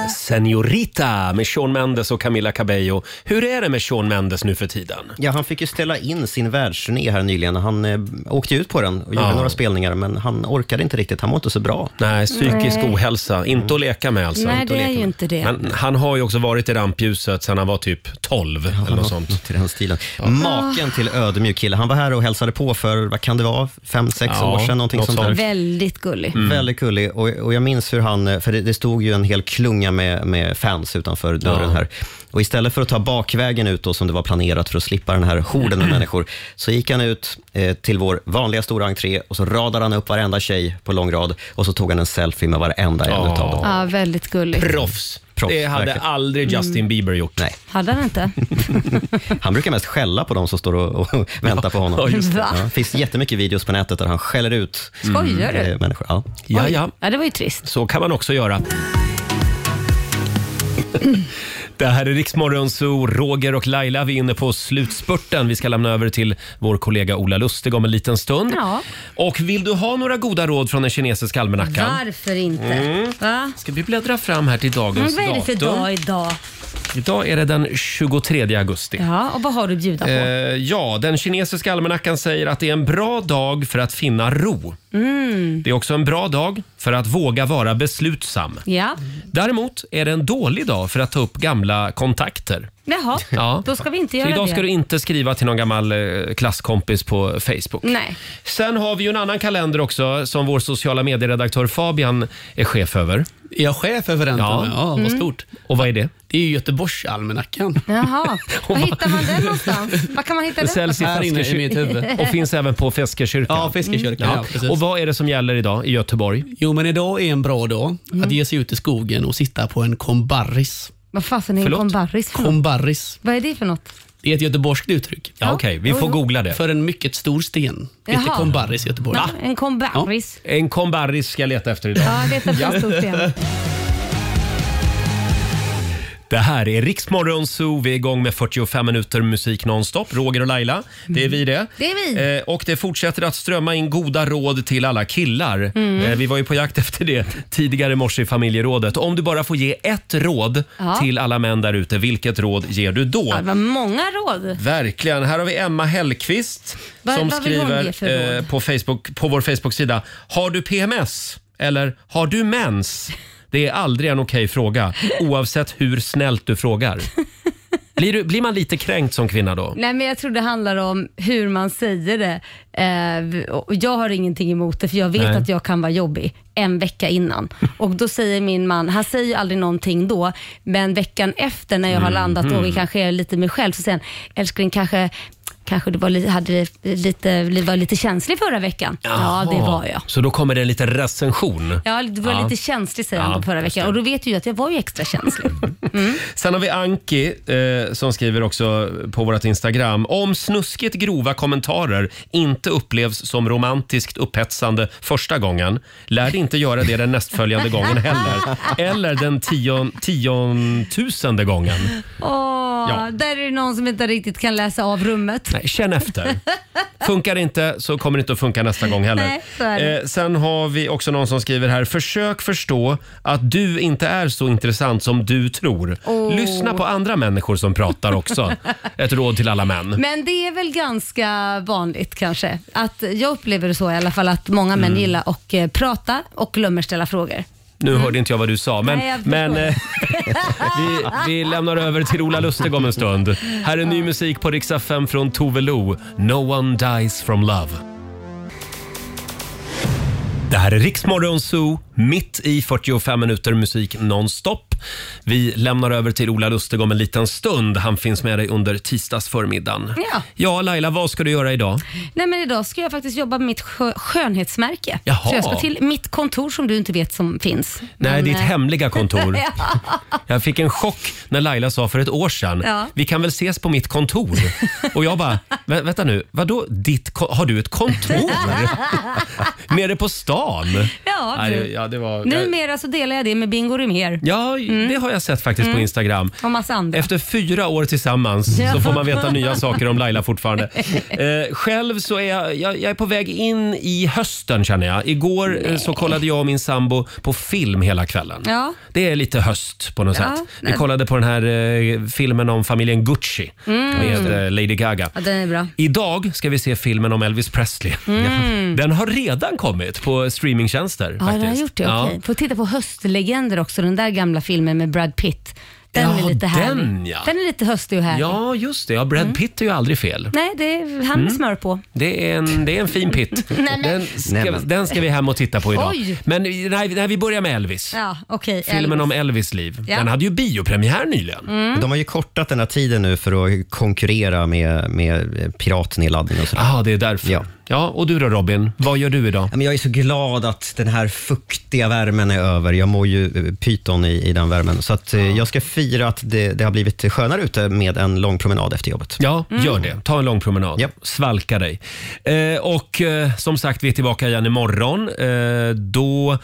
[SPEAKER 1] Senorita med Shawn Mendes och Camila Cabello. Hur är det med Shawn Mendes nu för tiden?
[SPEAKER 6] Ja, han fick ju ställa in sin världsturné här nyligen. Han eh, åkte ut på den och gjorde
[SPEAKER 1] Ja.
[SPEAKER 6] några spelningar, men han orkade inte riktigt. Han mår inte så bra.
[SPEAKER 1] Nej, psykisk
[SPEAKER 3] Nej.
[SPEAKER 1] ohälsa. Inte att leka med alltså.
[SPEAKER 3] Nej,
[SPEAKER 1] inte att
[SPEAKER 3] det är
[SPEAKER 1] leka
[SPEAKER 3] ju
[SPEAKER 1] med.
[SPEAKER 3] inte det.
[SPEAKER 1] Men han har ju också varit i rampljuset sedan han var typ 12 eller något sånt.
[SPEAKER 6] Till den stilen. Maken till ödmjuk kille. Han var här och hälsade på för, vad kan det vara, fem, sex
[SPEAKER 1] Ja,
[SPEAKER 6] år sedan? Någonting
[SPEAKER 1] något
[SPEAKER 6] sånt där.
[SPEAKER 3] Väldigt
[SPEAKER 1] Mm.
[SPEAKER 3] gullig.
[SPEAKER 6] Väldigt gullig och, och jag minns hur han, eh, för det, det stod ju en hel klunga med, med fans utanför dörren här. Och istället för att ta bakvägen ut då, som det var planerat för att slippa den här horden av människor, så gick han ut eh, till vår vanliga stora entré och så radade han upp varenda tjej på lång rad och så tog han en selfie med varenda en utav dem.
[SPEAKER 3] Ja, väldigt gullig.
[SPEAKER 1] Proffs. Det hade
[SPEAKER 6] verkligen.
[SPEAKER 1] aldrig Justin
[SPEAKER 3] Mm.
[SPEAKER 1] Bieber gjort.
[SPEAKER 6] Nej,
[SPEAKER 3] Hade han inte?
[SPEAKER 6] han brukar mest skälla på de som står och, och väntar på honom.
[SPEAKER 3] ja, just det. Va?
[SPEAKER 6] det finns jättemycket videos på nätet där han skäller ut
[SPEAKER 3] Skojar du?
[SPEAKER 1] Mm.
[SPEAKER 6] eh, människor. Ja.
[SPEAKER 1] Ja, ja.
[SPEAKER 3] Ja, det var ju trist.
[SPEAKER 1] Så kan man också göra. Det här är Riksmorgon Zoo. Roger och Laila, vi är inne på slutspurten. Vi ska lämna över till vår kollega Ola Lustig om en liten stund.
[SPEAKER 3] Ja.
[SPEAKER 1] Och vill du ha några goda råd från den kinesiska almanackan?
[SPEAKER 3] Varför inte?
[SPEAKER 1] Mm.
[SPEAKER 3] Va?
[SPEAKER 1] Ska vi bläddra fram här till
[SPEAKER 3] Men
[SPEAKER 1] dagens
[SPEAKER 3] vad är det för
[SPEAKER 1] datum?
[SPEAKER 3] dag idag?
[SPEAKER 1] Idag är det den 23 augusti.
[SPEAKER 3] Ja, och vad har du att bjuda på?
[SPEAKER 1] Eh, ja, den kinesiska almanackan säger att det är en bra dag för att finna ro.
[SPEAKER 3] Mm.
[SPEAKER 1] Det är också en bra dag för att våga vara beslutsam.
[SPEAKER 3] Ja,
[SPEAKER 1] Däremot är det en dålig dag för att ta upp gamla kontakter.
[SPEAKER 3] jaha.
[SPEAKER 1] Ja.
[SPEAKER 3] Då ska vi inte
[SPEAKER 1] Så
[SPEAKER 3] göra
[SPEAKER 1] idag
[SPEAKER 3] det.
[SPEAKER 1] ska du inte skriva till någon gammal eh, klasskompis på Facebook.
[SPEAKER 3] Nej.
[SPEAKER 1] Sen har vi ju en annan kalender också som vår sociala medieredaktör Fabian är chef över.
[SPEAKER 11] Är jag chef över den?
[SPEAKER 1] Ja.
[SPEAKER 11] Ja, ja
[SPEAKER 1] Mm.
[SPEAKER 11] vad stort.
[SPEAKER 1] Och vad är det?
[SPEAKER 11] Det är ju Göteborgsalmanackan.
[SPEAKER 1] Mm.
[SPEAKER 3] Jaha. Var hittar man den någonstans? Var kan man hitta
[SPEAKER 1] Det
[SPEAKER 3] den?
[SPEAKER 1] säljs i
[SPEAKER 11] Här inne i
[SPEAKER 1] Feskekyrkan
[SPEAKER 11] mitt huvud.
[SPEAKER 1] och finns även på Feskekyrkan.
[SPEAKER 11] Ja, Fiskekyrkan, ja, precis.
[SPEAKER 1] och vad är det som gäller idag i Göteborg?
[SPEAKER 11] Jo, men idag är en bra dag
[SPEAKER 1] Mm.
[SPEAKER 11] att ge sig ut i skogen och sitta på en kombarris.
[SPEAKER 3] Vad fasen är en
[SPEAKER 11] Förlåt?
[SPEAKER 3] kombarris för något?
[SPEAKER 11] Kombarris.
[SPEAKER 3] Vad är det för något?
[SPEAKER 11] Det är ett göteborgskt uttryck.
[SPEAKER 1] Ja, okej. Vi
[SPEAKER 3] Mm.
[SPEAKER 1] får googla det.
[SPEAKER 11] För en mycket stor sten. Heter
[SPEAKER 3] Jaha.
[SPEAKER 11] kombarris i Göteborg.
[SPEAKER 3] Nej, En kombarris.
[SPEAKER 1] En kombarris ska jag leta efter idag.
[SPEAKER 3] Ja, det är ett ja. stort igen.
[SPEAKER 1] Det här är Riksmorgon Zoo. Vi är igång med 45 minuter musik nonstop. Roger och Laila, det är vi det.
[SPEAKER 3] Mm. Det är vi.
[SPEAKER 1] Eh, och det fortsätter att strömma in goda råd till alla killar.
[SPEAKER 3] Mm.
[SPEAKER 1] Eh, vi var ju på jakt efter det tidigare i morse i familjerådet. Om du bara får ge ett råd
[SPEAKER 3] Ja.
[SPEAKER 1] till alla män där ute, vilket råd ger du då?
[SPEAKER 3] Ja, det var många råd.
[SPEAKER 1] Verkligen. Här har vi Emma Hellqvist
[SPEAKER 3] Vad-
[SPEAKER 1] som
[SPEAKER 3] vad vill hon ge för
[SPEAKER 1] skriver
[SPEAKER 3] råd?
[SPEAKER 1] eh, på, Facebook, på vår Facebook-sida. Har du PMS? Eller har du mens? Det är aldrig en okej fråga, oavsett hur snällt du frågar. Blir, du, blir man lite kränkt som kvinna då?
[SPEAKER 3] Nej, men jag tror det handlar om hur man säger det. Eh, och jag har ingenting emot det, för jag vet
[SPEAKER 15] Nej.
[SPEAKER 3] att jag kan vara jobbig en vecka innan. Och då säger min man, han säger ju aldrig någonting då, men veckan efter när jag har
[SPEAKER 15] Mhm.
[SPEAKER 3] landat och kanske är lite mig själv, så säger han, älskling kanske Kanske du var, li- hade lite, var lite känslig förra veckan? Ja, det var jag.
[SPEAKER 1] Så då kommer det en liten recension.
[SPEAKER 3] Ja, du var
[SPEAKER 1] Ja.
[SPEAKER 3] lite känslig säger
[SPEAKER 1] Ja,
[SPEAKER 3] han förra
[SPEAKER 1] just
[SPEAKER 3] veckan. Och då vet du ju att jag var ju extra känslig.
[SPEAKER 1] Sen har vi Anki eh, som skriver också på vårt Instagram. Om snuskigt grova kommentarer inte upplevs som romantiskt upphetsande första gången, lär det inte göra det den nästföljande gången heller. Eller den tion, tiontusende gången.
[SPEAKER 3] Åh,
[SPEAKER 1] Ja.
[SPEAKER 3] där är det någon som inte riktigt kan läsa av rummet.
[SPEAKER 1] Nej, känn efter. Funkar det inte så kommer det inte att funka nästa gång heller.
[SPEAKER 3] Nej, så är det.
[SPEAKER 1] Eh, sen har vi också någon som skriver här. Försök förstå att du inte är så intressant som du tror.
[SPEAKER 3] Åh.
[SPEAKER 1] Lyssna på andra människor som pratar också. Ett råd till alla män.
[SPEAKER 3] Men det är väl ganska vanligt kanske. Att jag upplever det så i alla fall att många män
[SPEAKER 1] Mm.
[SPEAKER 3] gillar att eh, prata och glömmer ställa frågor.
[SPEAKER 1] Nu hörde inte jag vad du sa, men,
[SPEAKER 3] Mm. Nej, jag förstår.
[SPEAKER 1] men eh, vi, vi lämnar över till Ola Lustig om en stund. Här är ny musik på Riksa 5 från Tove Lo. No one dies from love. Det här är Riksmorgon Zoo, mitt i 45 minuter musik nonstop. Vi lämnar över till Ola Lustig om en liten stund. Han finns med dig under tisdagsförmiddagen.
[SPEAKER 3] Ja.
[SPEAKER 1] Ja, Laila, vad ska du göra idag?
[SPEAKER 3] Nej, men idag ska jag faktiskt jobba med mitt skö- skönhetsmärke.
[SPEAKER 1] Jaha.
[SPEAKER 3] Så jag ska till mitt kontor som du inte vet som finns.
[SPEAKER 1] Nej,
[SPEAKER 3] Men,
[SPEAKER 1] ditt
[SPEAKER 3] eh,
[SPEAKER 1] hemliga kontor.
[SPEAKER 3] ja.
[SPEAKER 1] Jag fick en chock när Laila sa för ett år sedan,
[SPEAKER 3] Ja.
[SPEAKER 1] vi kan väl ses på mitt kontor? Och jag bara, "Vä- vänta nu, vadå ditt ko- har du ett kontor? Nere på stan?
[SPEAKER 3] Ja,
[SPEAKER 1] Nej,
[SPEAKER 3] du.
[SPEAKER 1] det- ja, det var,
[SPEAKER 3] Numera så delar jag det med Bingo Rimér
[SPEAKER 1] ja det har jag sett faktiskt på
[SPEAKER 3] Mm.
[SPEAKER 1] Instagram.
[SPEAKER 3] och massa andra.
[SPEAKER 1] Efter fyra år tillsammans
[SPEAKER 3] Ja.
[SPEAKER 1] så får man veta nya saker om Laila fortfarande. Eh, själv så är jag, jag, jag är på väg in i hösten känner jag. Igår eh, så kollade jag och min sambo på film hela kvällen.
[SPEAKER 3] Ja.
[SPEAKER 1] Det är lite höst på något
[SPEAKER 3] Ja.
[SPEAKER 1] sätt. Vi kollade på den här eh, filmen om familjen Gucci
[SPEAKER 3] Mm.
[SPEAKER 1] med eh, Lady Gaga.
[SPEAKER 3] ja, den är bra.
[SPEAKER 1] Idag ska vi se filmen om Elvis Presley.
[SPEAKER 3] Mm.
[SPEAKER 1] Den har redan kommit på streamingtjänster.
[SPEAKER 3] Ja,
[SPEAKER 1] faktiskt.
[SPEAKER 3] den har gjort det. Okej. Får titta på Höstlegender också, den där gamla filmen med Brad Pitt. Den
[SPEAKER 1] Ja,
[SPEAKER 3] är lite härlig.
[SPEAKER 1] den, ja.
[SPEAKER 3] den är lite höstig och härlig.
[SPEAKER 1] Ja, just det. Ja, Brad
[SPEAKER 3] Mm.
[SPEAKER 1] Pitt är ju aldrig fel.
[SPEAKER 3] Nej, det är, han med
[SPEAKER 1] Mm.
[SPEAKER 3] smör på.
[SPEAKER 1] Det är en, det är en fin pitt.
[SPEAKER 3] Nej, men-
[SPEAKER 1] Den
[SPEAKER 3] Nej,
[SPEAKER 1] ska,
[SPEAKER 3] men-
[SPEAKER 1] den ska vi hem och titta på idag.
[SPEAKER 3] Oj.
[SPEAKER 1] Men nej, nej, vi börjar med Elvis.
[SPEAKER 3] Ja, okej.
[SPEAKER 1] Filmen
[SPEAKER 3] Elvis.
[SPEAKER 1] om Elvis liv.
[SPEAKER 3] Ja.
[SPEAKER 1] Den hade ju biopremiär nyligen.
[SPEAKER 3] Mm.
[SPEAKER 6] De har ju kortat den här tiden nu för att konkurrera med, med piratnedladdning och sådär.
[SPEAKER 1] Ja, Ah, det är därför. Ja. och du då Robin, vad gör du idag?
[SPEAKER 6] Men jag är så glad att den här fuktiga värmen är över. Jag mår ju eh, pyton i, i den värmen. Så att, eh, jag ska fira att det, det har blivit skönare ute med en lång promenad efter jobbet.
[SPEAKER 1] Ja,
[SPEAKER 3] Mm.
[SPEAKER 1] gör det. Ta en lång promenad. Svalka dig. Eh, och eh, som sagt, vi är tillbaka igen imorgon. Eh, då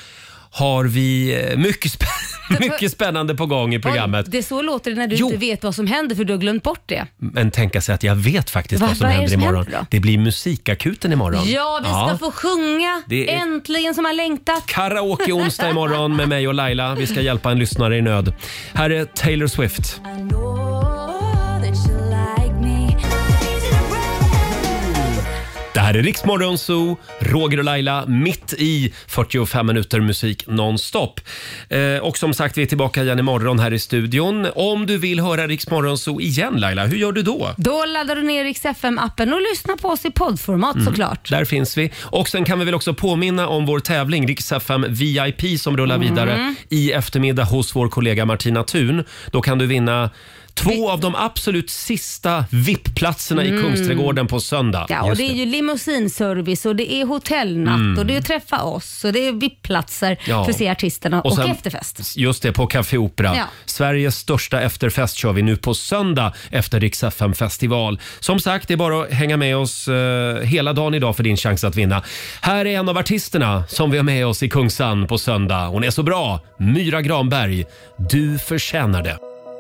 [SPEAKER 1] har vi eh, mycket, spä- mycket spännande på gång i programmet.
[SPEAKER 3] Det är så låter det när du inte vet vad som händer för du har glömt bort det.
[SPEAKER 1] Men tänka sig att jag vet faktiskt
[SPEAKER 3] Va-
[SPEAKER 1] vad som
[SPEAKER 3] vad är det
[SPEAKER 1] händer
[SPEAKER 3] som
[SPEAKER 1] imorgon.
[SPEAKER 3] händer då?
[SPEAKER 1] det blir musikakuten imorgon.
[SPEAKER 3] Ja, vi ska få sjunga.
[SPEAKER 1] Det är-
[SPEAKER 3] Äntligen som man längtat.
[SPEAKER 1] Karaoke onsdag imorgon med mig och Laila. Vi ska hjälpa en lyssnare i nöd. Här är Taylor Swift. Det här är Riksmorgon Zoo, Roger och Laila mitt i 45 minuter musik nonstop. Eh, och som sagt, vi är tillbaka igen imorgon här i studion. Om du vill höra Riksmorgon Zoo igen Laila, hur gör du då?
[SPEAKER 3] Då laddar du ner Rix FM-appen och lyssnar på oss i poddformat
[SPEAKER 1] Mm,
[SPEAKER 3] såklart.
[SPEAKER 1] Där finns vi. Och sen kan vi väl också påminna om vår tävling Rix FM VIP som rullar
[SPEAKER 3] Mm.
[SPEAKER 1] vidare i eftermiddag hos vår kollega Martina Thun. Då kan du vinna Två av de absolut sista VIP-platserna i
[SPEAKER 3] Mm.
[SPEAKER 1] Kungsträdgården på söndag.
[SPEAKER 3] Ja, och det är ju limousinservice och det är hotellnatt
[SPEAKER 1] Mm.
[SPEAKER 3] och det är träffa oss och det är VIP-platser
[SPEAKER 1] Ja.
[SPEAKER 3] för att se artisterna och,
[SPEAKER 1] sen-
[SPEAKER 3] efterfest.
[SPEAKER 1] Just det, på Café Opera.
[SPEAKER 3] Ja.
[SPEAKER 1] Sveriges största efterfest kör vi nu på söndag efter Rix FM festival. Som sagt, det är bara att hänga med oss eh, hela dagen idag för din chans att vinna. Här är en av artisterna som vi har med oss i Kungsan på söndag. Hon är så bra! Myra Granberg, du förtjänar det.